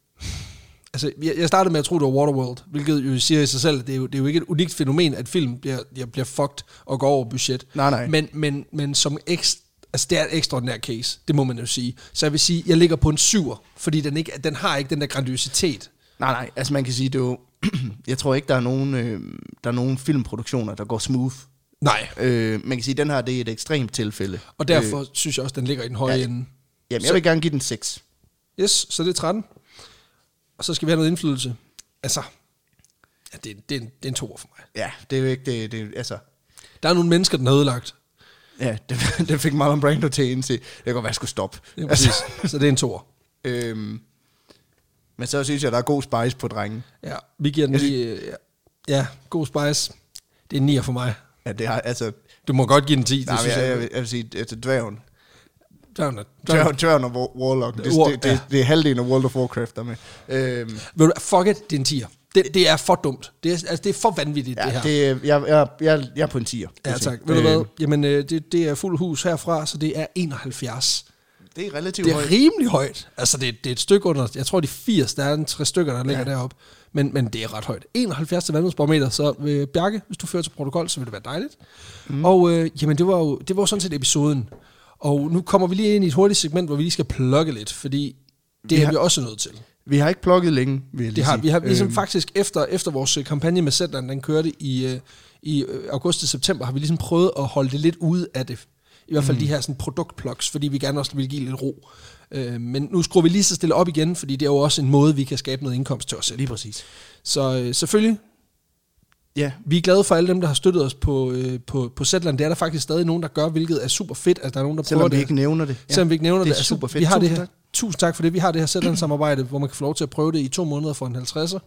Speaker 1: Altså, jeg, jeg startede med at tro, det var Waterworld, hvilket jo siger i sig selv, det er jo, det er jo ikke et unikt fænomen, at film bliver, jeg bliver fucked og går over budget.
Speaker 2: Nej, nej.
Speaker 1: Men, men, men som ekstra, altså, det er et ekstraordinær case, det må man jo sige. Så jeg vil sige, jeg ligger på en syver, fordi den, ikke, den har ikke den der grandiositet.
Speaker 2: Nej, nej, altså man kan sige, det er jo... jeg tror ikke, der er, nogen, øh, der er nogen filmproduktioner, der går smooth.
Speaker 1: Nej,
Speaker 2: Øh, man kan sige, at den her, det er et ekstremt tilfælde.
Speaker 1: og derfor øh, synes jeg også, den ligger i den høje
Speaker 2: ja.
Speaker 1: ja, ende.
Speaker 2: Jamen,
Speaker 1: Så-
Speaker 2: jeg vil gerne give den 6.
Speaker 1: Yes, så det er 13. Og så skal vi have noget indflydelse. Altså, ja, det, det, er en, det er en toer for mig.
Speaker 2: Ja, det er jo ikke... Det, det, altså,
Speaker 1: Der er nogle mennesker, den har ødelagt.
Speaker 2: ja, det, det fik Marlon Brando til at indse. Jeg kan godt være, jeg skulle stoppe.
Speaker 1: Det er
Speaker 2: altså,
Speaker 1: præcis. så det er en toer.
Speaker 2: øhm, men så synes jeg, der er god spice på drengen.
Speaker 1: Ja, vi giver den lige... øh, Ja, ja god spice. Det er en nier for mig.
Speaker 2: Ja, det har, altså,
Speaker 1: Du må godt give den 10, det
Speaker 2: nej, men
Speaker 1: synes
Speaker 2: jeg,
Speaker 1: jeg.
Speaker 2: jeg, vil, jeg vil sige, at dværgen,
Speaker 1: Dørene.
Speaker 2: Djør- Djørn og Wa- Warlock. Det,
Speaker 1: War-
Speaker 2: det, det,
Speaker 1: ja.
Speaker 2: det er halvdelen af World of Warcraft, der er med. Øhm,
Speaker 1: Ved du hvad, Fuck it, det er en tier. Det, det er for dumt. Det er, altså, det er for vanvittigt, ja, det
Speaker 2: ja,
Speaker 1: her.
Speaker 2: det er, jeg, jeg, jeg, jeg er på en 10'er.
Speaker 1: ja, tak. Ved du hvad? Jamen, øh, det, det er fuld hus herfra, så det er 71.
Speaker 2: Øhm, Det er relativt
Speaker 1: Det
Speaker 2: højt.
Speaker 1: er rimelig højt. Altså, det, det er et stykke under... Jeg tror, de 80, der er en tre stykker, der ligger ja. deroppe. Men, men det er ret højt. 71 til vandringsbarometer, så øh, Bjarke, hvis du fører til protokol, så vil det være dejligt. Mm. Og øh, jamen, det var jo det var jo sådan set episoden. Og nu kommer vi lige ind i et hurtigt segment, hvor vi lige skal plukke lidt, fordi det
Speaker 2: Vi
Speaker 1: vi er
Speaker 2: har-
Speaker 1: vi også nødt til.
Speaker 2: Vi har ikke plukket længe, vil jeg lige
Speaker 1: Det har,
Speaker 2: sige.
Speaker 1: vi har ligesom øhm. faktisk efter, efter vores øh, kampagne med Zetland, den kørte i, øh, i øh, august og september, har vi ligesom prøvet at holde det lidt ude af det. I hvert fald mm. de her sådan, produktplugs, fordi vi gerne også vil give lidt ro. Øh, men nu skruer vi lige så stille op igen, fordi det er jo også en måde, vi kan skabe noget indkomst til os selv.
Speaker 2: Lige præcis.
Speaker 1: Så øh, selvfølgelig,
Speaker 2: Øhm, Ja,
Speaker 1: vi er glade for alle dem, der har støttet os på, øh, på, på Zetland. Det er der faktisk stadig nogen, der gør, hvilket er super fedt, at der er nogen, der prøver
Speaker 2: selvom vi
Speaker 1: det.
Speaker 2: ikke nævner det.
Speaker 1: Ja, selvom vi ikke nævner det. altså,
Speaker 2: det er super fedt.
Speaker 1: Vi har det
Speaker 2: Tusind
Speaker 1: her,
Speaker 2: tak.
Speaker 1: Tusind tak for det. Vi har det her Zetland-samarbejde, hvor man kan få lov til at prøve det i to måneder for en 50'er.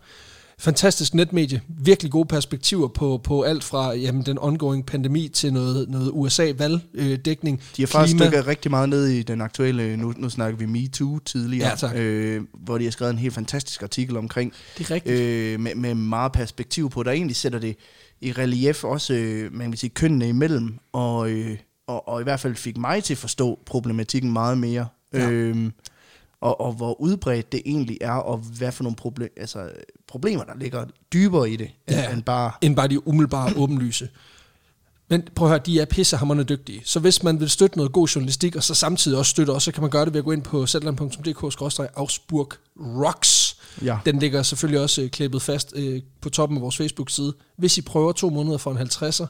Speaker 1: Fantastisk netmedie. Virkelig gode perspektiver på, på alt fra jamen, den ongoing pandemi til noget, noget USA-valgdækning.
Speaker 2: De har faktisk dykket rigtig meget ned i den aktuelle, nu, nu snakker vi MeToo tidligere,
Speaker 1: Ja, tak.
Speaker 2: øh, hvor de har skrevet en helt fantastisk artikel omkring,
Speaker 1: Det er rigtigt.
Speaker 2: øh, med, med meget perspektiv på, der egentlig sætter det i relief også, øh, man kan sige, kønnene imellem, og, øh, og, og i hvert fald fik mig til at forstå problematikken meget mere,
Speaker 1: Ja.
Speaker 2: ja. øh, og, og hvor udbredt det egentlig er, og hvad for nogle proble- altså, problemer, der ligger dybere i det,
Speaker 1: Ja.
Speaker 2: ja. end bare
Speaker 1: end bare de umiddelbare åbenlyse. Men prøv at høre, de er pissehammerende dygtige. Så hvis man vil støtte noget god journalistik, og så samtidig også støtte os, så kan man gøre det ved at gå ind på zetland.dk-augsburg rocks.
Speaker 2: Ja.
Speaker 1: Den ligger selvfølgelig også øh, klippet fast øh, på toppen af vores Facebook-side. Hvis I prøver to måneder for en 50'er,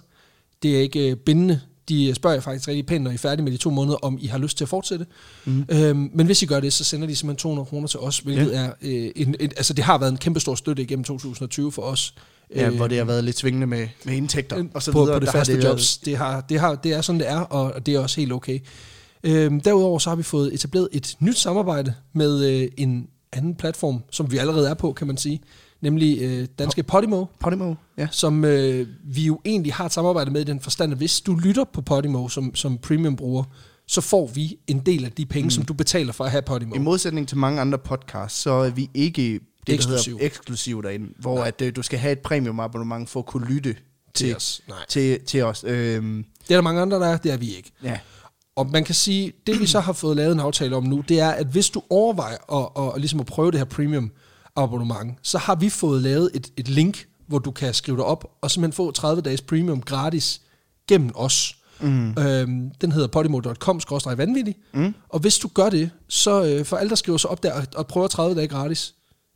Speaker 1: det er ikke øh, bindende. De spørger jer faktisk rigtig pænt, når I er færdige med de to måneder, om I har lyst til at fortsætte.
Speaker 2: Mhm.
Speaker 1: Mm. Øhm, men hvis I gør det, så sender de simpelthen 200 kroner til os, hvilket ja. er øh, en, en, altså det har været en kæmpe stor støtte igennem 2020 for os.
Speaker 2: Ja,
Speaker 1: Øh,
Speaker 2: hvor det har været lidt svingende med, med indtægter og så
Speaker 1: Øhm, på,
Speaker 2: videre.
Speaker 1: på det
Speaker 2: Der har
Speaker 1: faste det
Speaker 2: været-
Speaker 1: jobs. Det, har, det, har, det er sådan, det er, og og det er også helt okay. Øhm, derudover så har vi fået etableret et nyt samarbejde med øh, en anden platform, som vi allerede er på, kan man sige, nemlig øh, Danske Podimo,
Speaker 2: Podimo, ja.
Speaker 1: som øh, vi jo egentlig har et samarbejde med i den forstand, at hvis du lytter på Podimo som, som premium-bruger, så får vi en del af de penge, mm. som du betaler for at have Podimo.
Speaker 2: I modsætning til mange andre podcasts, så er vi ikke det, eksklusiv.
Speaker 1: Eksklusiv.
Speaker 2: hedder eksklusiv derinde, hvor at, øh, du skal have et premium abonnement for at kunne lytte til,
Speaker 1: os. Nej.
Speaker 2: til, til os. Øhm,
Speaker 1: Det er der mange andre, der er, det er vi ikke.
Speaker 2: ja.
Speaker 1: Og man kan sige, det vi så har fået lavet en aftale om nu, det er, at hvis du overvejer at, at, at, ligesom at prøve det her premium abonnement, så har vi fået lavet et, et link, hvor du kan skrive dig op og simpelthen få 30 dages premium gratis gennem os. Mm. Øhm, den hedder podimo.com vanvittig. Mm. Og hvis du gør det, så øh, for alle, der skriver sig op der og, og prøver 30 dage gratis,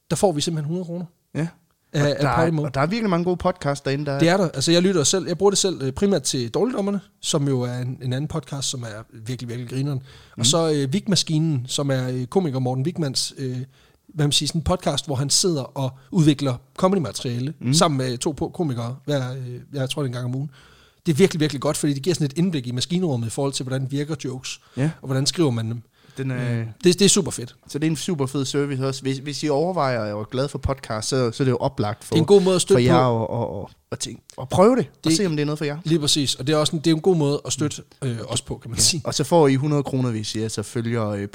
Speaker 1: der får vi simpelthen 100 kroner
Speaker 2: ja.
Speaker 1: af,
Speaker 2: Der
Speaker 1: af
Speaker 2: er,
Speaker 1: Podimo.
Speaker 2: og der er virkelig mange gode podcasts derinde, der
Speaker 1: Det er der. Altså, jeg lytter selv. Jeg bruger det selv øh, primært til Dårligdommerne, som jo er en, en anden podcast, som er virkelig, virkelig grineren. Mm.
Speaker 2: Mhm.
Speaker 1: Og så øh, Vigmaskinen, som er øh, komiker Morten Vigmans øh, hvad man siger, sådan en podcast, hvor han sidder og udvikler comedy-materiale
Speaker 2: Mhm.
Speaker 1: mm. sammen med to po- komikere, hver, øh, jeg tror det er en gang om ugen. Det er virkelig, virkelig godt, fordi det giver sådan et indblik i maskinrummet i forhold til, hvordan virker jokes,
Speaker 2: Ja.
Speaker 1: og hvordan skriver man dem.
Speaker 2: Den, øh,
Speaker 1: Det, det er super fedt.
Speaker 2: Så det er en super fed service også. Hvis, hvis I overvejer og er glad for podcast, så, så er det jo oplagt for,
Speaker 1: Det er en god måde at
Speaker 2: for
Speaker 1: støtte
Speaker 2: jer
Speaker 1: på.
Speaker 2: og, og, og, og, tænke, og prøve det, det, og
Speaker 1: Det-
Speaker 2: se om det er noget for jer.
Speaker 1: Lige præcis. Og det er også en, det er en god måde at støtte
Speaker 2: Mm.
Speaker 1: øh, os på, kan man sige.
Speaker 2: Og så får I 100 kroner, hvis I altså følger øh,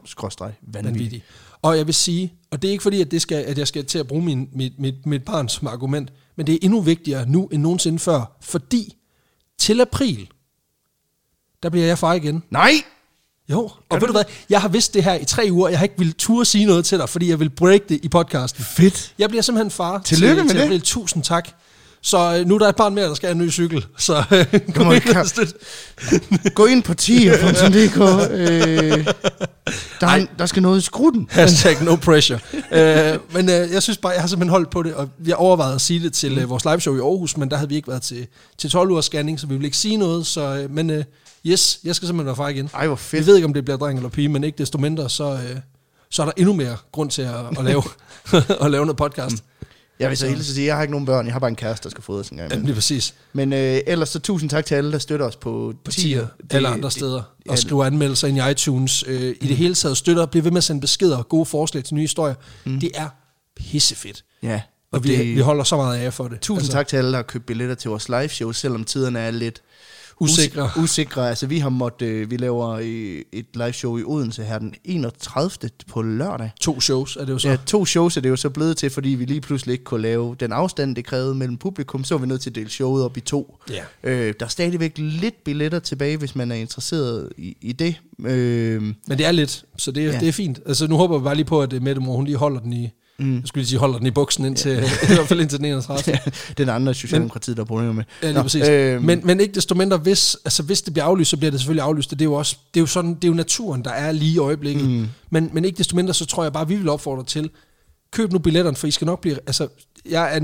Speaker 2: podimo.com-vanvittig.
Speaker 1: vanvittig. Og jeg vil sige, og det er ikke fordi, at, det skal, at jeg skal til at bruge min, mit, mit, mit barn som argument, men det er endnu vigtigere nu end nogensinde før, fordi til april, der bliver jeg far igen.
Speaker 2: Nej!
Speaker 1: Jo, og ved du hvad, jeg har vidst det her i tre uger, jeg har ikke ville turde sige noget til dig, fordi jeg vil break det i podcasten.
Speaker 2: Fedt.
Speaker 1: Jeg bliver simpelthen far
Speaker 2: Tillykke
Speaker 1: til,
Speaker 2: med
Speaker 1: til
Speaker 2: det.
Speaker 1: april. Tusind tak. Så øh, nu er der et barn mere, der skal have en ny cykel. Så øh, kom
Speaker 2: on,
Speaker 1: ind og
Speaker 2: Kar-
Speaker 1: støt.
Speaker 2: Gå ind på 10.dk. Øh, der, er- der skal noget i skrutten.
Speaker 1: Hashtag no pressure. øh, men øh, jeg synes bare, jeg har simpelthen holdt på det, og jeg overvejede at sige det til
Speaker 2: Mm.
Speaker 1: øh, vores liveshow i Aarhus, men der havde vi ikke været til, til 12 ugers scanning, så vi ville ikke sige noget. Så, øh, men øh, yes, jeg skal simpelthen være far igen.
Speaker 2: Ej, hvor
Speaker 1: Jeg
Speaker 2: fedt.
Speaker 1: ved ikke, om det bliver dreng eller pige, men ikke desto mindre, så, øh, så er der endnu mere grund til at, at, lave,
Speaker 2: Mm.
Speaker 1: at lave noget podcast.
Speaker 2: Jeg vil så hilse at sige, at jeg har ikke nogen børn. Jeg har bare en kæreste, der skal fodres en gang
Speaker 1: Jamen,
Speaker 2: imellem.
Speaker 1: lige præcis.
Speaker 2: Men øh, ellers så tusind tak til alle, der støtter os på,
Speaker 1: på tier, alle andre steder, og
Speaker 2: alt.
Speaker 1: skrive anmeldelser ind i iTunes. Øh,
Speaker 2: Mm.
Speaker 1: I det hele taget støtter, bliv ved med at sende beskeder og gode forslag til nye historier. Mm. Det er pissefedt.
Speaker 2: Ja,
Speaker 1: Og, og vi,
Speaker 2: det-
Speaker 1: vi holder så meget af jer for det. Altså,
Speaker 2: Tusind altså. tak til alle, der har købt billetter til vores live show, selvom tiderne er lidt
Speaker 1: usikre.
Speaker 2: Us- usikre. Altså, vi har måttet, øh, vi laver øh, et live show i Odense her den 31. på lørdag.
Speaker 1: To shows er det jo så.
Speaker 2: Ja, to shows er det jo så blevet til, fordi vi lige pludselig ikke kunne lave den afstand, det krævede mellem publikum, så var vi nødt til at dele showet op i to.
Speaker 1: Ja.
Speaker 2: Øh, der er stadigvæk lidt billetter tilbage, hvis man er interesseret i, i det. Øh,
Speaker 1: Men det er lidt, så det,
Speaker 2: Ja.
Speaker 1: ja. det er fint. Altså, nu håber vi bare lige på, at øh, Mette Mor, hun lige holder den i, mm. jeg skulle lige sige, holder den i buksen indtil, ja. i hvert fald indtil den 31. Ja,
Speaker 2: den andre Socialdemokratiet, der er problemer med.
Speaker 1: lige
Speaker 2: Nå,
Speaker 1: præcis.
Speaker 2: øhm,
Speaker 1: men, men ikke desto mindre, hvis, altså, hvis det bliver aflyst, så bliver det selvfølgelig aflyst, og det er jo også, det er jo sådan, det er jo naturen, der er lige i øjeblikket. Mm. Men, men ikke desto mindre, så tror jeg bare, vi vil opfordre til, køb nu billetterne, for I skal nok blive, altså, jeg er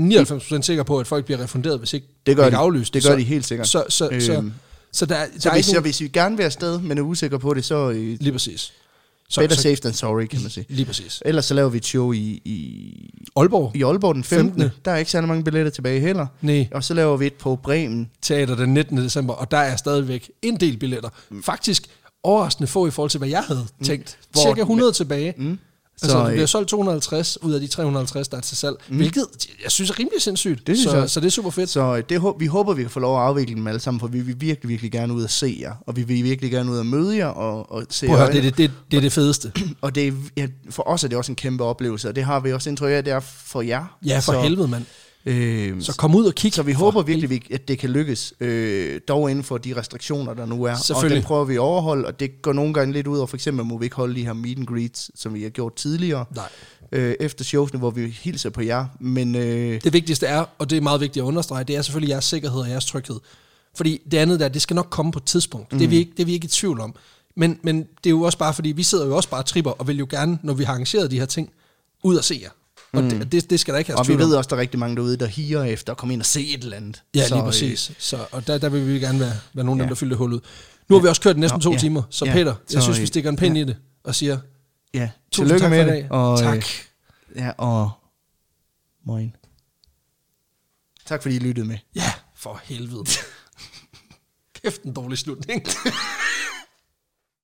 Speaker 1: 99% sikker på, at folk bliver refunderet, hvis ikke
Speaker 2: Det gør
Speaker 1: ikke
Speaker 2: de.
Speaker 1: aflyst.
Speaker 2: Det gør
Speaker 1: så,
Speaker 2: de helt sikkert.
Speaker 1: Så, så, så,
Speaker 2: Øhm,
Speaker 1: så, så der, der
Speaker 2: så,
Speaker 1: er
Speaker 2: hvis,
Speaker 1: ikke
Speaker 2: så
Speaker 1: nogen,
Speaker 2: hvis I gerne vil afsted, men er usikre på det, så øh,
Speaker 1: lige præcis. Så,
Speaker 2: better
Speaker 1: så,
Speaker 2: safe than sorry, kan man sige.
Speaker 1: lige præcis.
Speaker 2: Ellers så laver vi et show i, i,
Speaker 1: Aalborg?
Speaker 2: i Aalborg den 15.
Speaker 1: 15..
Speaker 2: 15. Der er ikke særlig mange billetter tilbage heller.
Speaker 1: Nej.
Speaker 2: Og så laver vi et på Bremen.
Speaker 1: teater den 19. december, og der er stadigvæk en del billetter. Faktisk overraskende få i forhold til, hvad jeg havde tænkt.
Speaker 2: Mm. Hvor-
Speaker 1: Cirka 100 tilbage. Mm.
Speaker 2: Så,
Speaker 1: Så, altså, vi
Speaker 2: øh,
Speaker 1: har solgt 250 ud af de 350, der er til salg, mm. hvilket jeg synes er rimelig sindssygt.
Speaker 2: Det synes
Speaker 1: så,
Speaker 2: jeg.
Speaker 1: så det er super fedt. Så,
Speaker 2: Så øh, det, hå- vi håber, vi kan få lov at afvikle dem alle sammen, for vi vil virkelig, virkelig gerne ud og se jer. Og vi vil virkelig gerne ud og møde jer og, og se
Speaker 1: Prøv at
Speaker 2: jer.
Speaker 1: høre, det, er det, det, det er det fedeste.
Speaker 2: Og det, er- ja, for os er det også en kæmpe oplevelse, og det har vi også indtryk af, det er for jer.
Speaker 1: Ja, for
Speaker 2: så,
Speaker 1: så, helvede, mand.
Speaker 2: Øh,
Speaker 1: Så kom ud og kig.
Speaker 2: Så vi håber virkelig, vi- at det kan lykkes, øh, dog inden for de restriktioner, der nu er. Og
Speaker 1: Selvfølgelig.
Speaker 2: dem prøver vi at overholde, og det går nogle gange lidt ud over, for eksempel må vi ikke holde de her meet and greets, som vi har gjort tidligere,
Speaker 1: Nej.
Speaker 2: øh, efter showsene, hvor vi hilser på jer. Men øh,
Speaker 1: Det vigtigste er, og det er meget vigtigt at understrege, det er selvfølgelig jeres sikkerhed og jeres tryghed. Fordi det andet der, det skal nok komme på et tidspunkt. Mm. Det, er vi ikke, det er vi ikke i tvivl om. Men, men det er jo også bare, fordi vi sidder jo også bare og tripper, og vil jo gerne, når vi har arrangeret de her ting, ud og se jer. Og mm. det, det, det skal der ikke have
Speaker 2: og vi
Speaker 1: tvivl om.
Speaker 2: ved også, der er rigtig mange derude, der higer efter at komme ind og se et eller andet.
Speaker 1: Ja,
Speaker 2: Så,
Speaker 1: lige
Speaker 2: øh,
Speaker 1: præcis. Så, og der, der vil vi gerne være, være nogen, ja. der fylder hullet. Nu har vi også kørt næsten
Speaker 2: Nå,
Speaker 1: to
Speaker 2: ja.
Speaker 1: timer, så
Speaker 2: Ja.
Speaker 1: Peter,
Speaker 2: Så,
Speaker 1: jeg synes,
Speaker 2: øh,
Speaker 1: vi stikker en pind ja. i det og siger,
Speaker 2: Ja,
Speaker 1: tusind
Speaker 2: tillykke
Speaker 1: tak
Speaker 2: med
Speaker 1: for i
Speaker 2: det.
Speaker 1: dag.
Speaker 2: Og, øh,
Speaker 1: tak.
Speaker 2: Ja, og moin. Tak fordi I lyttede med.
Speaker 1: Ja, for helvede. Kæft en dårlig slutning.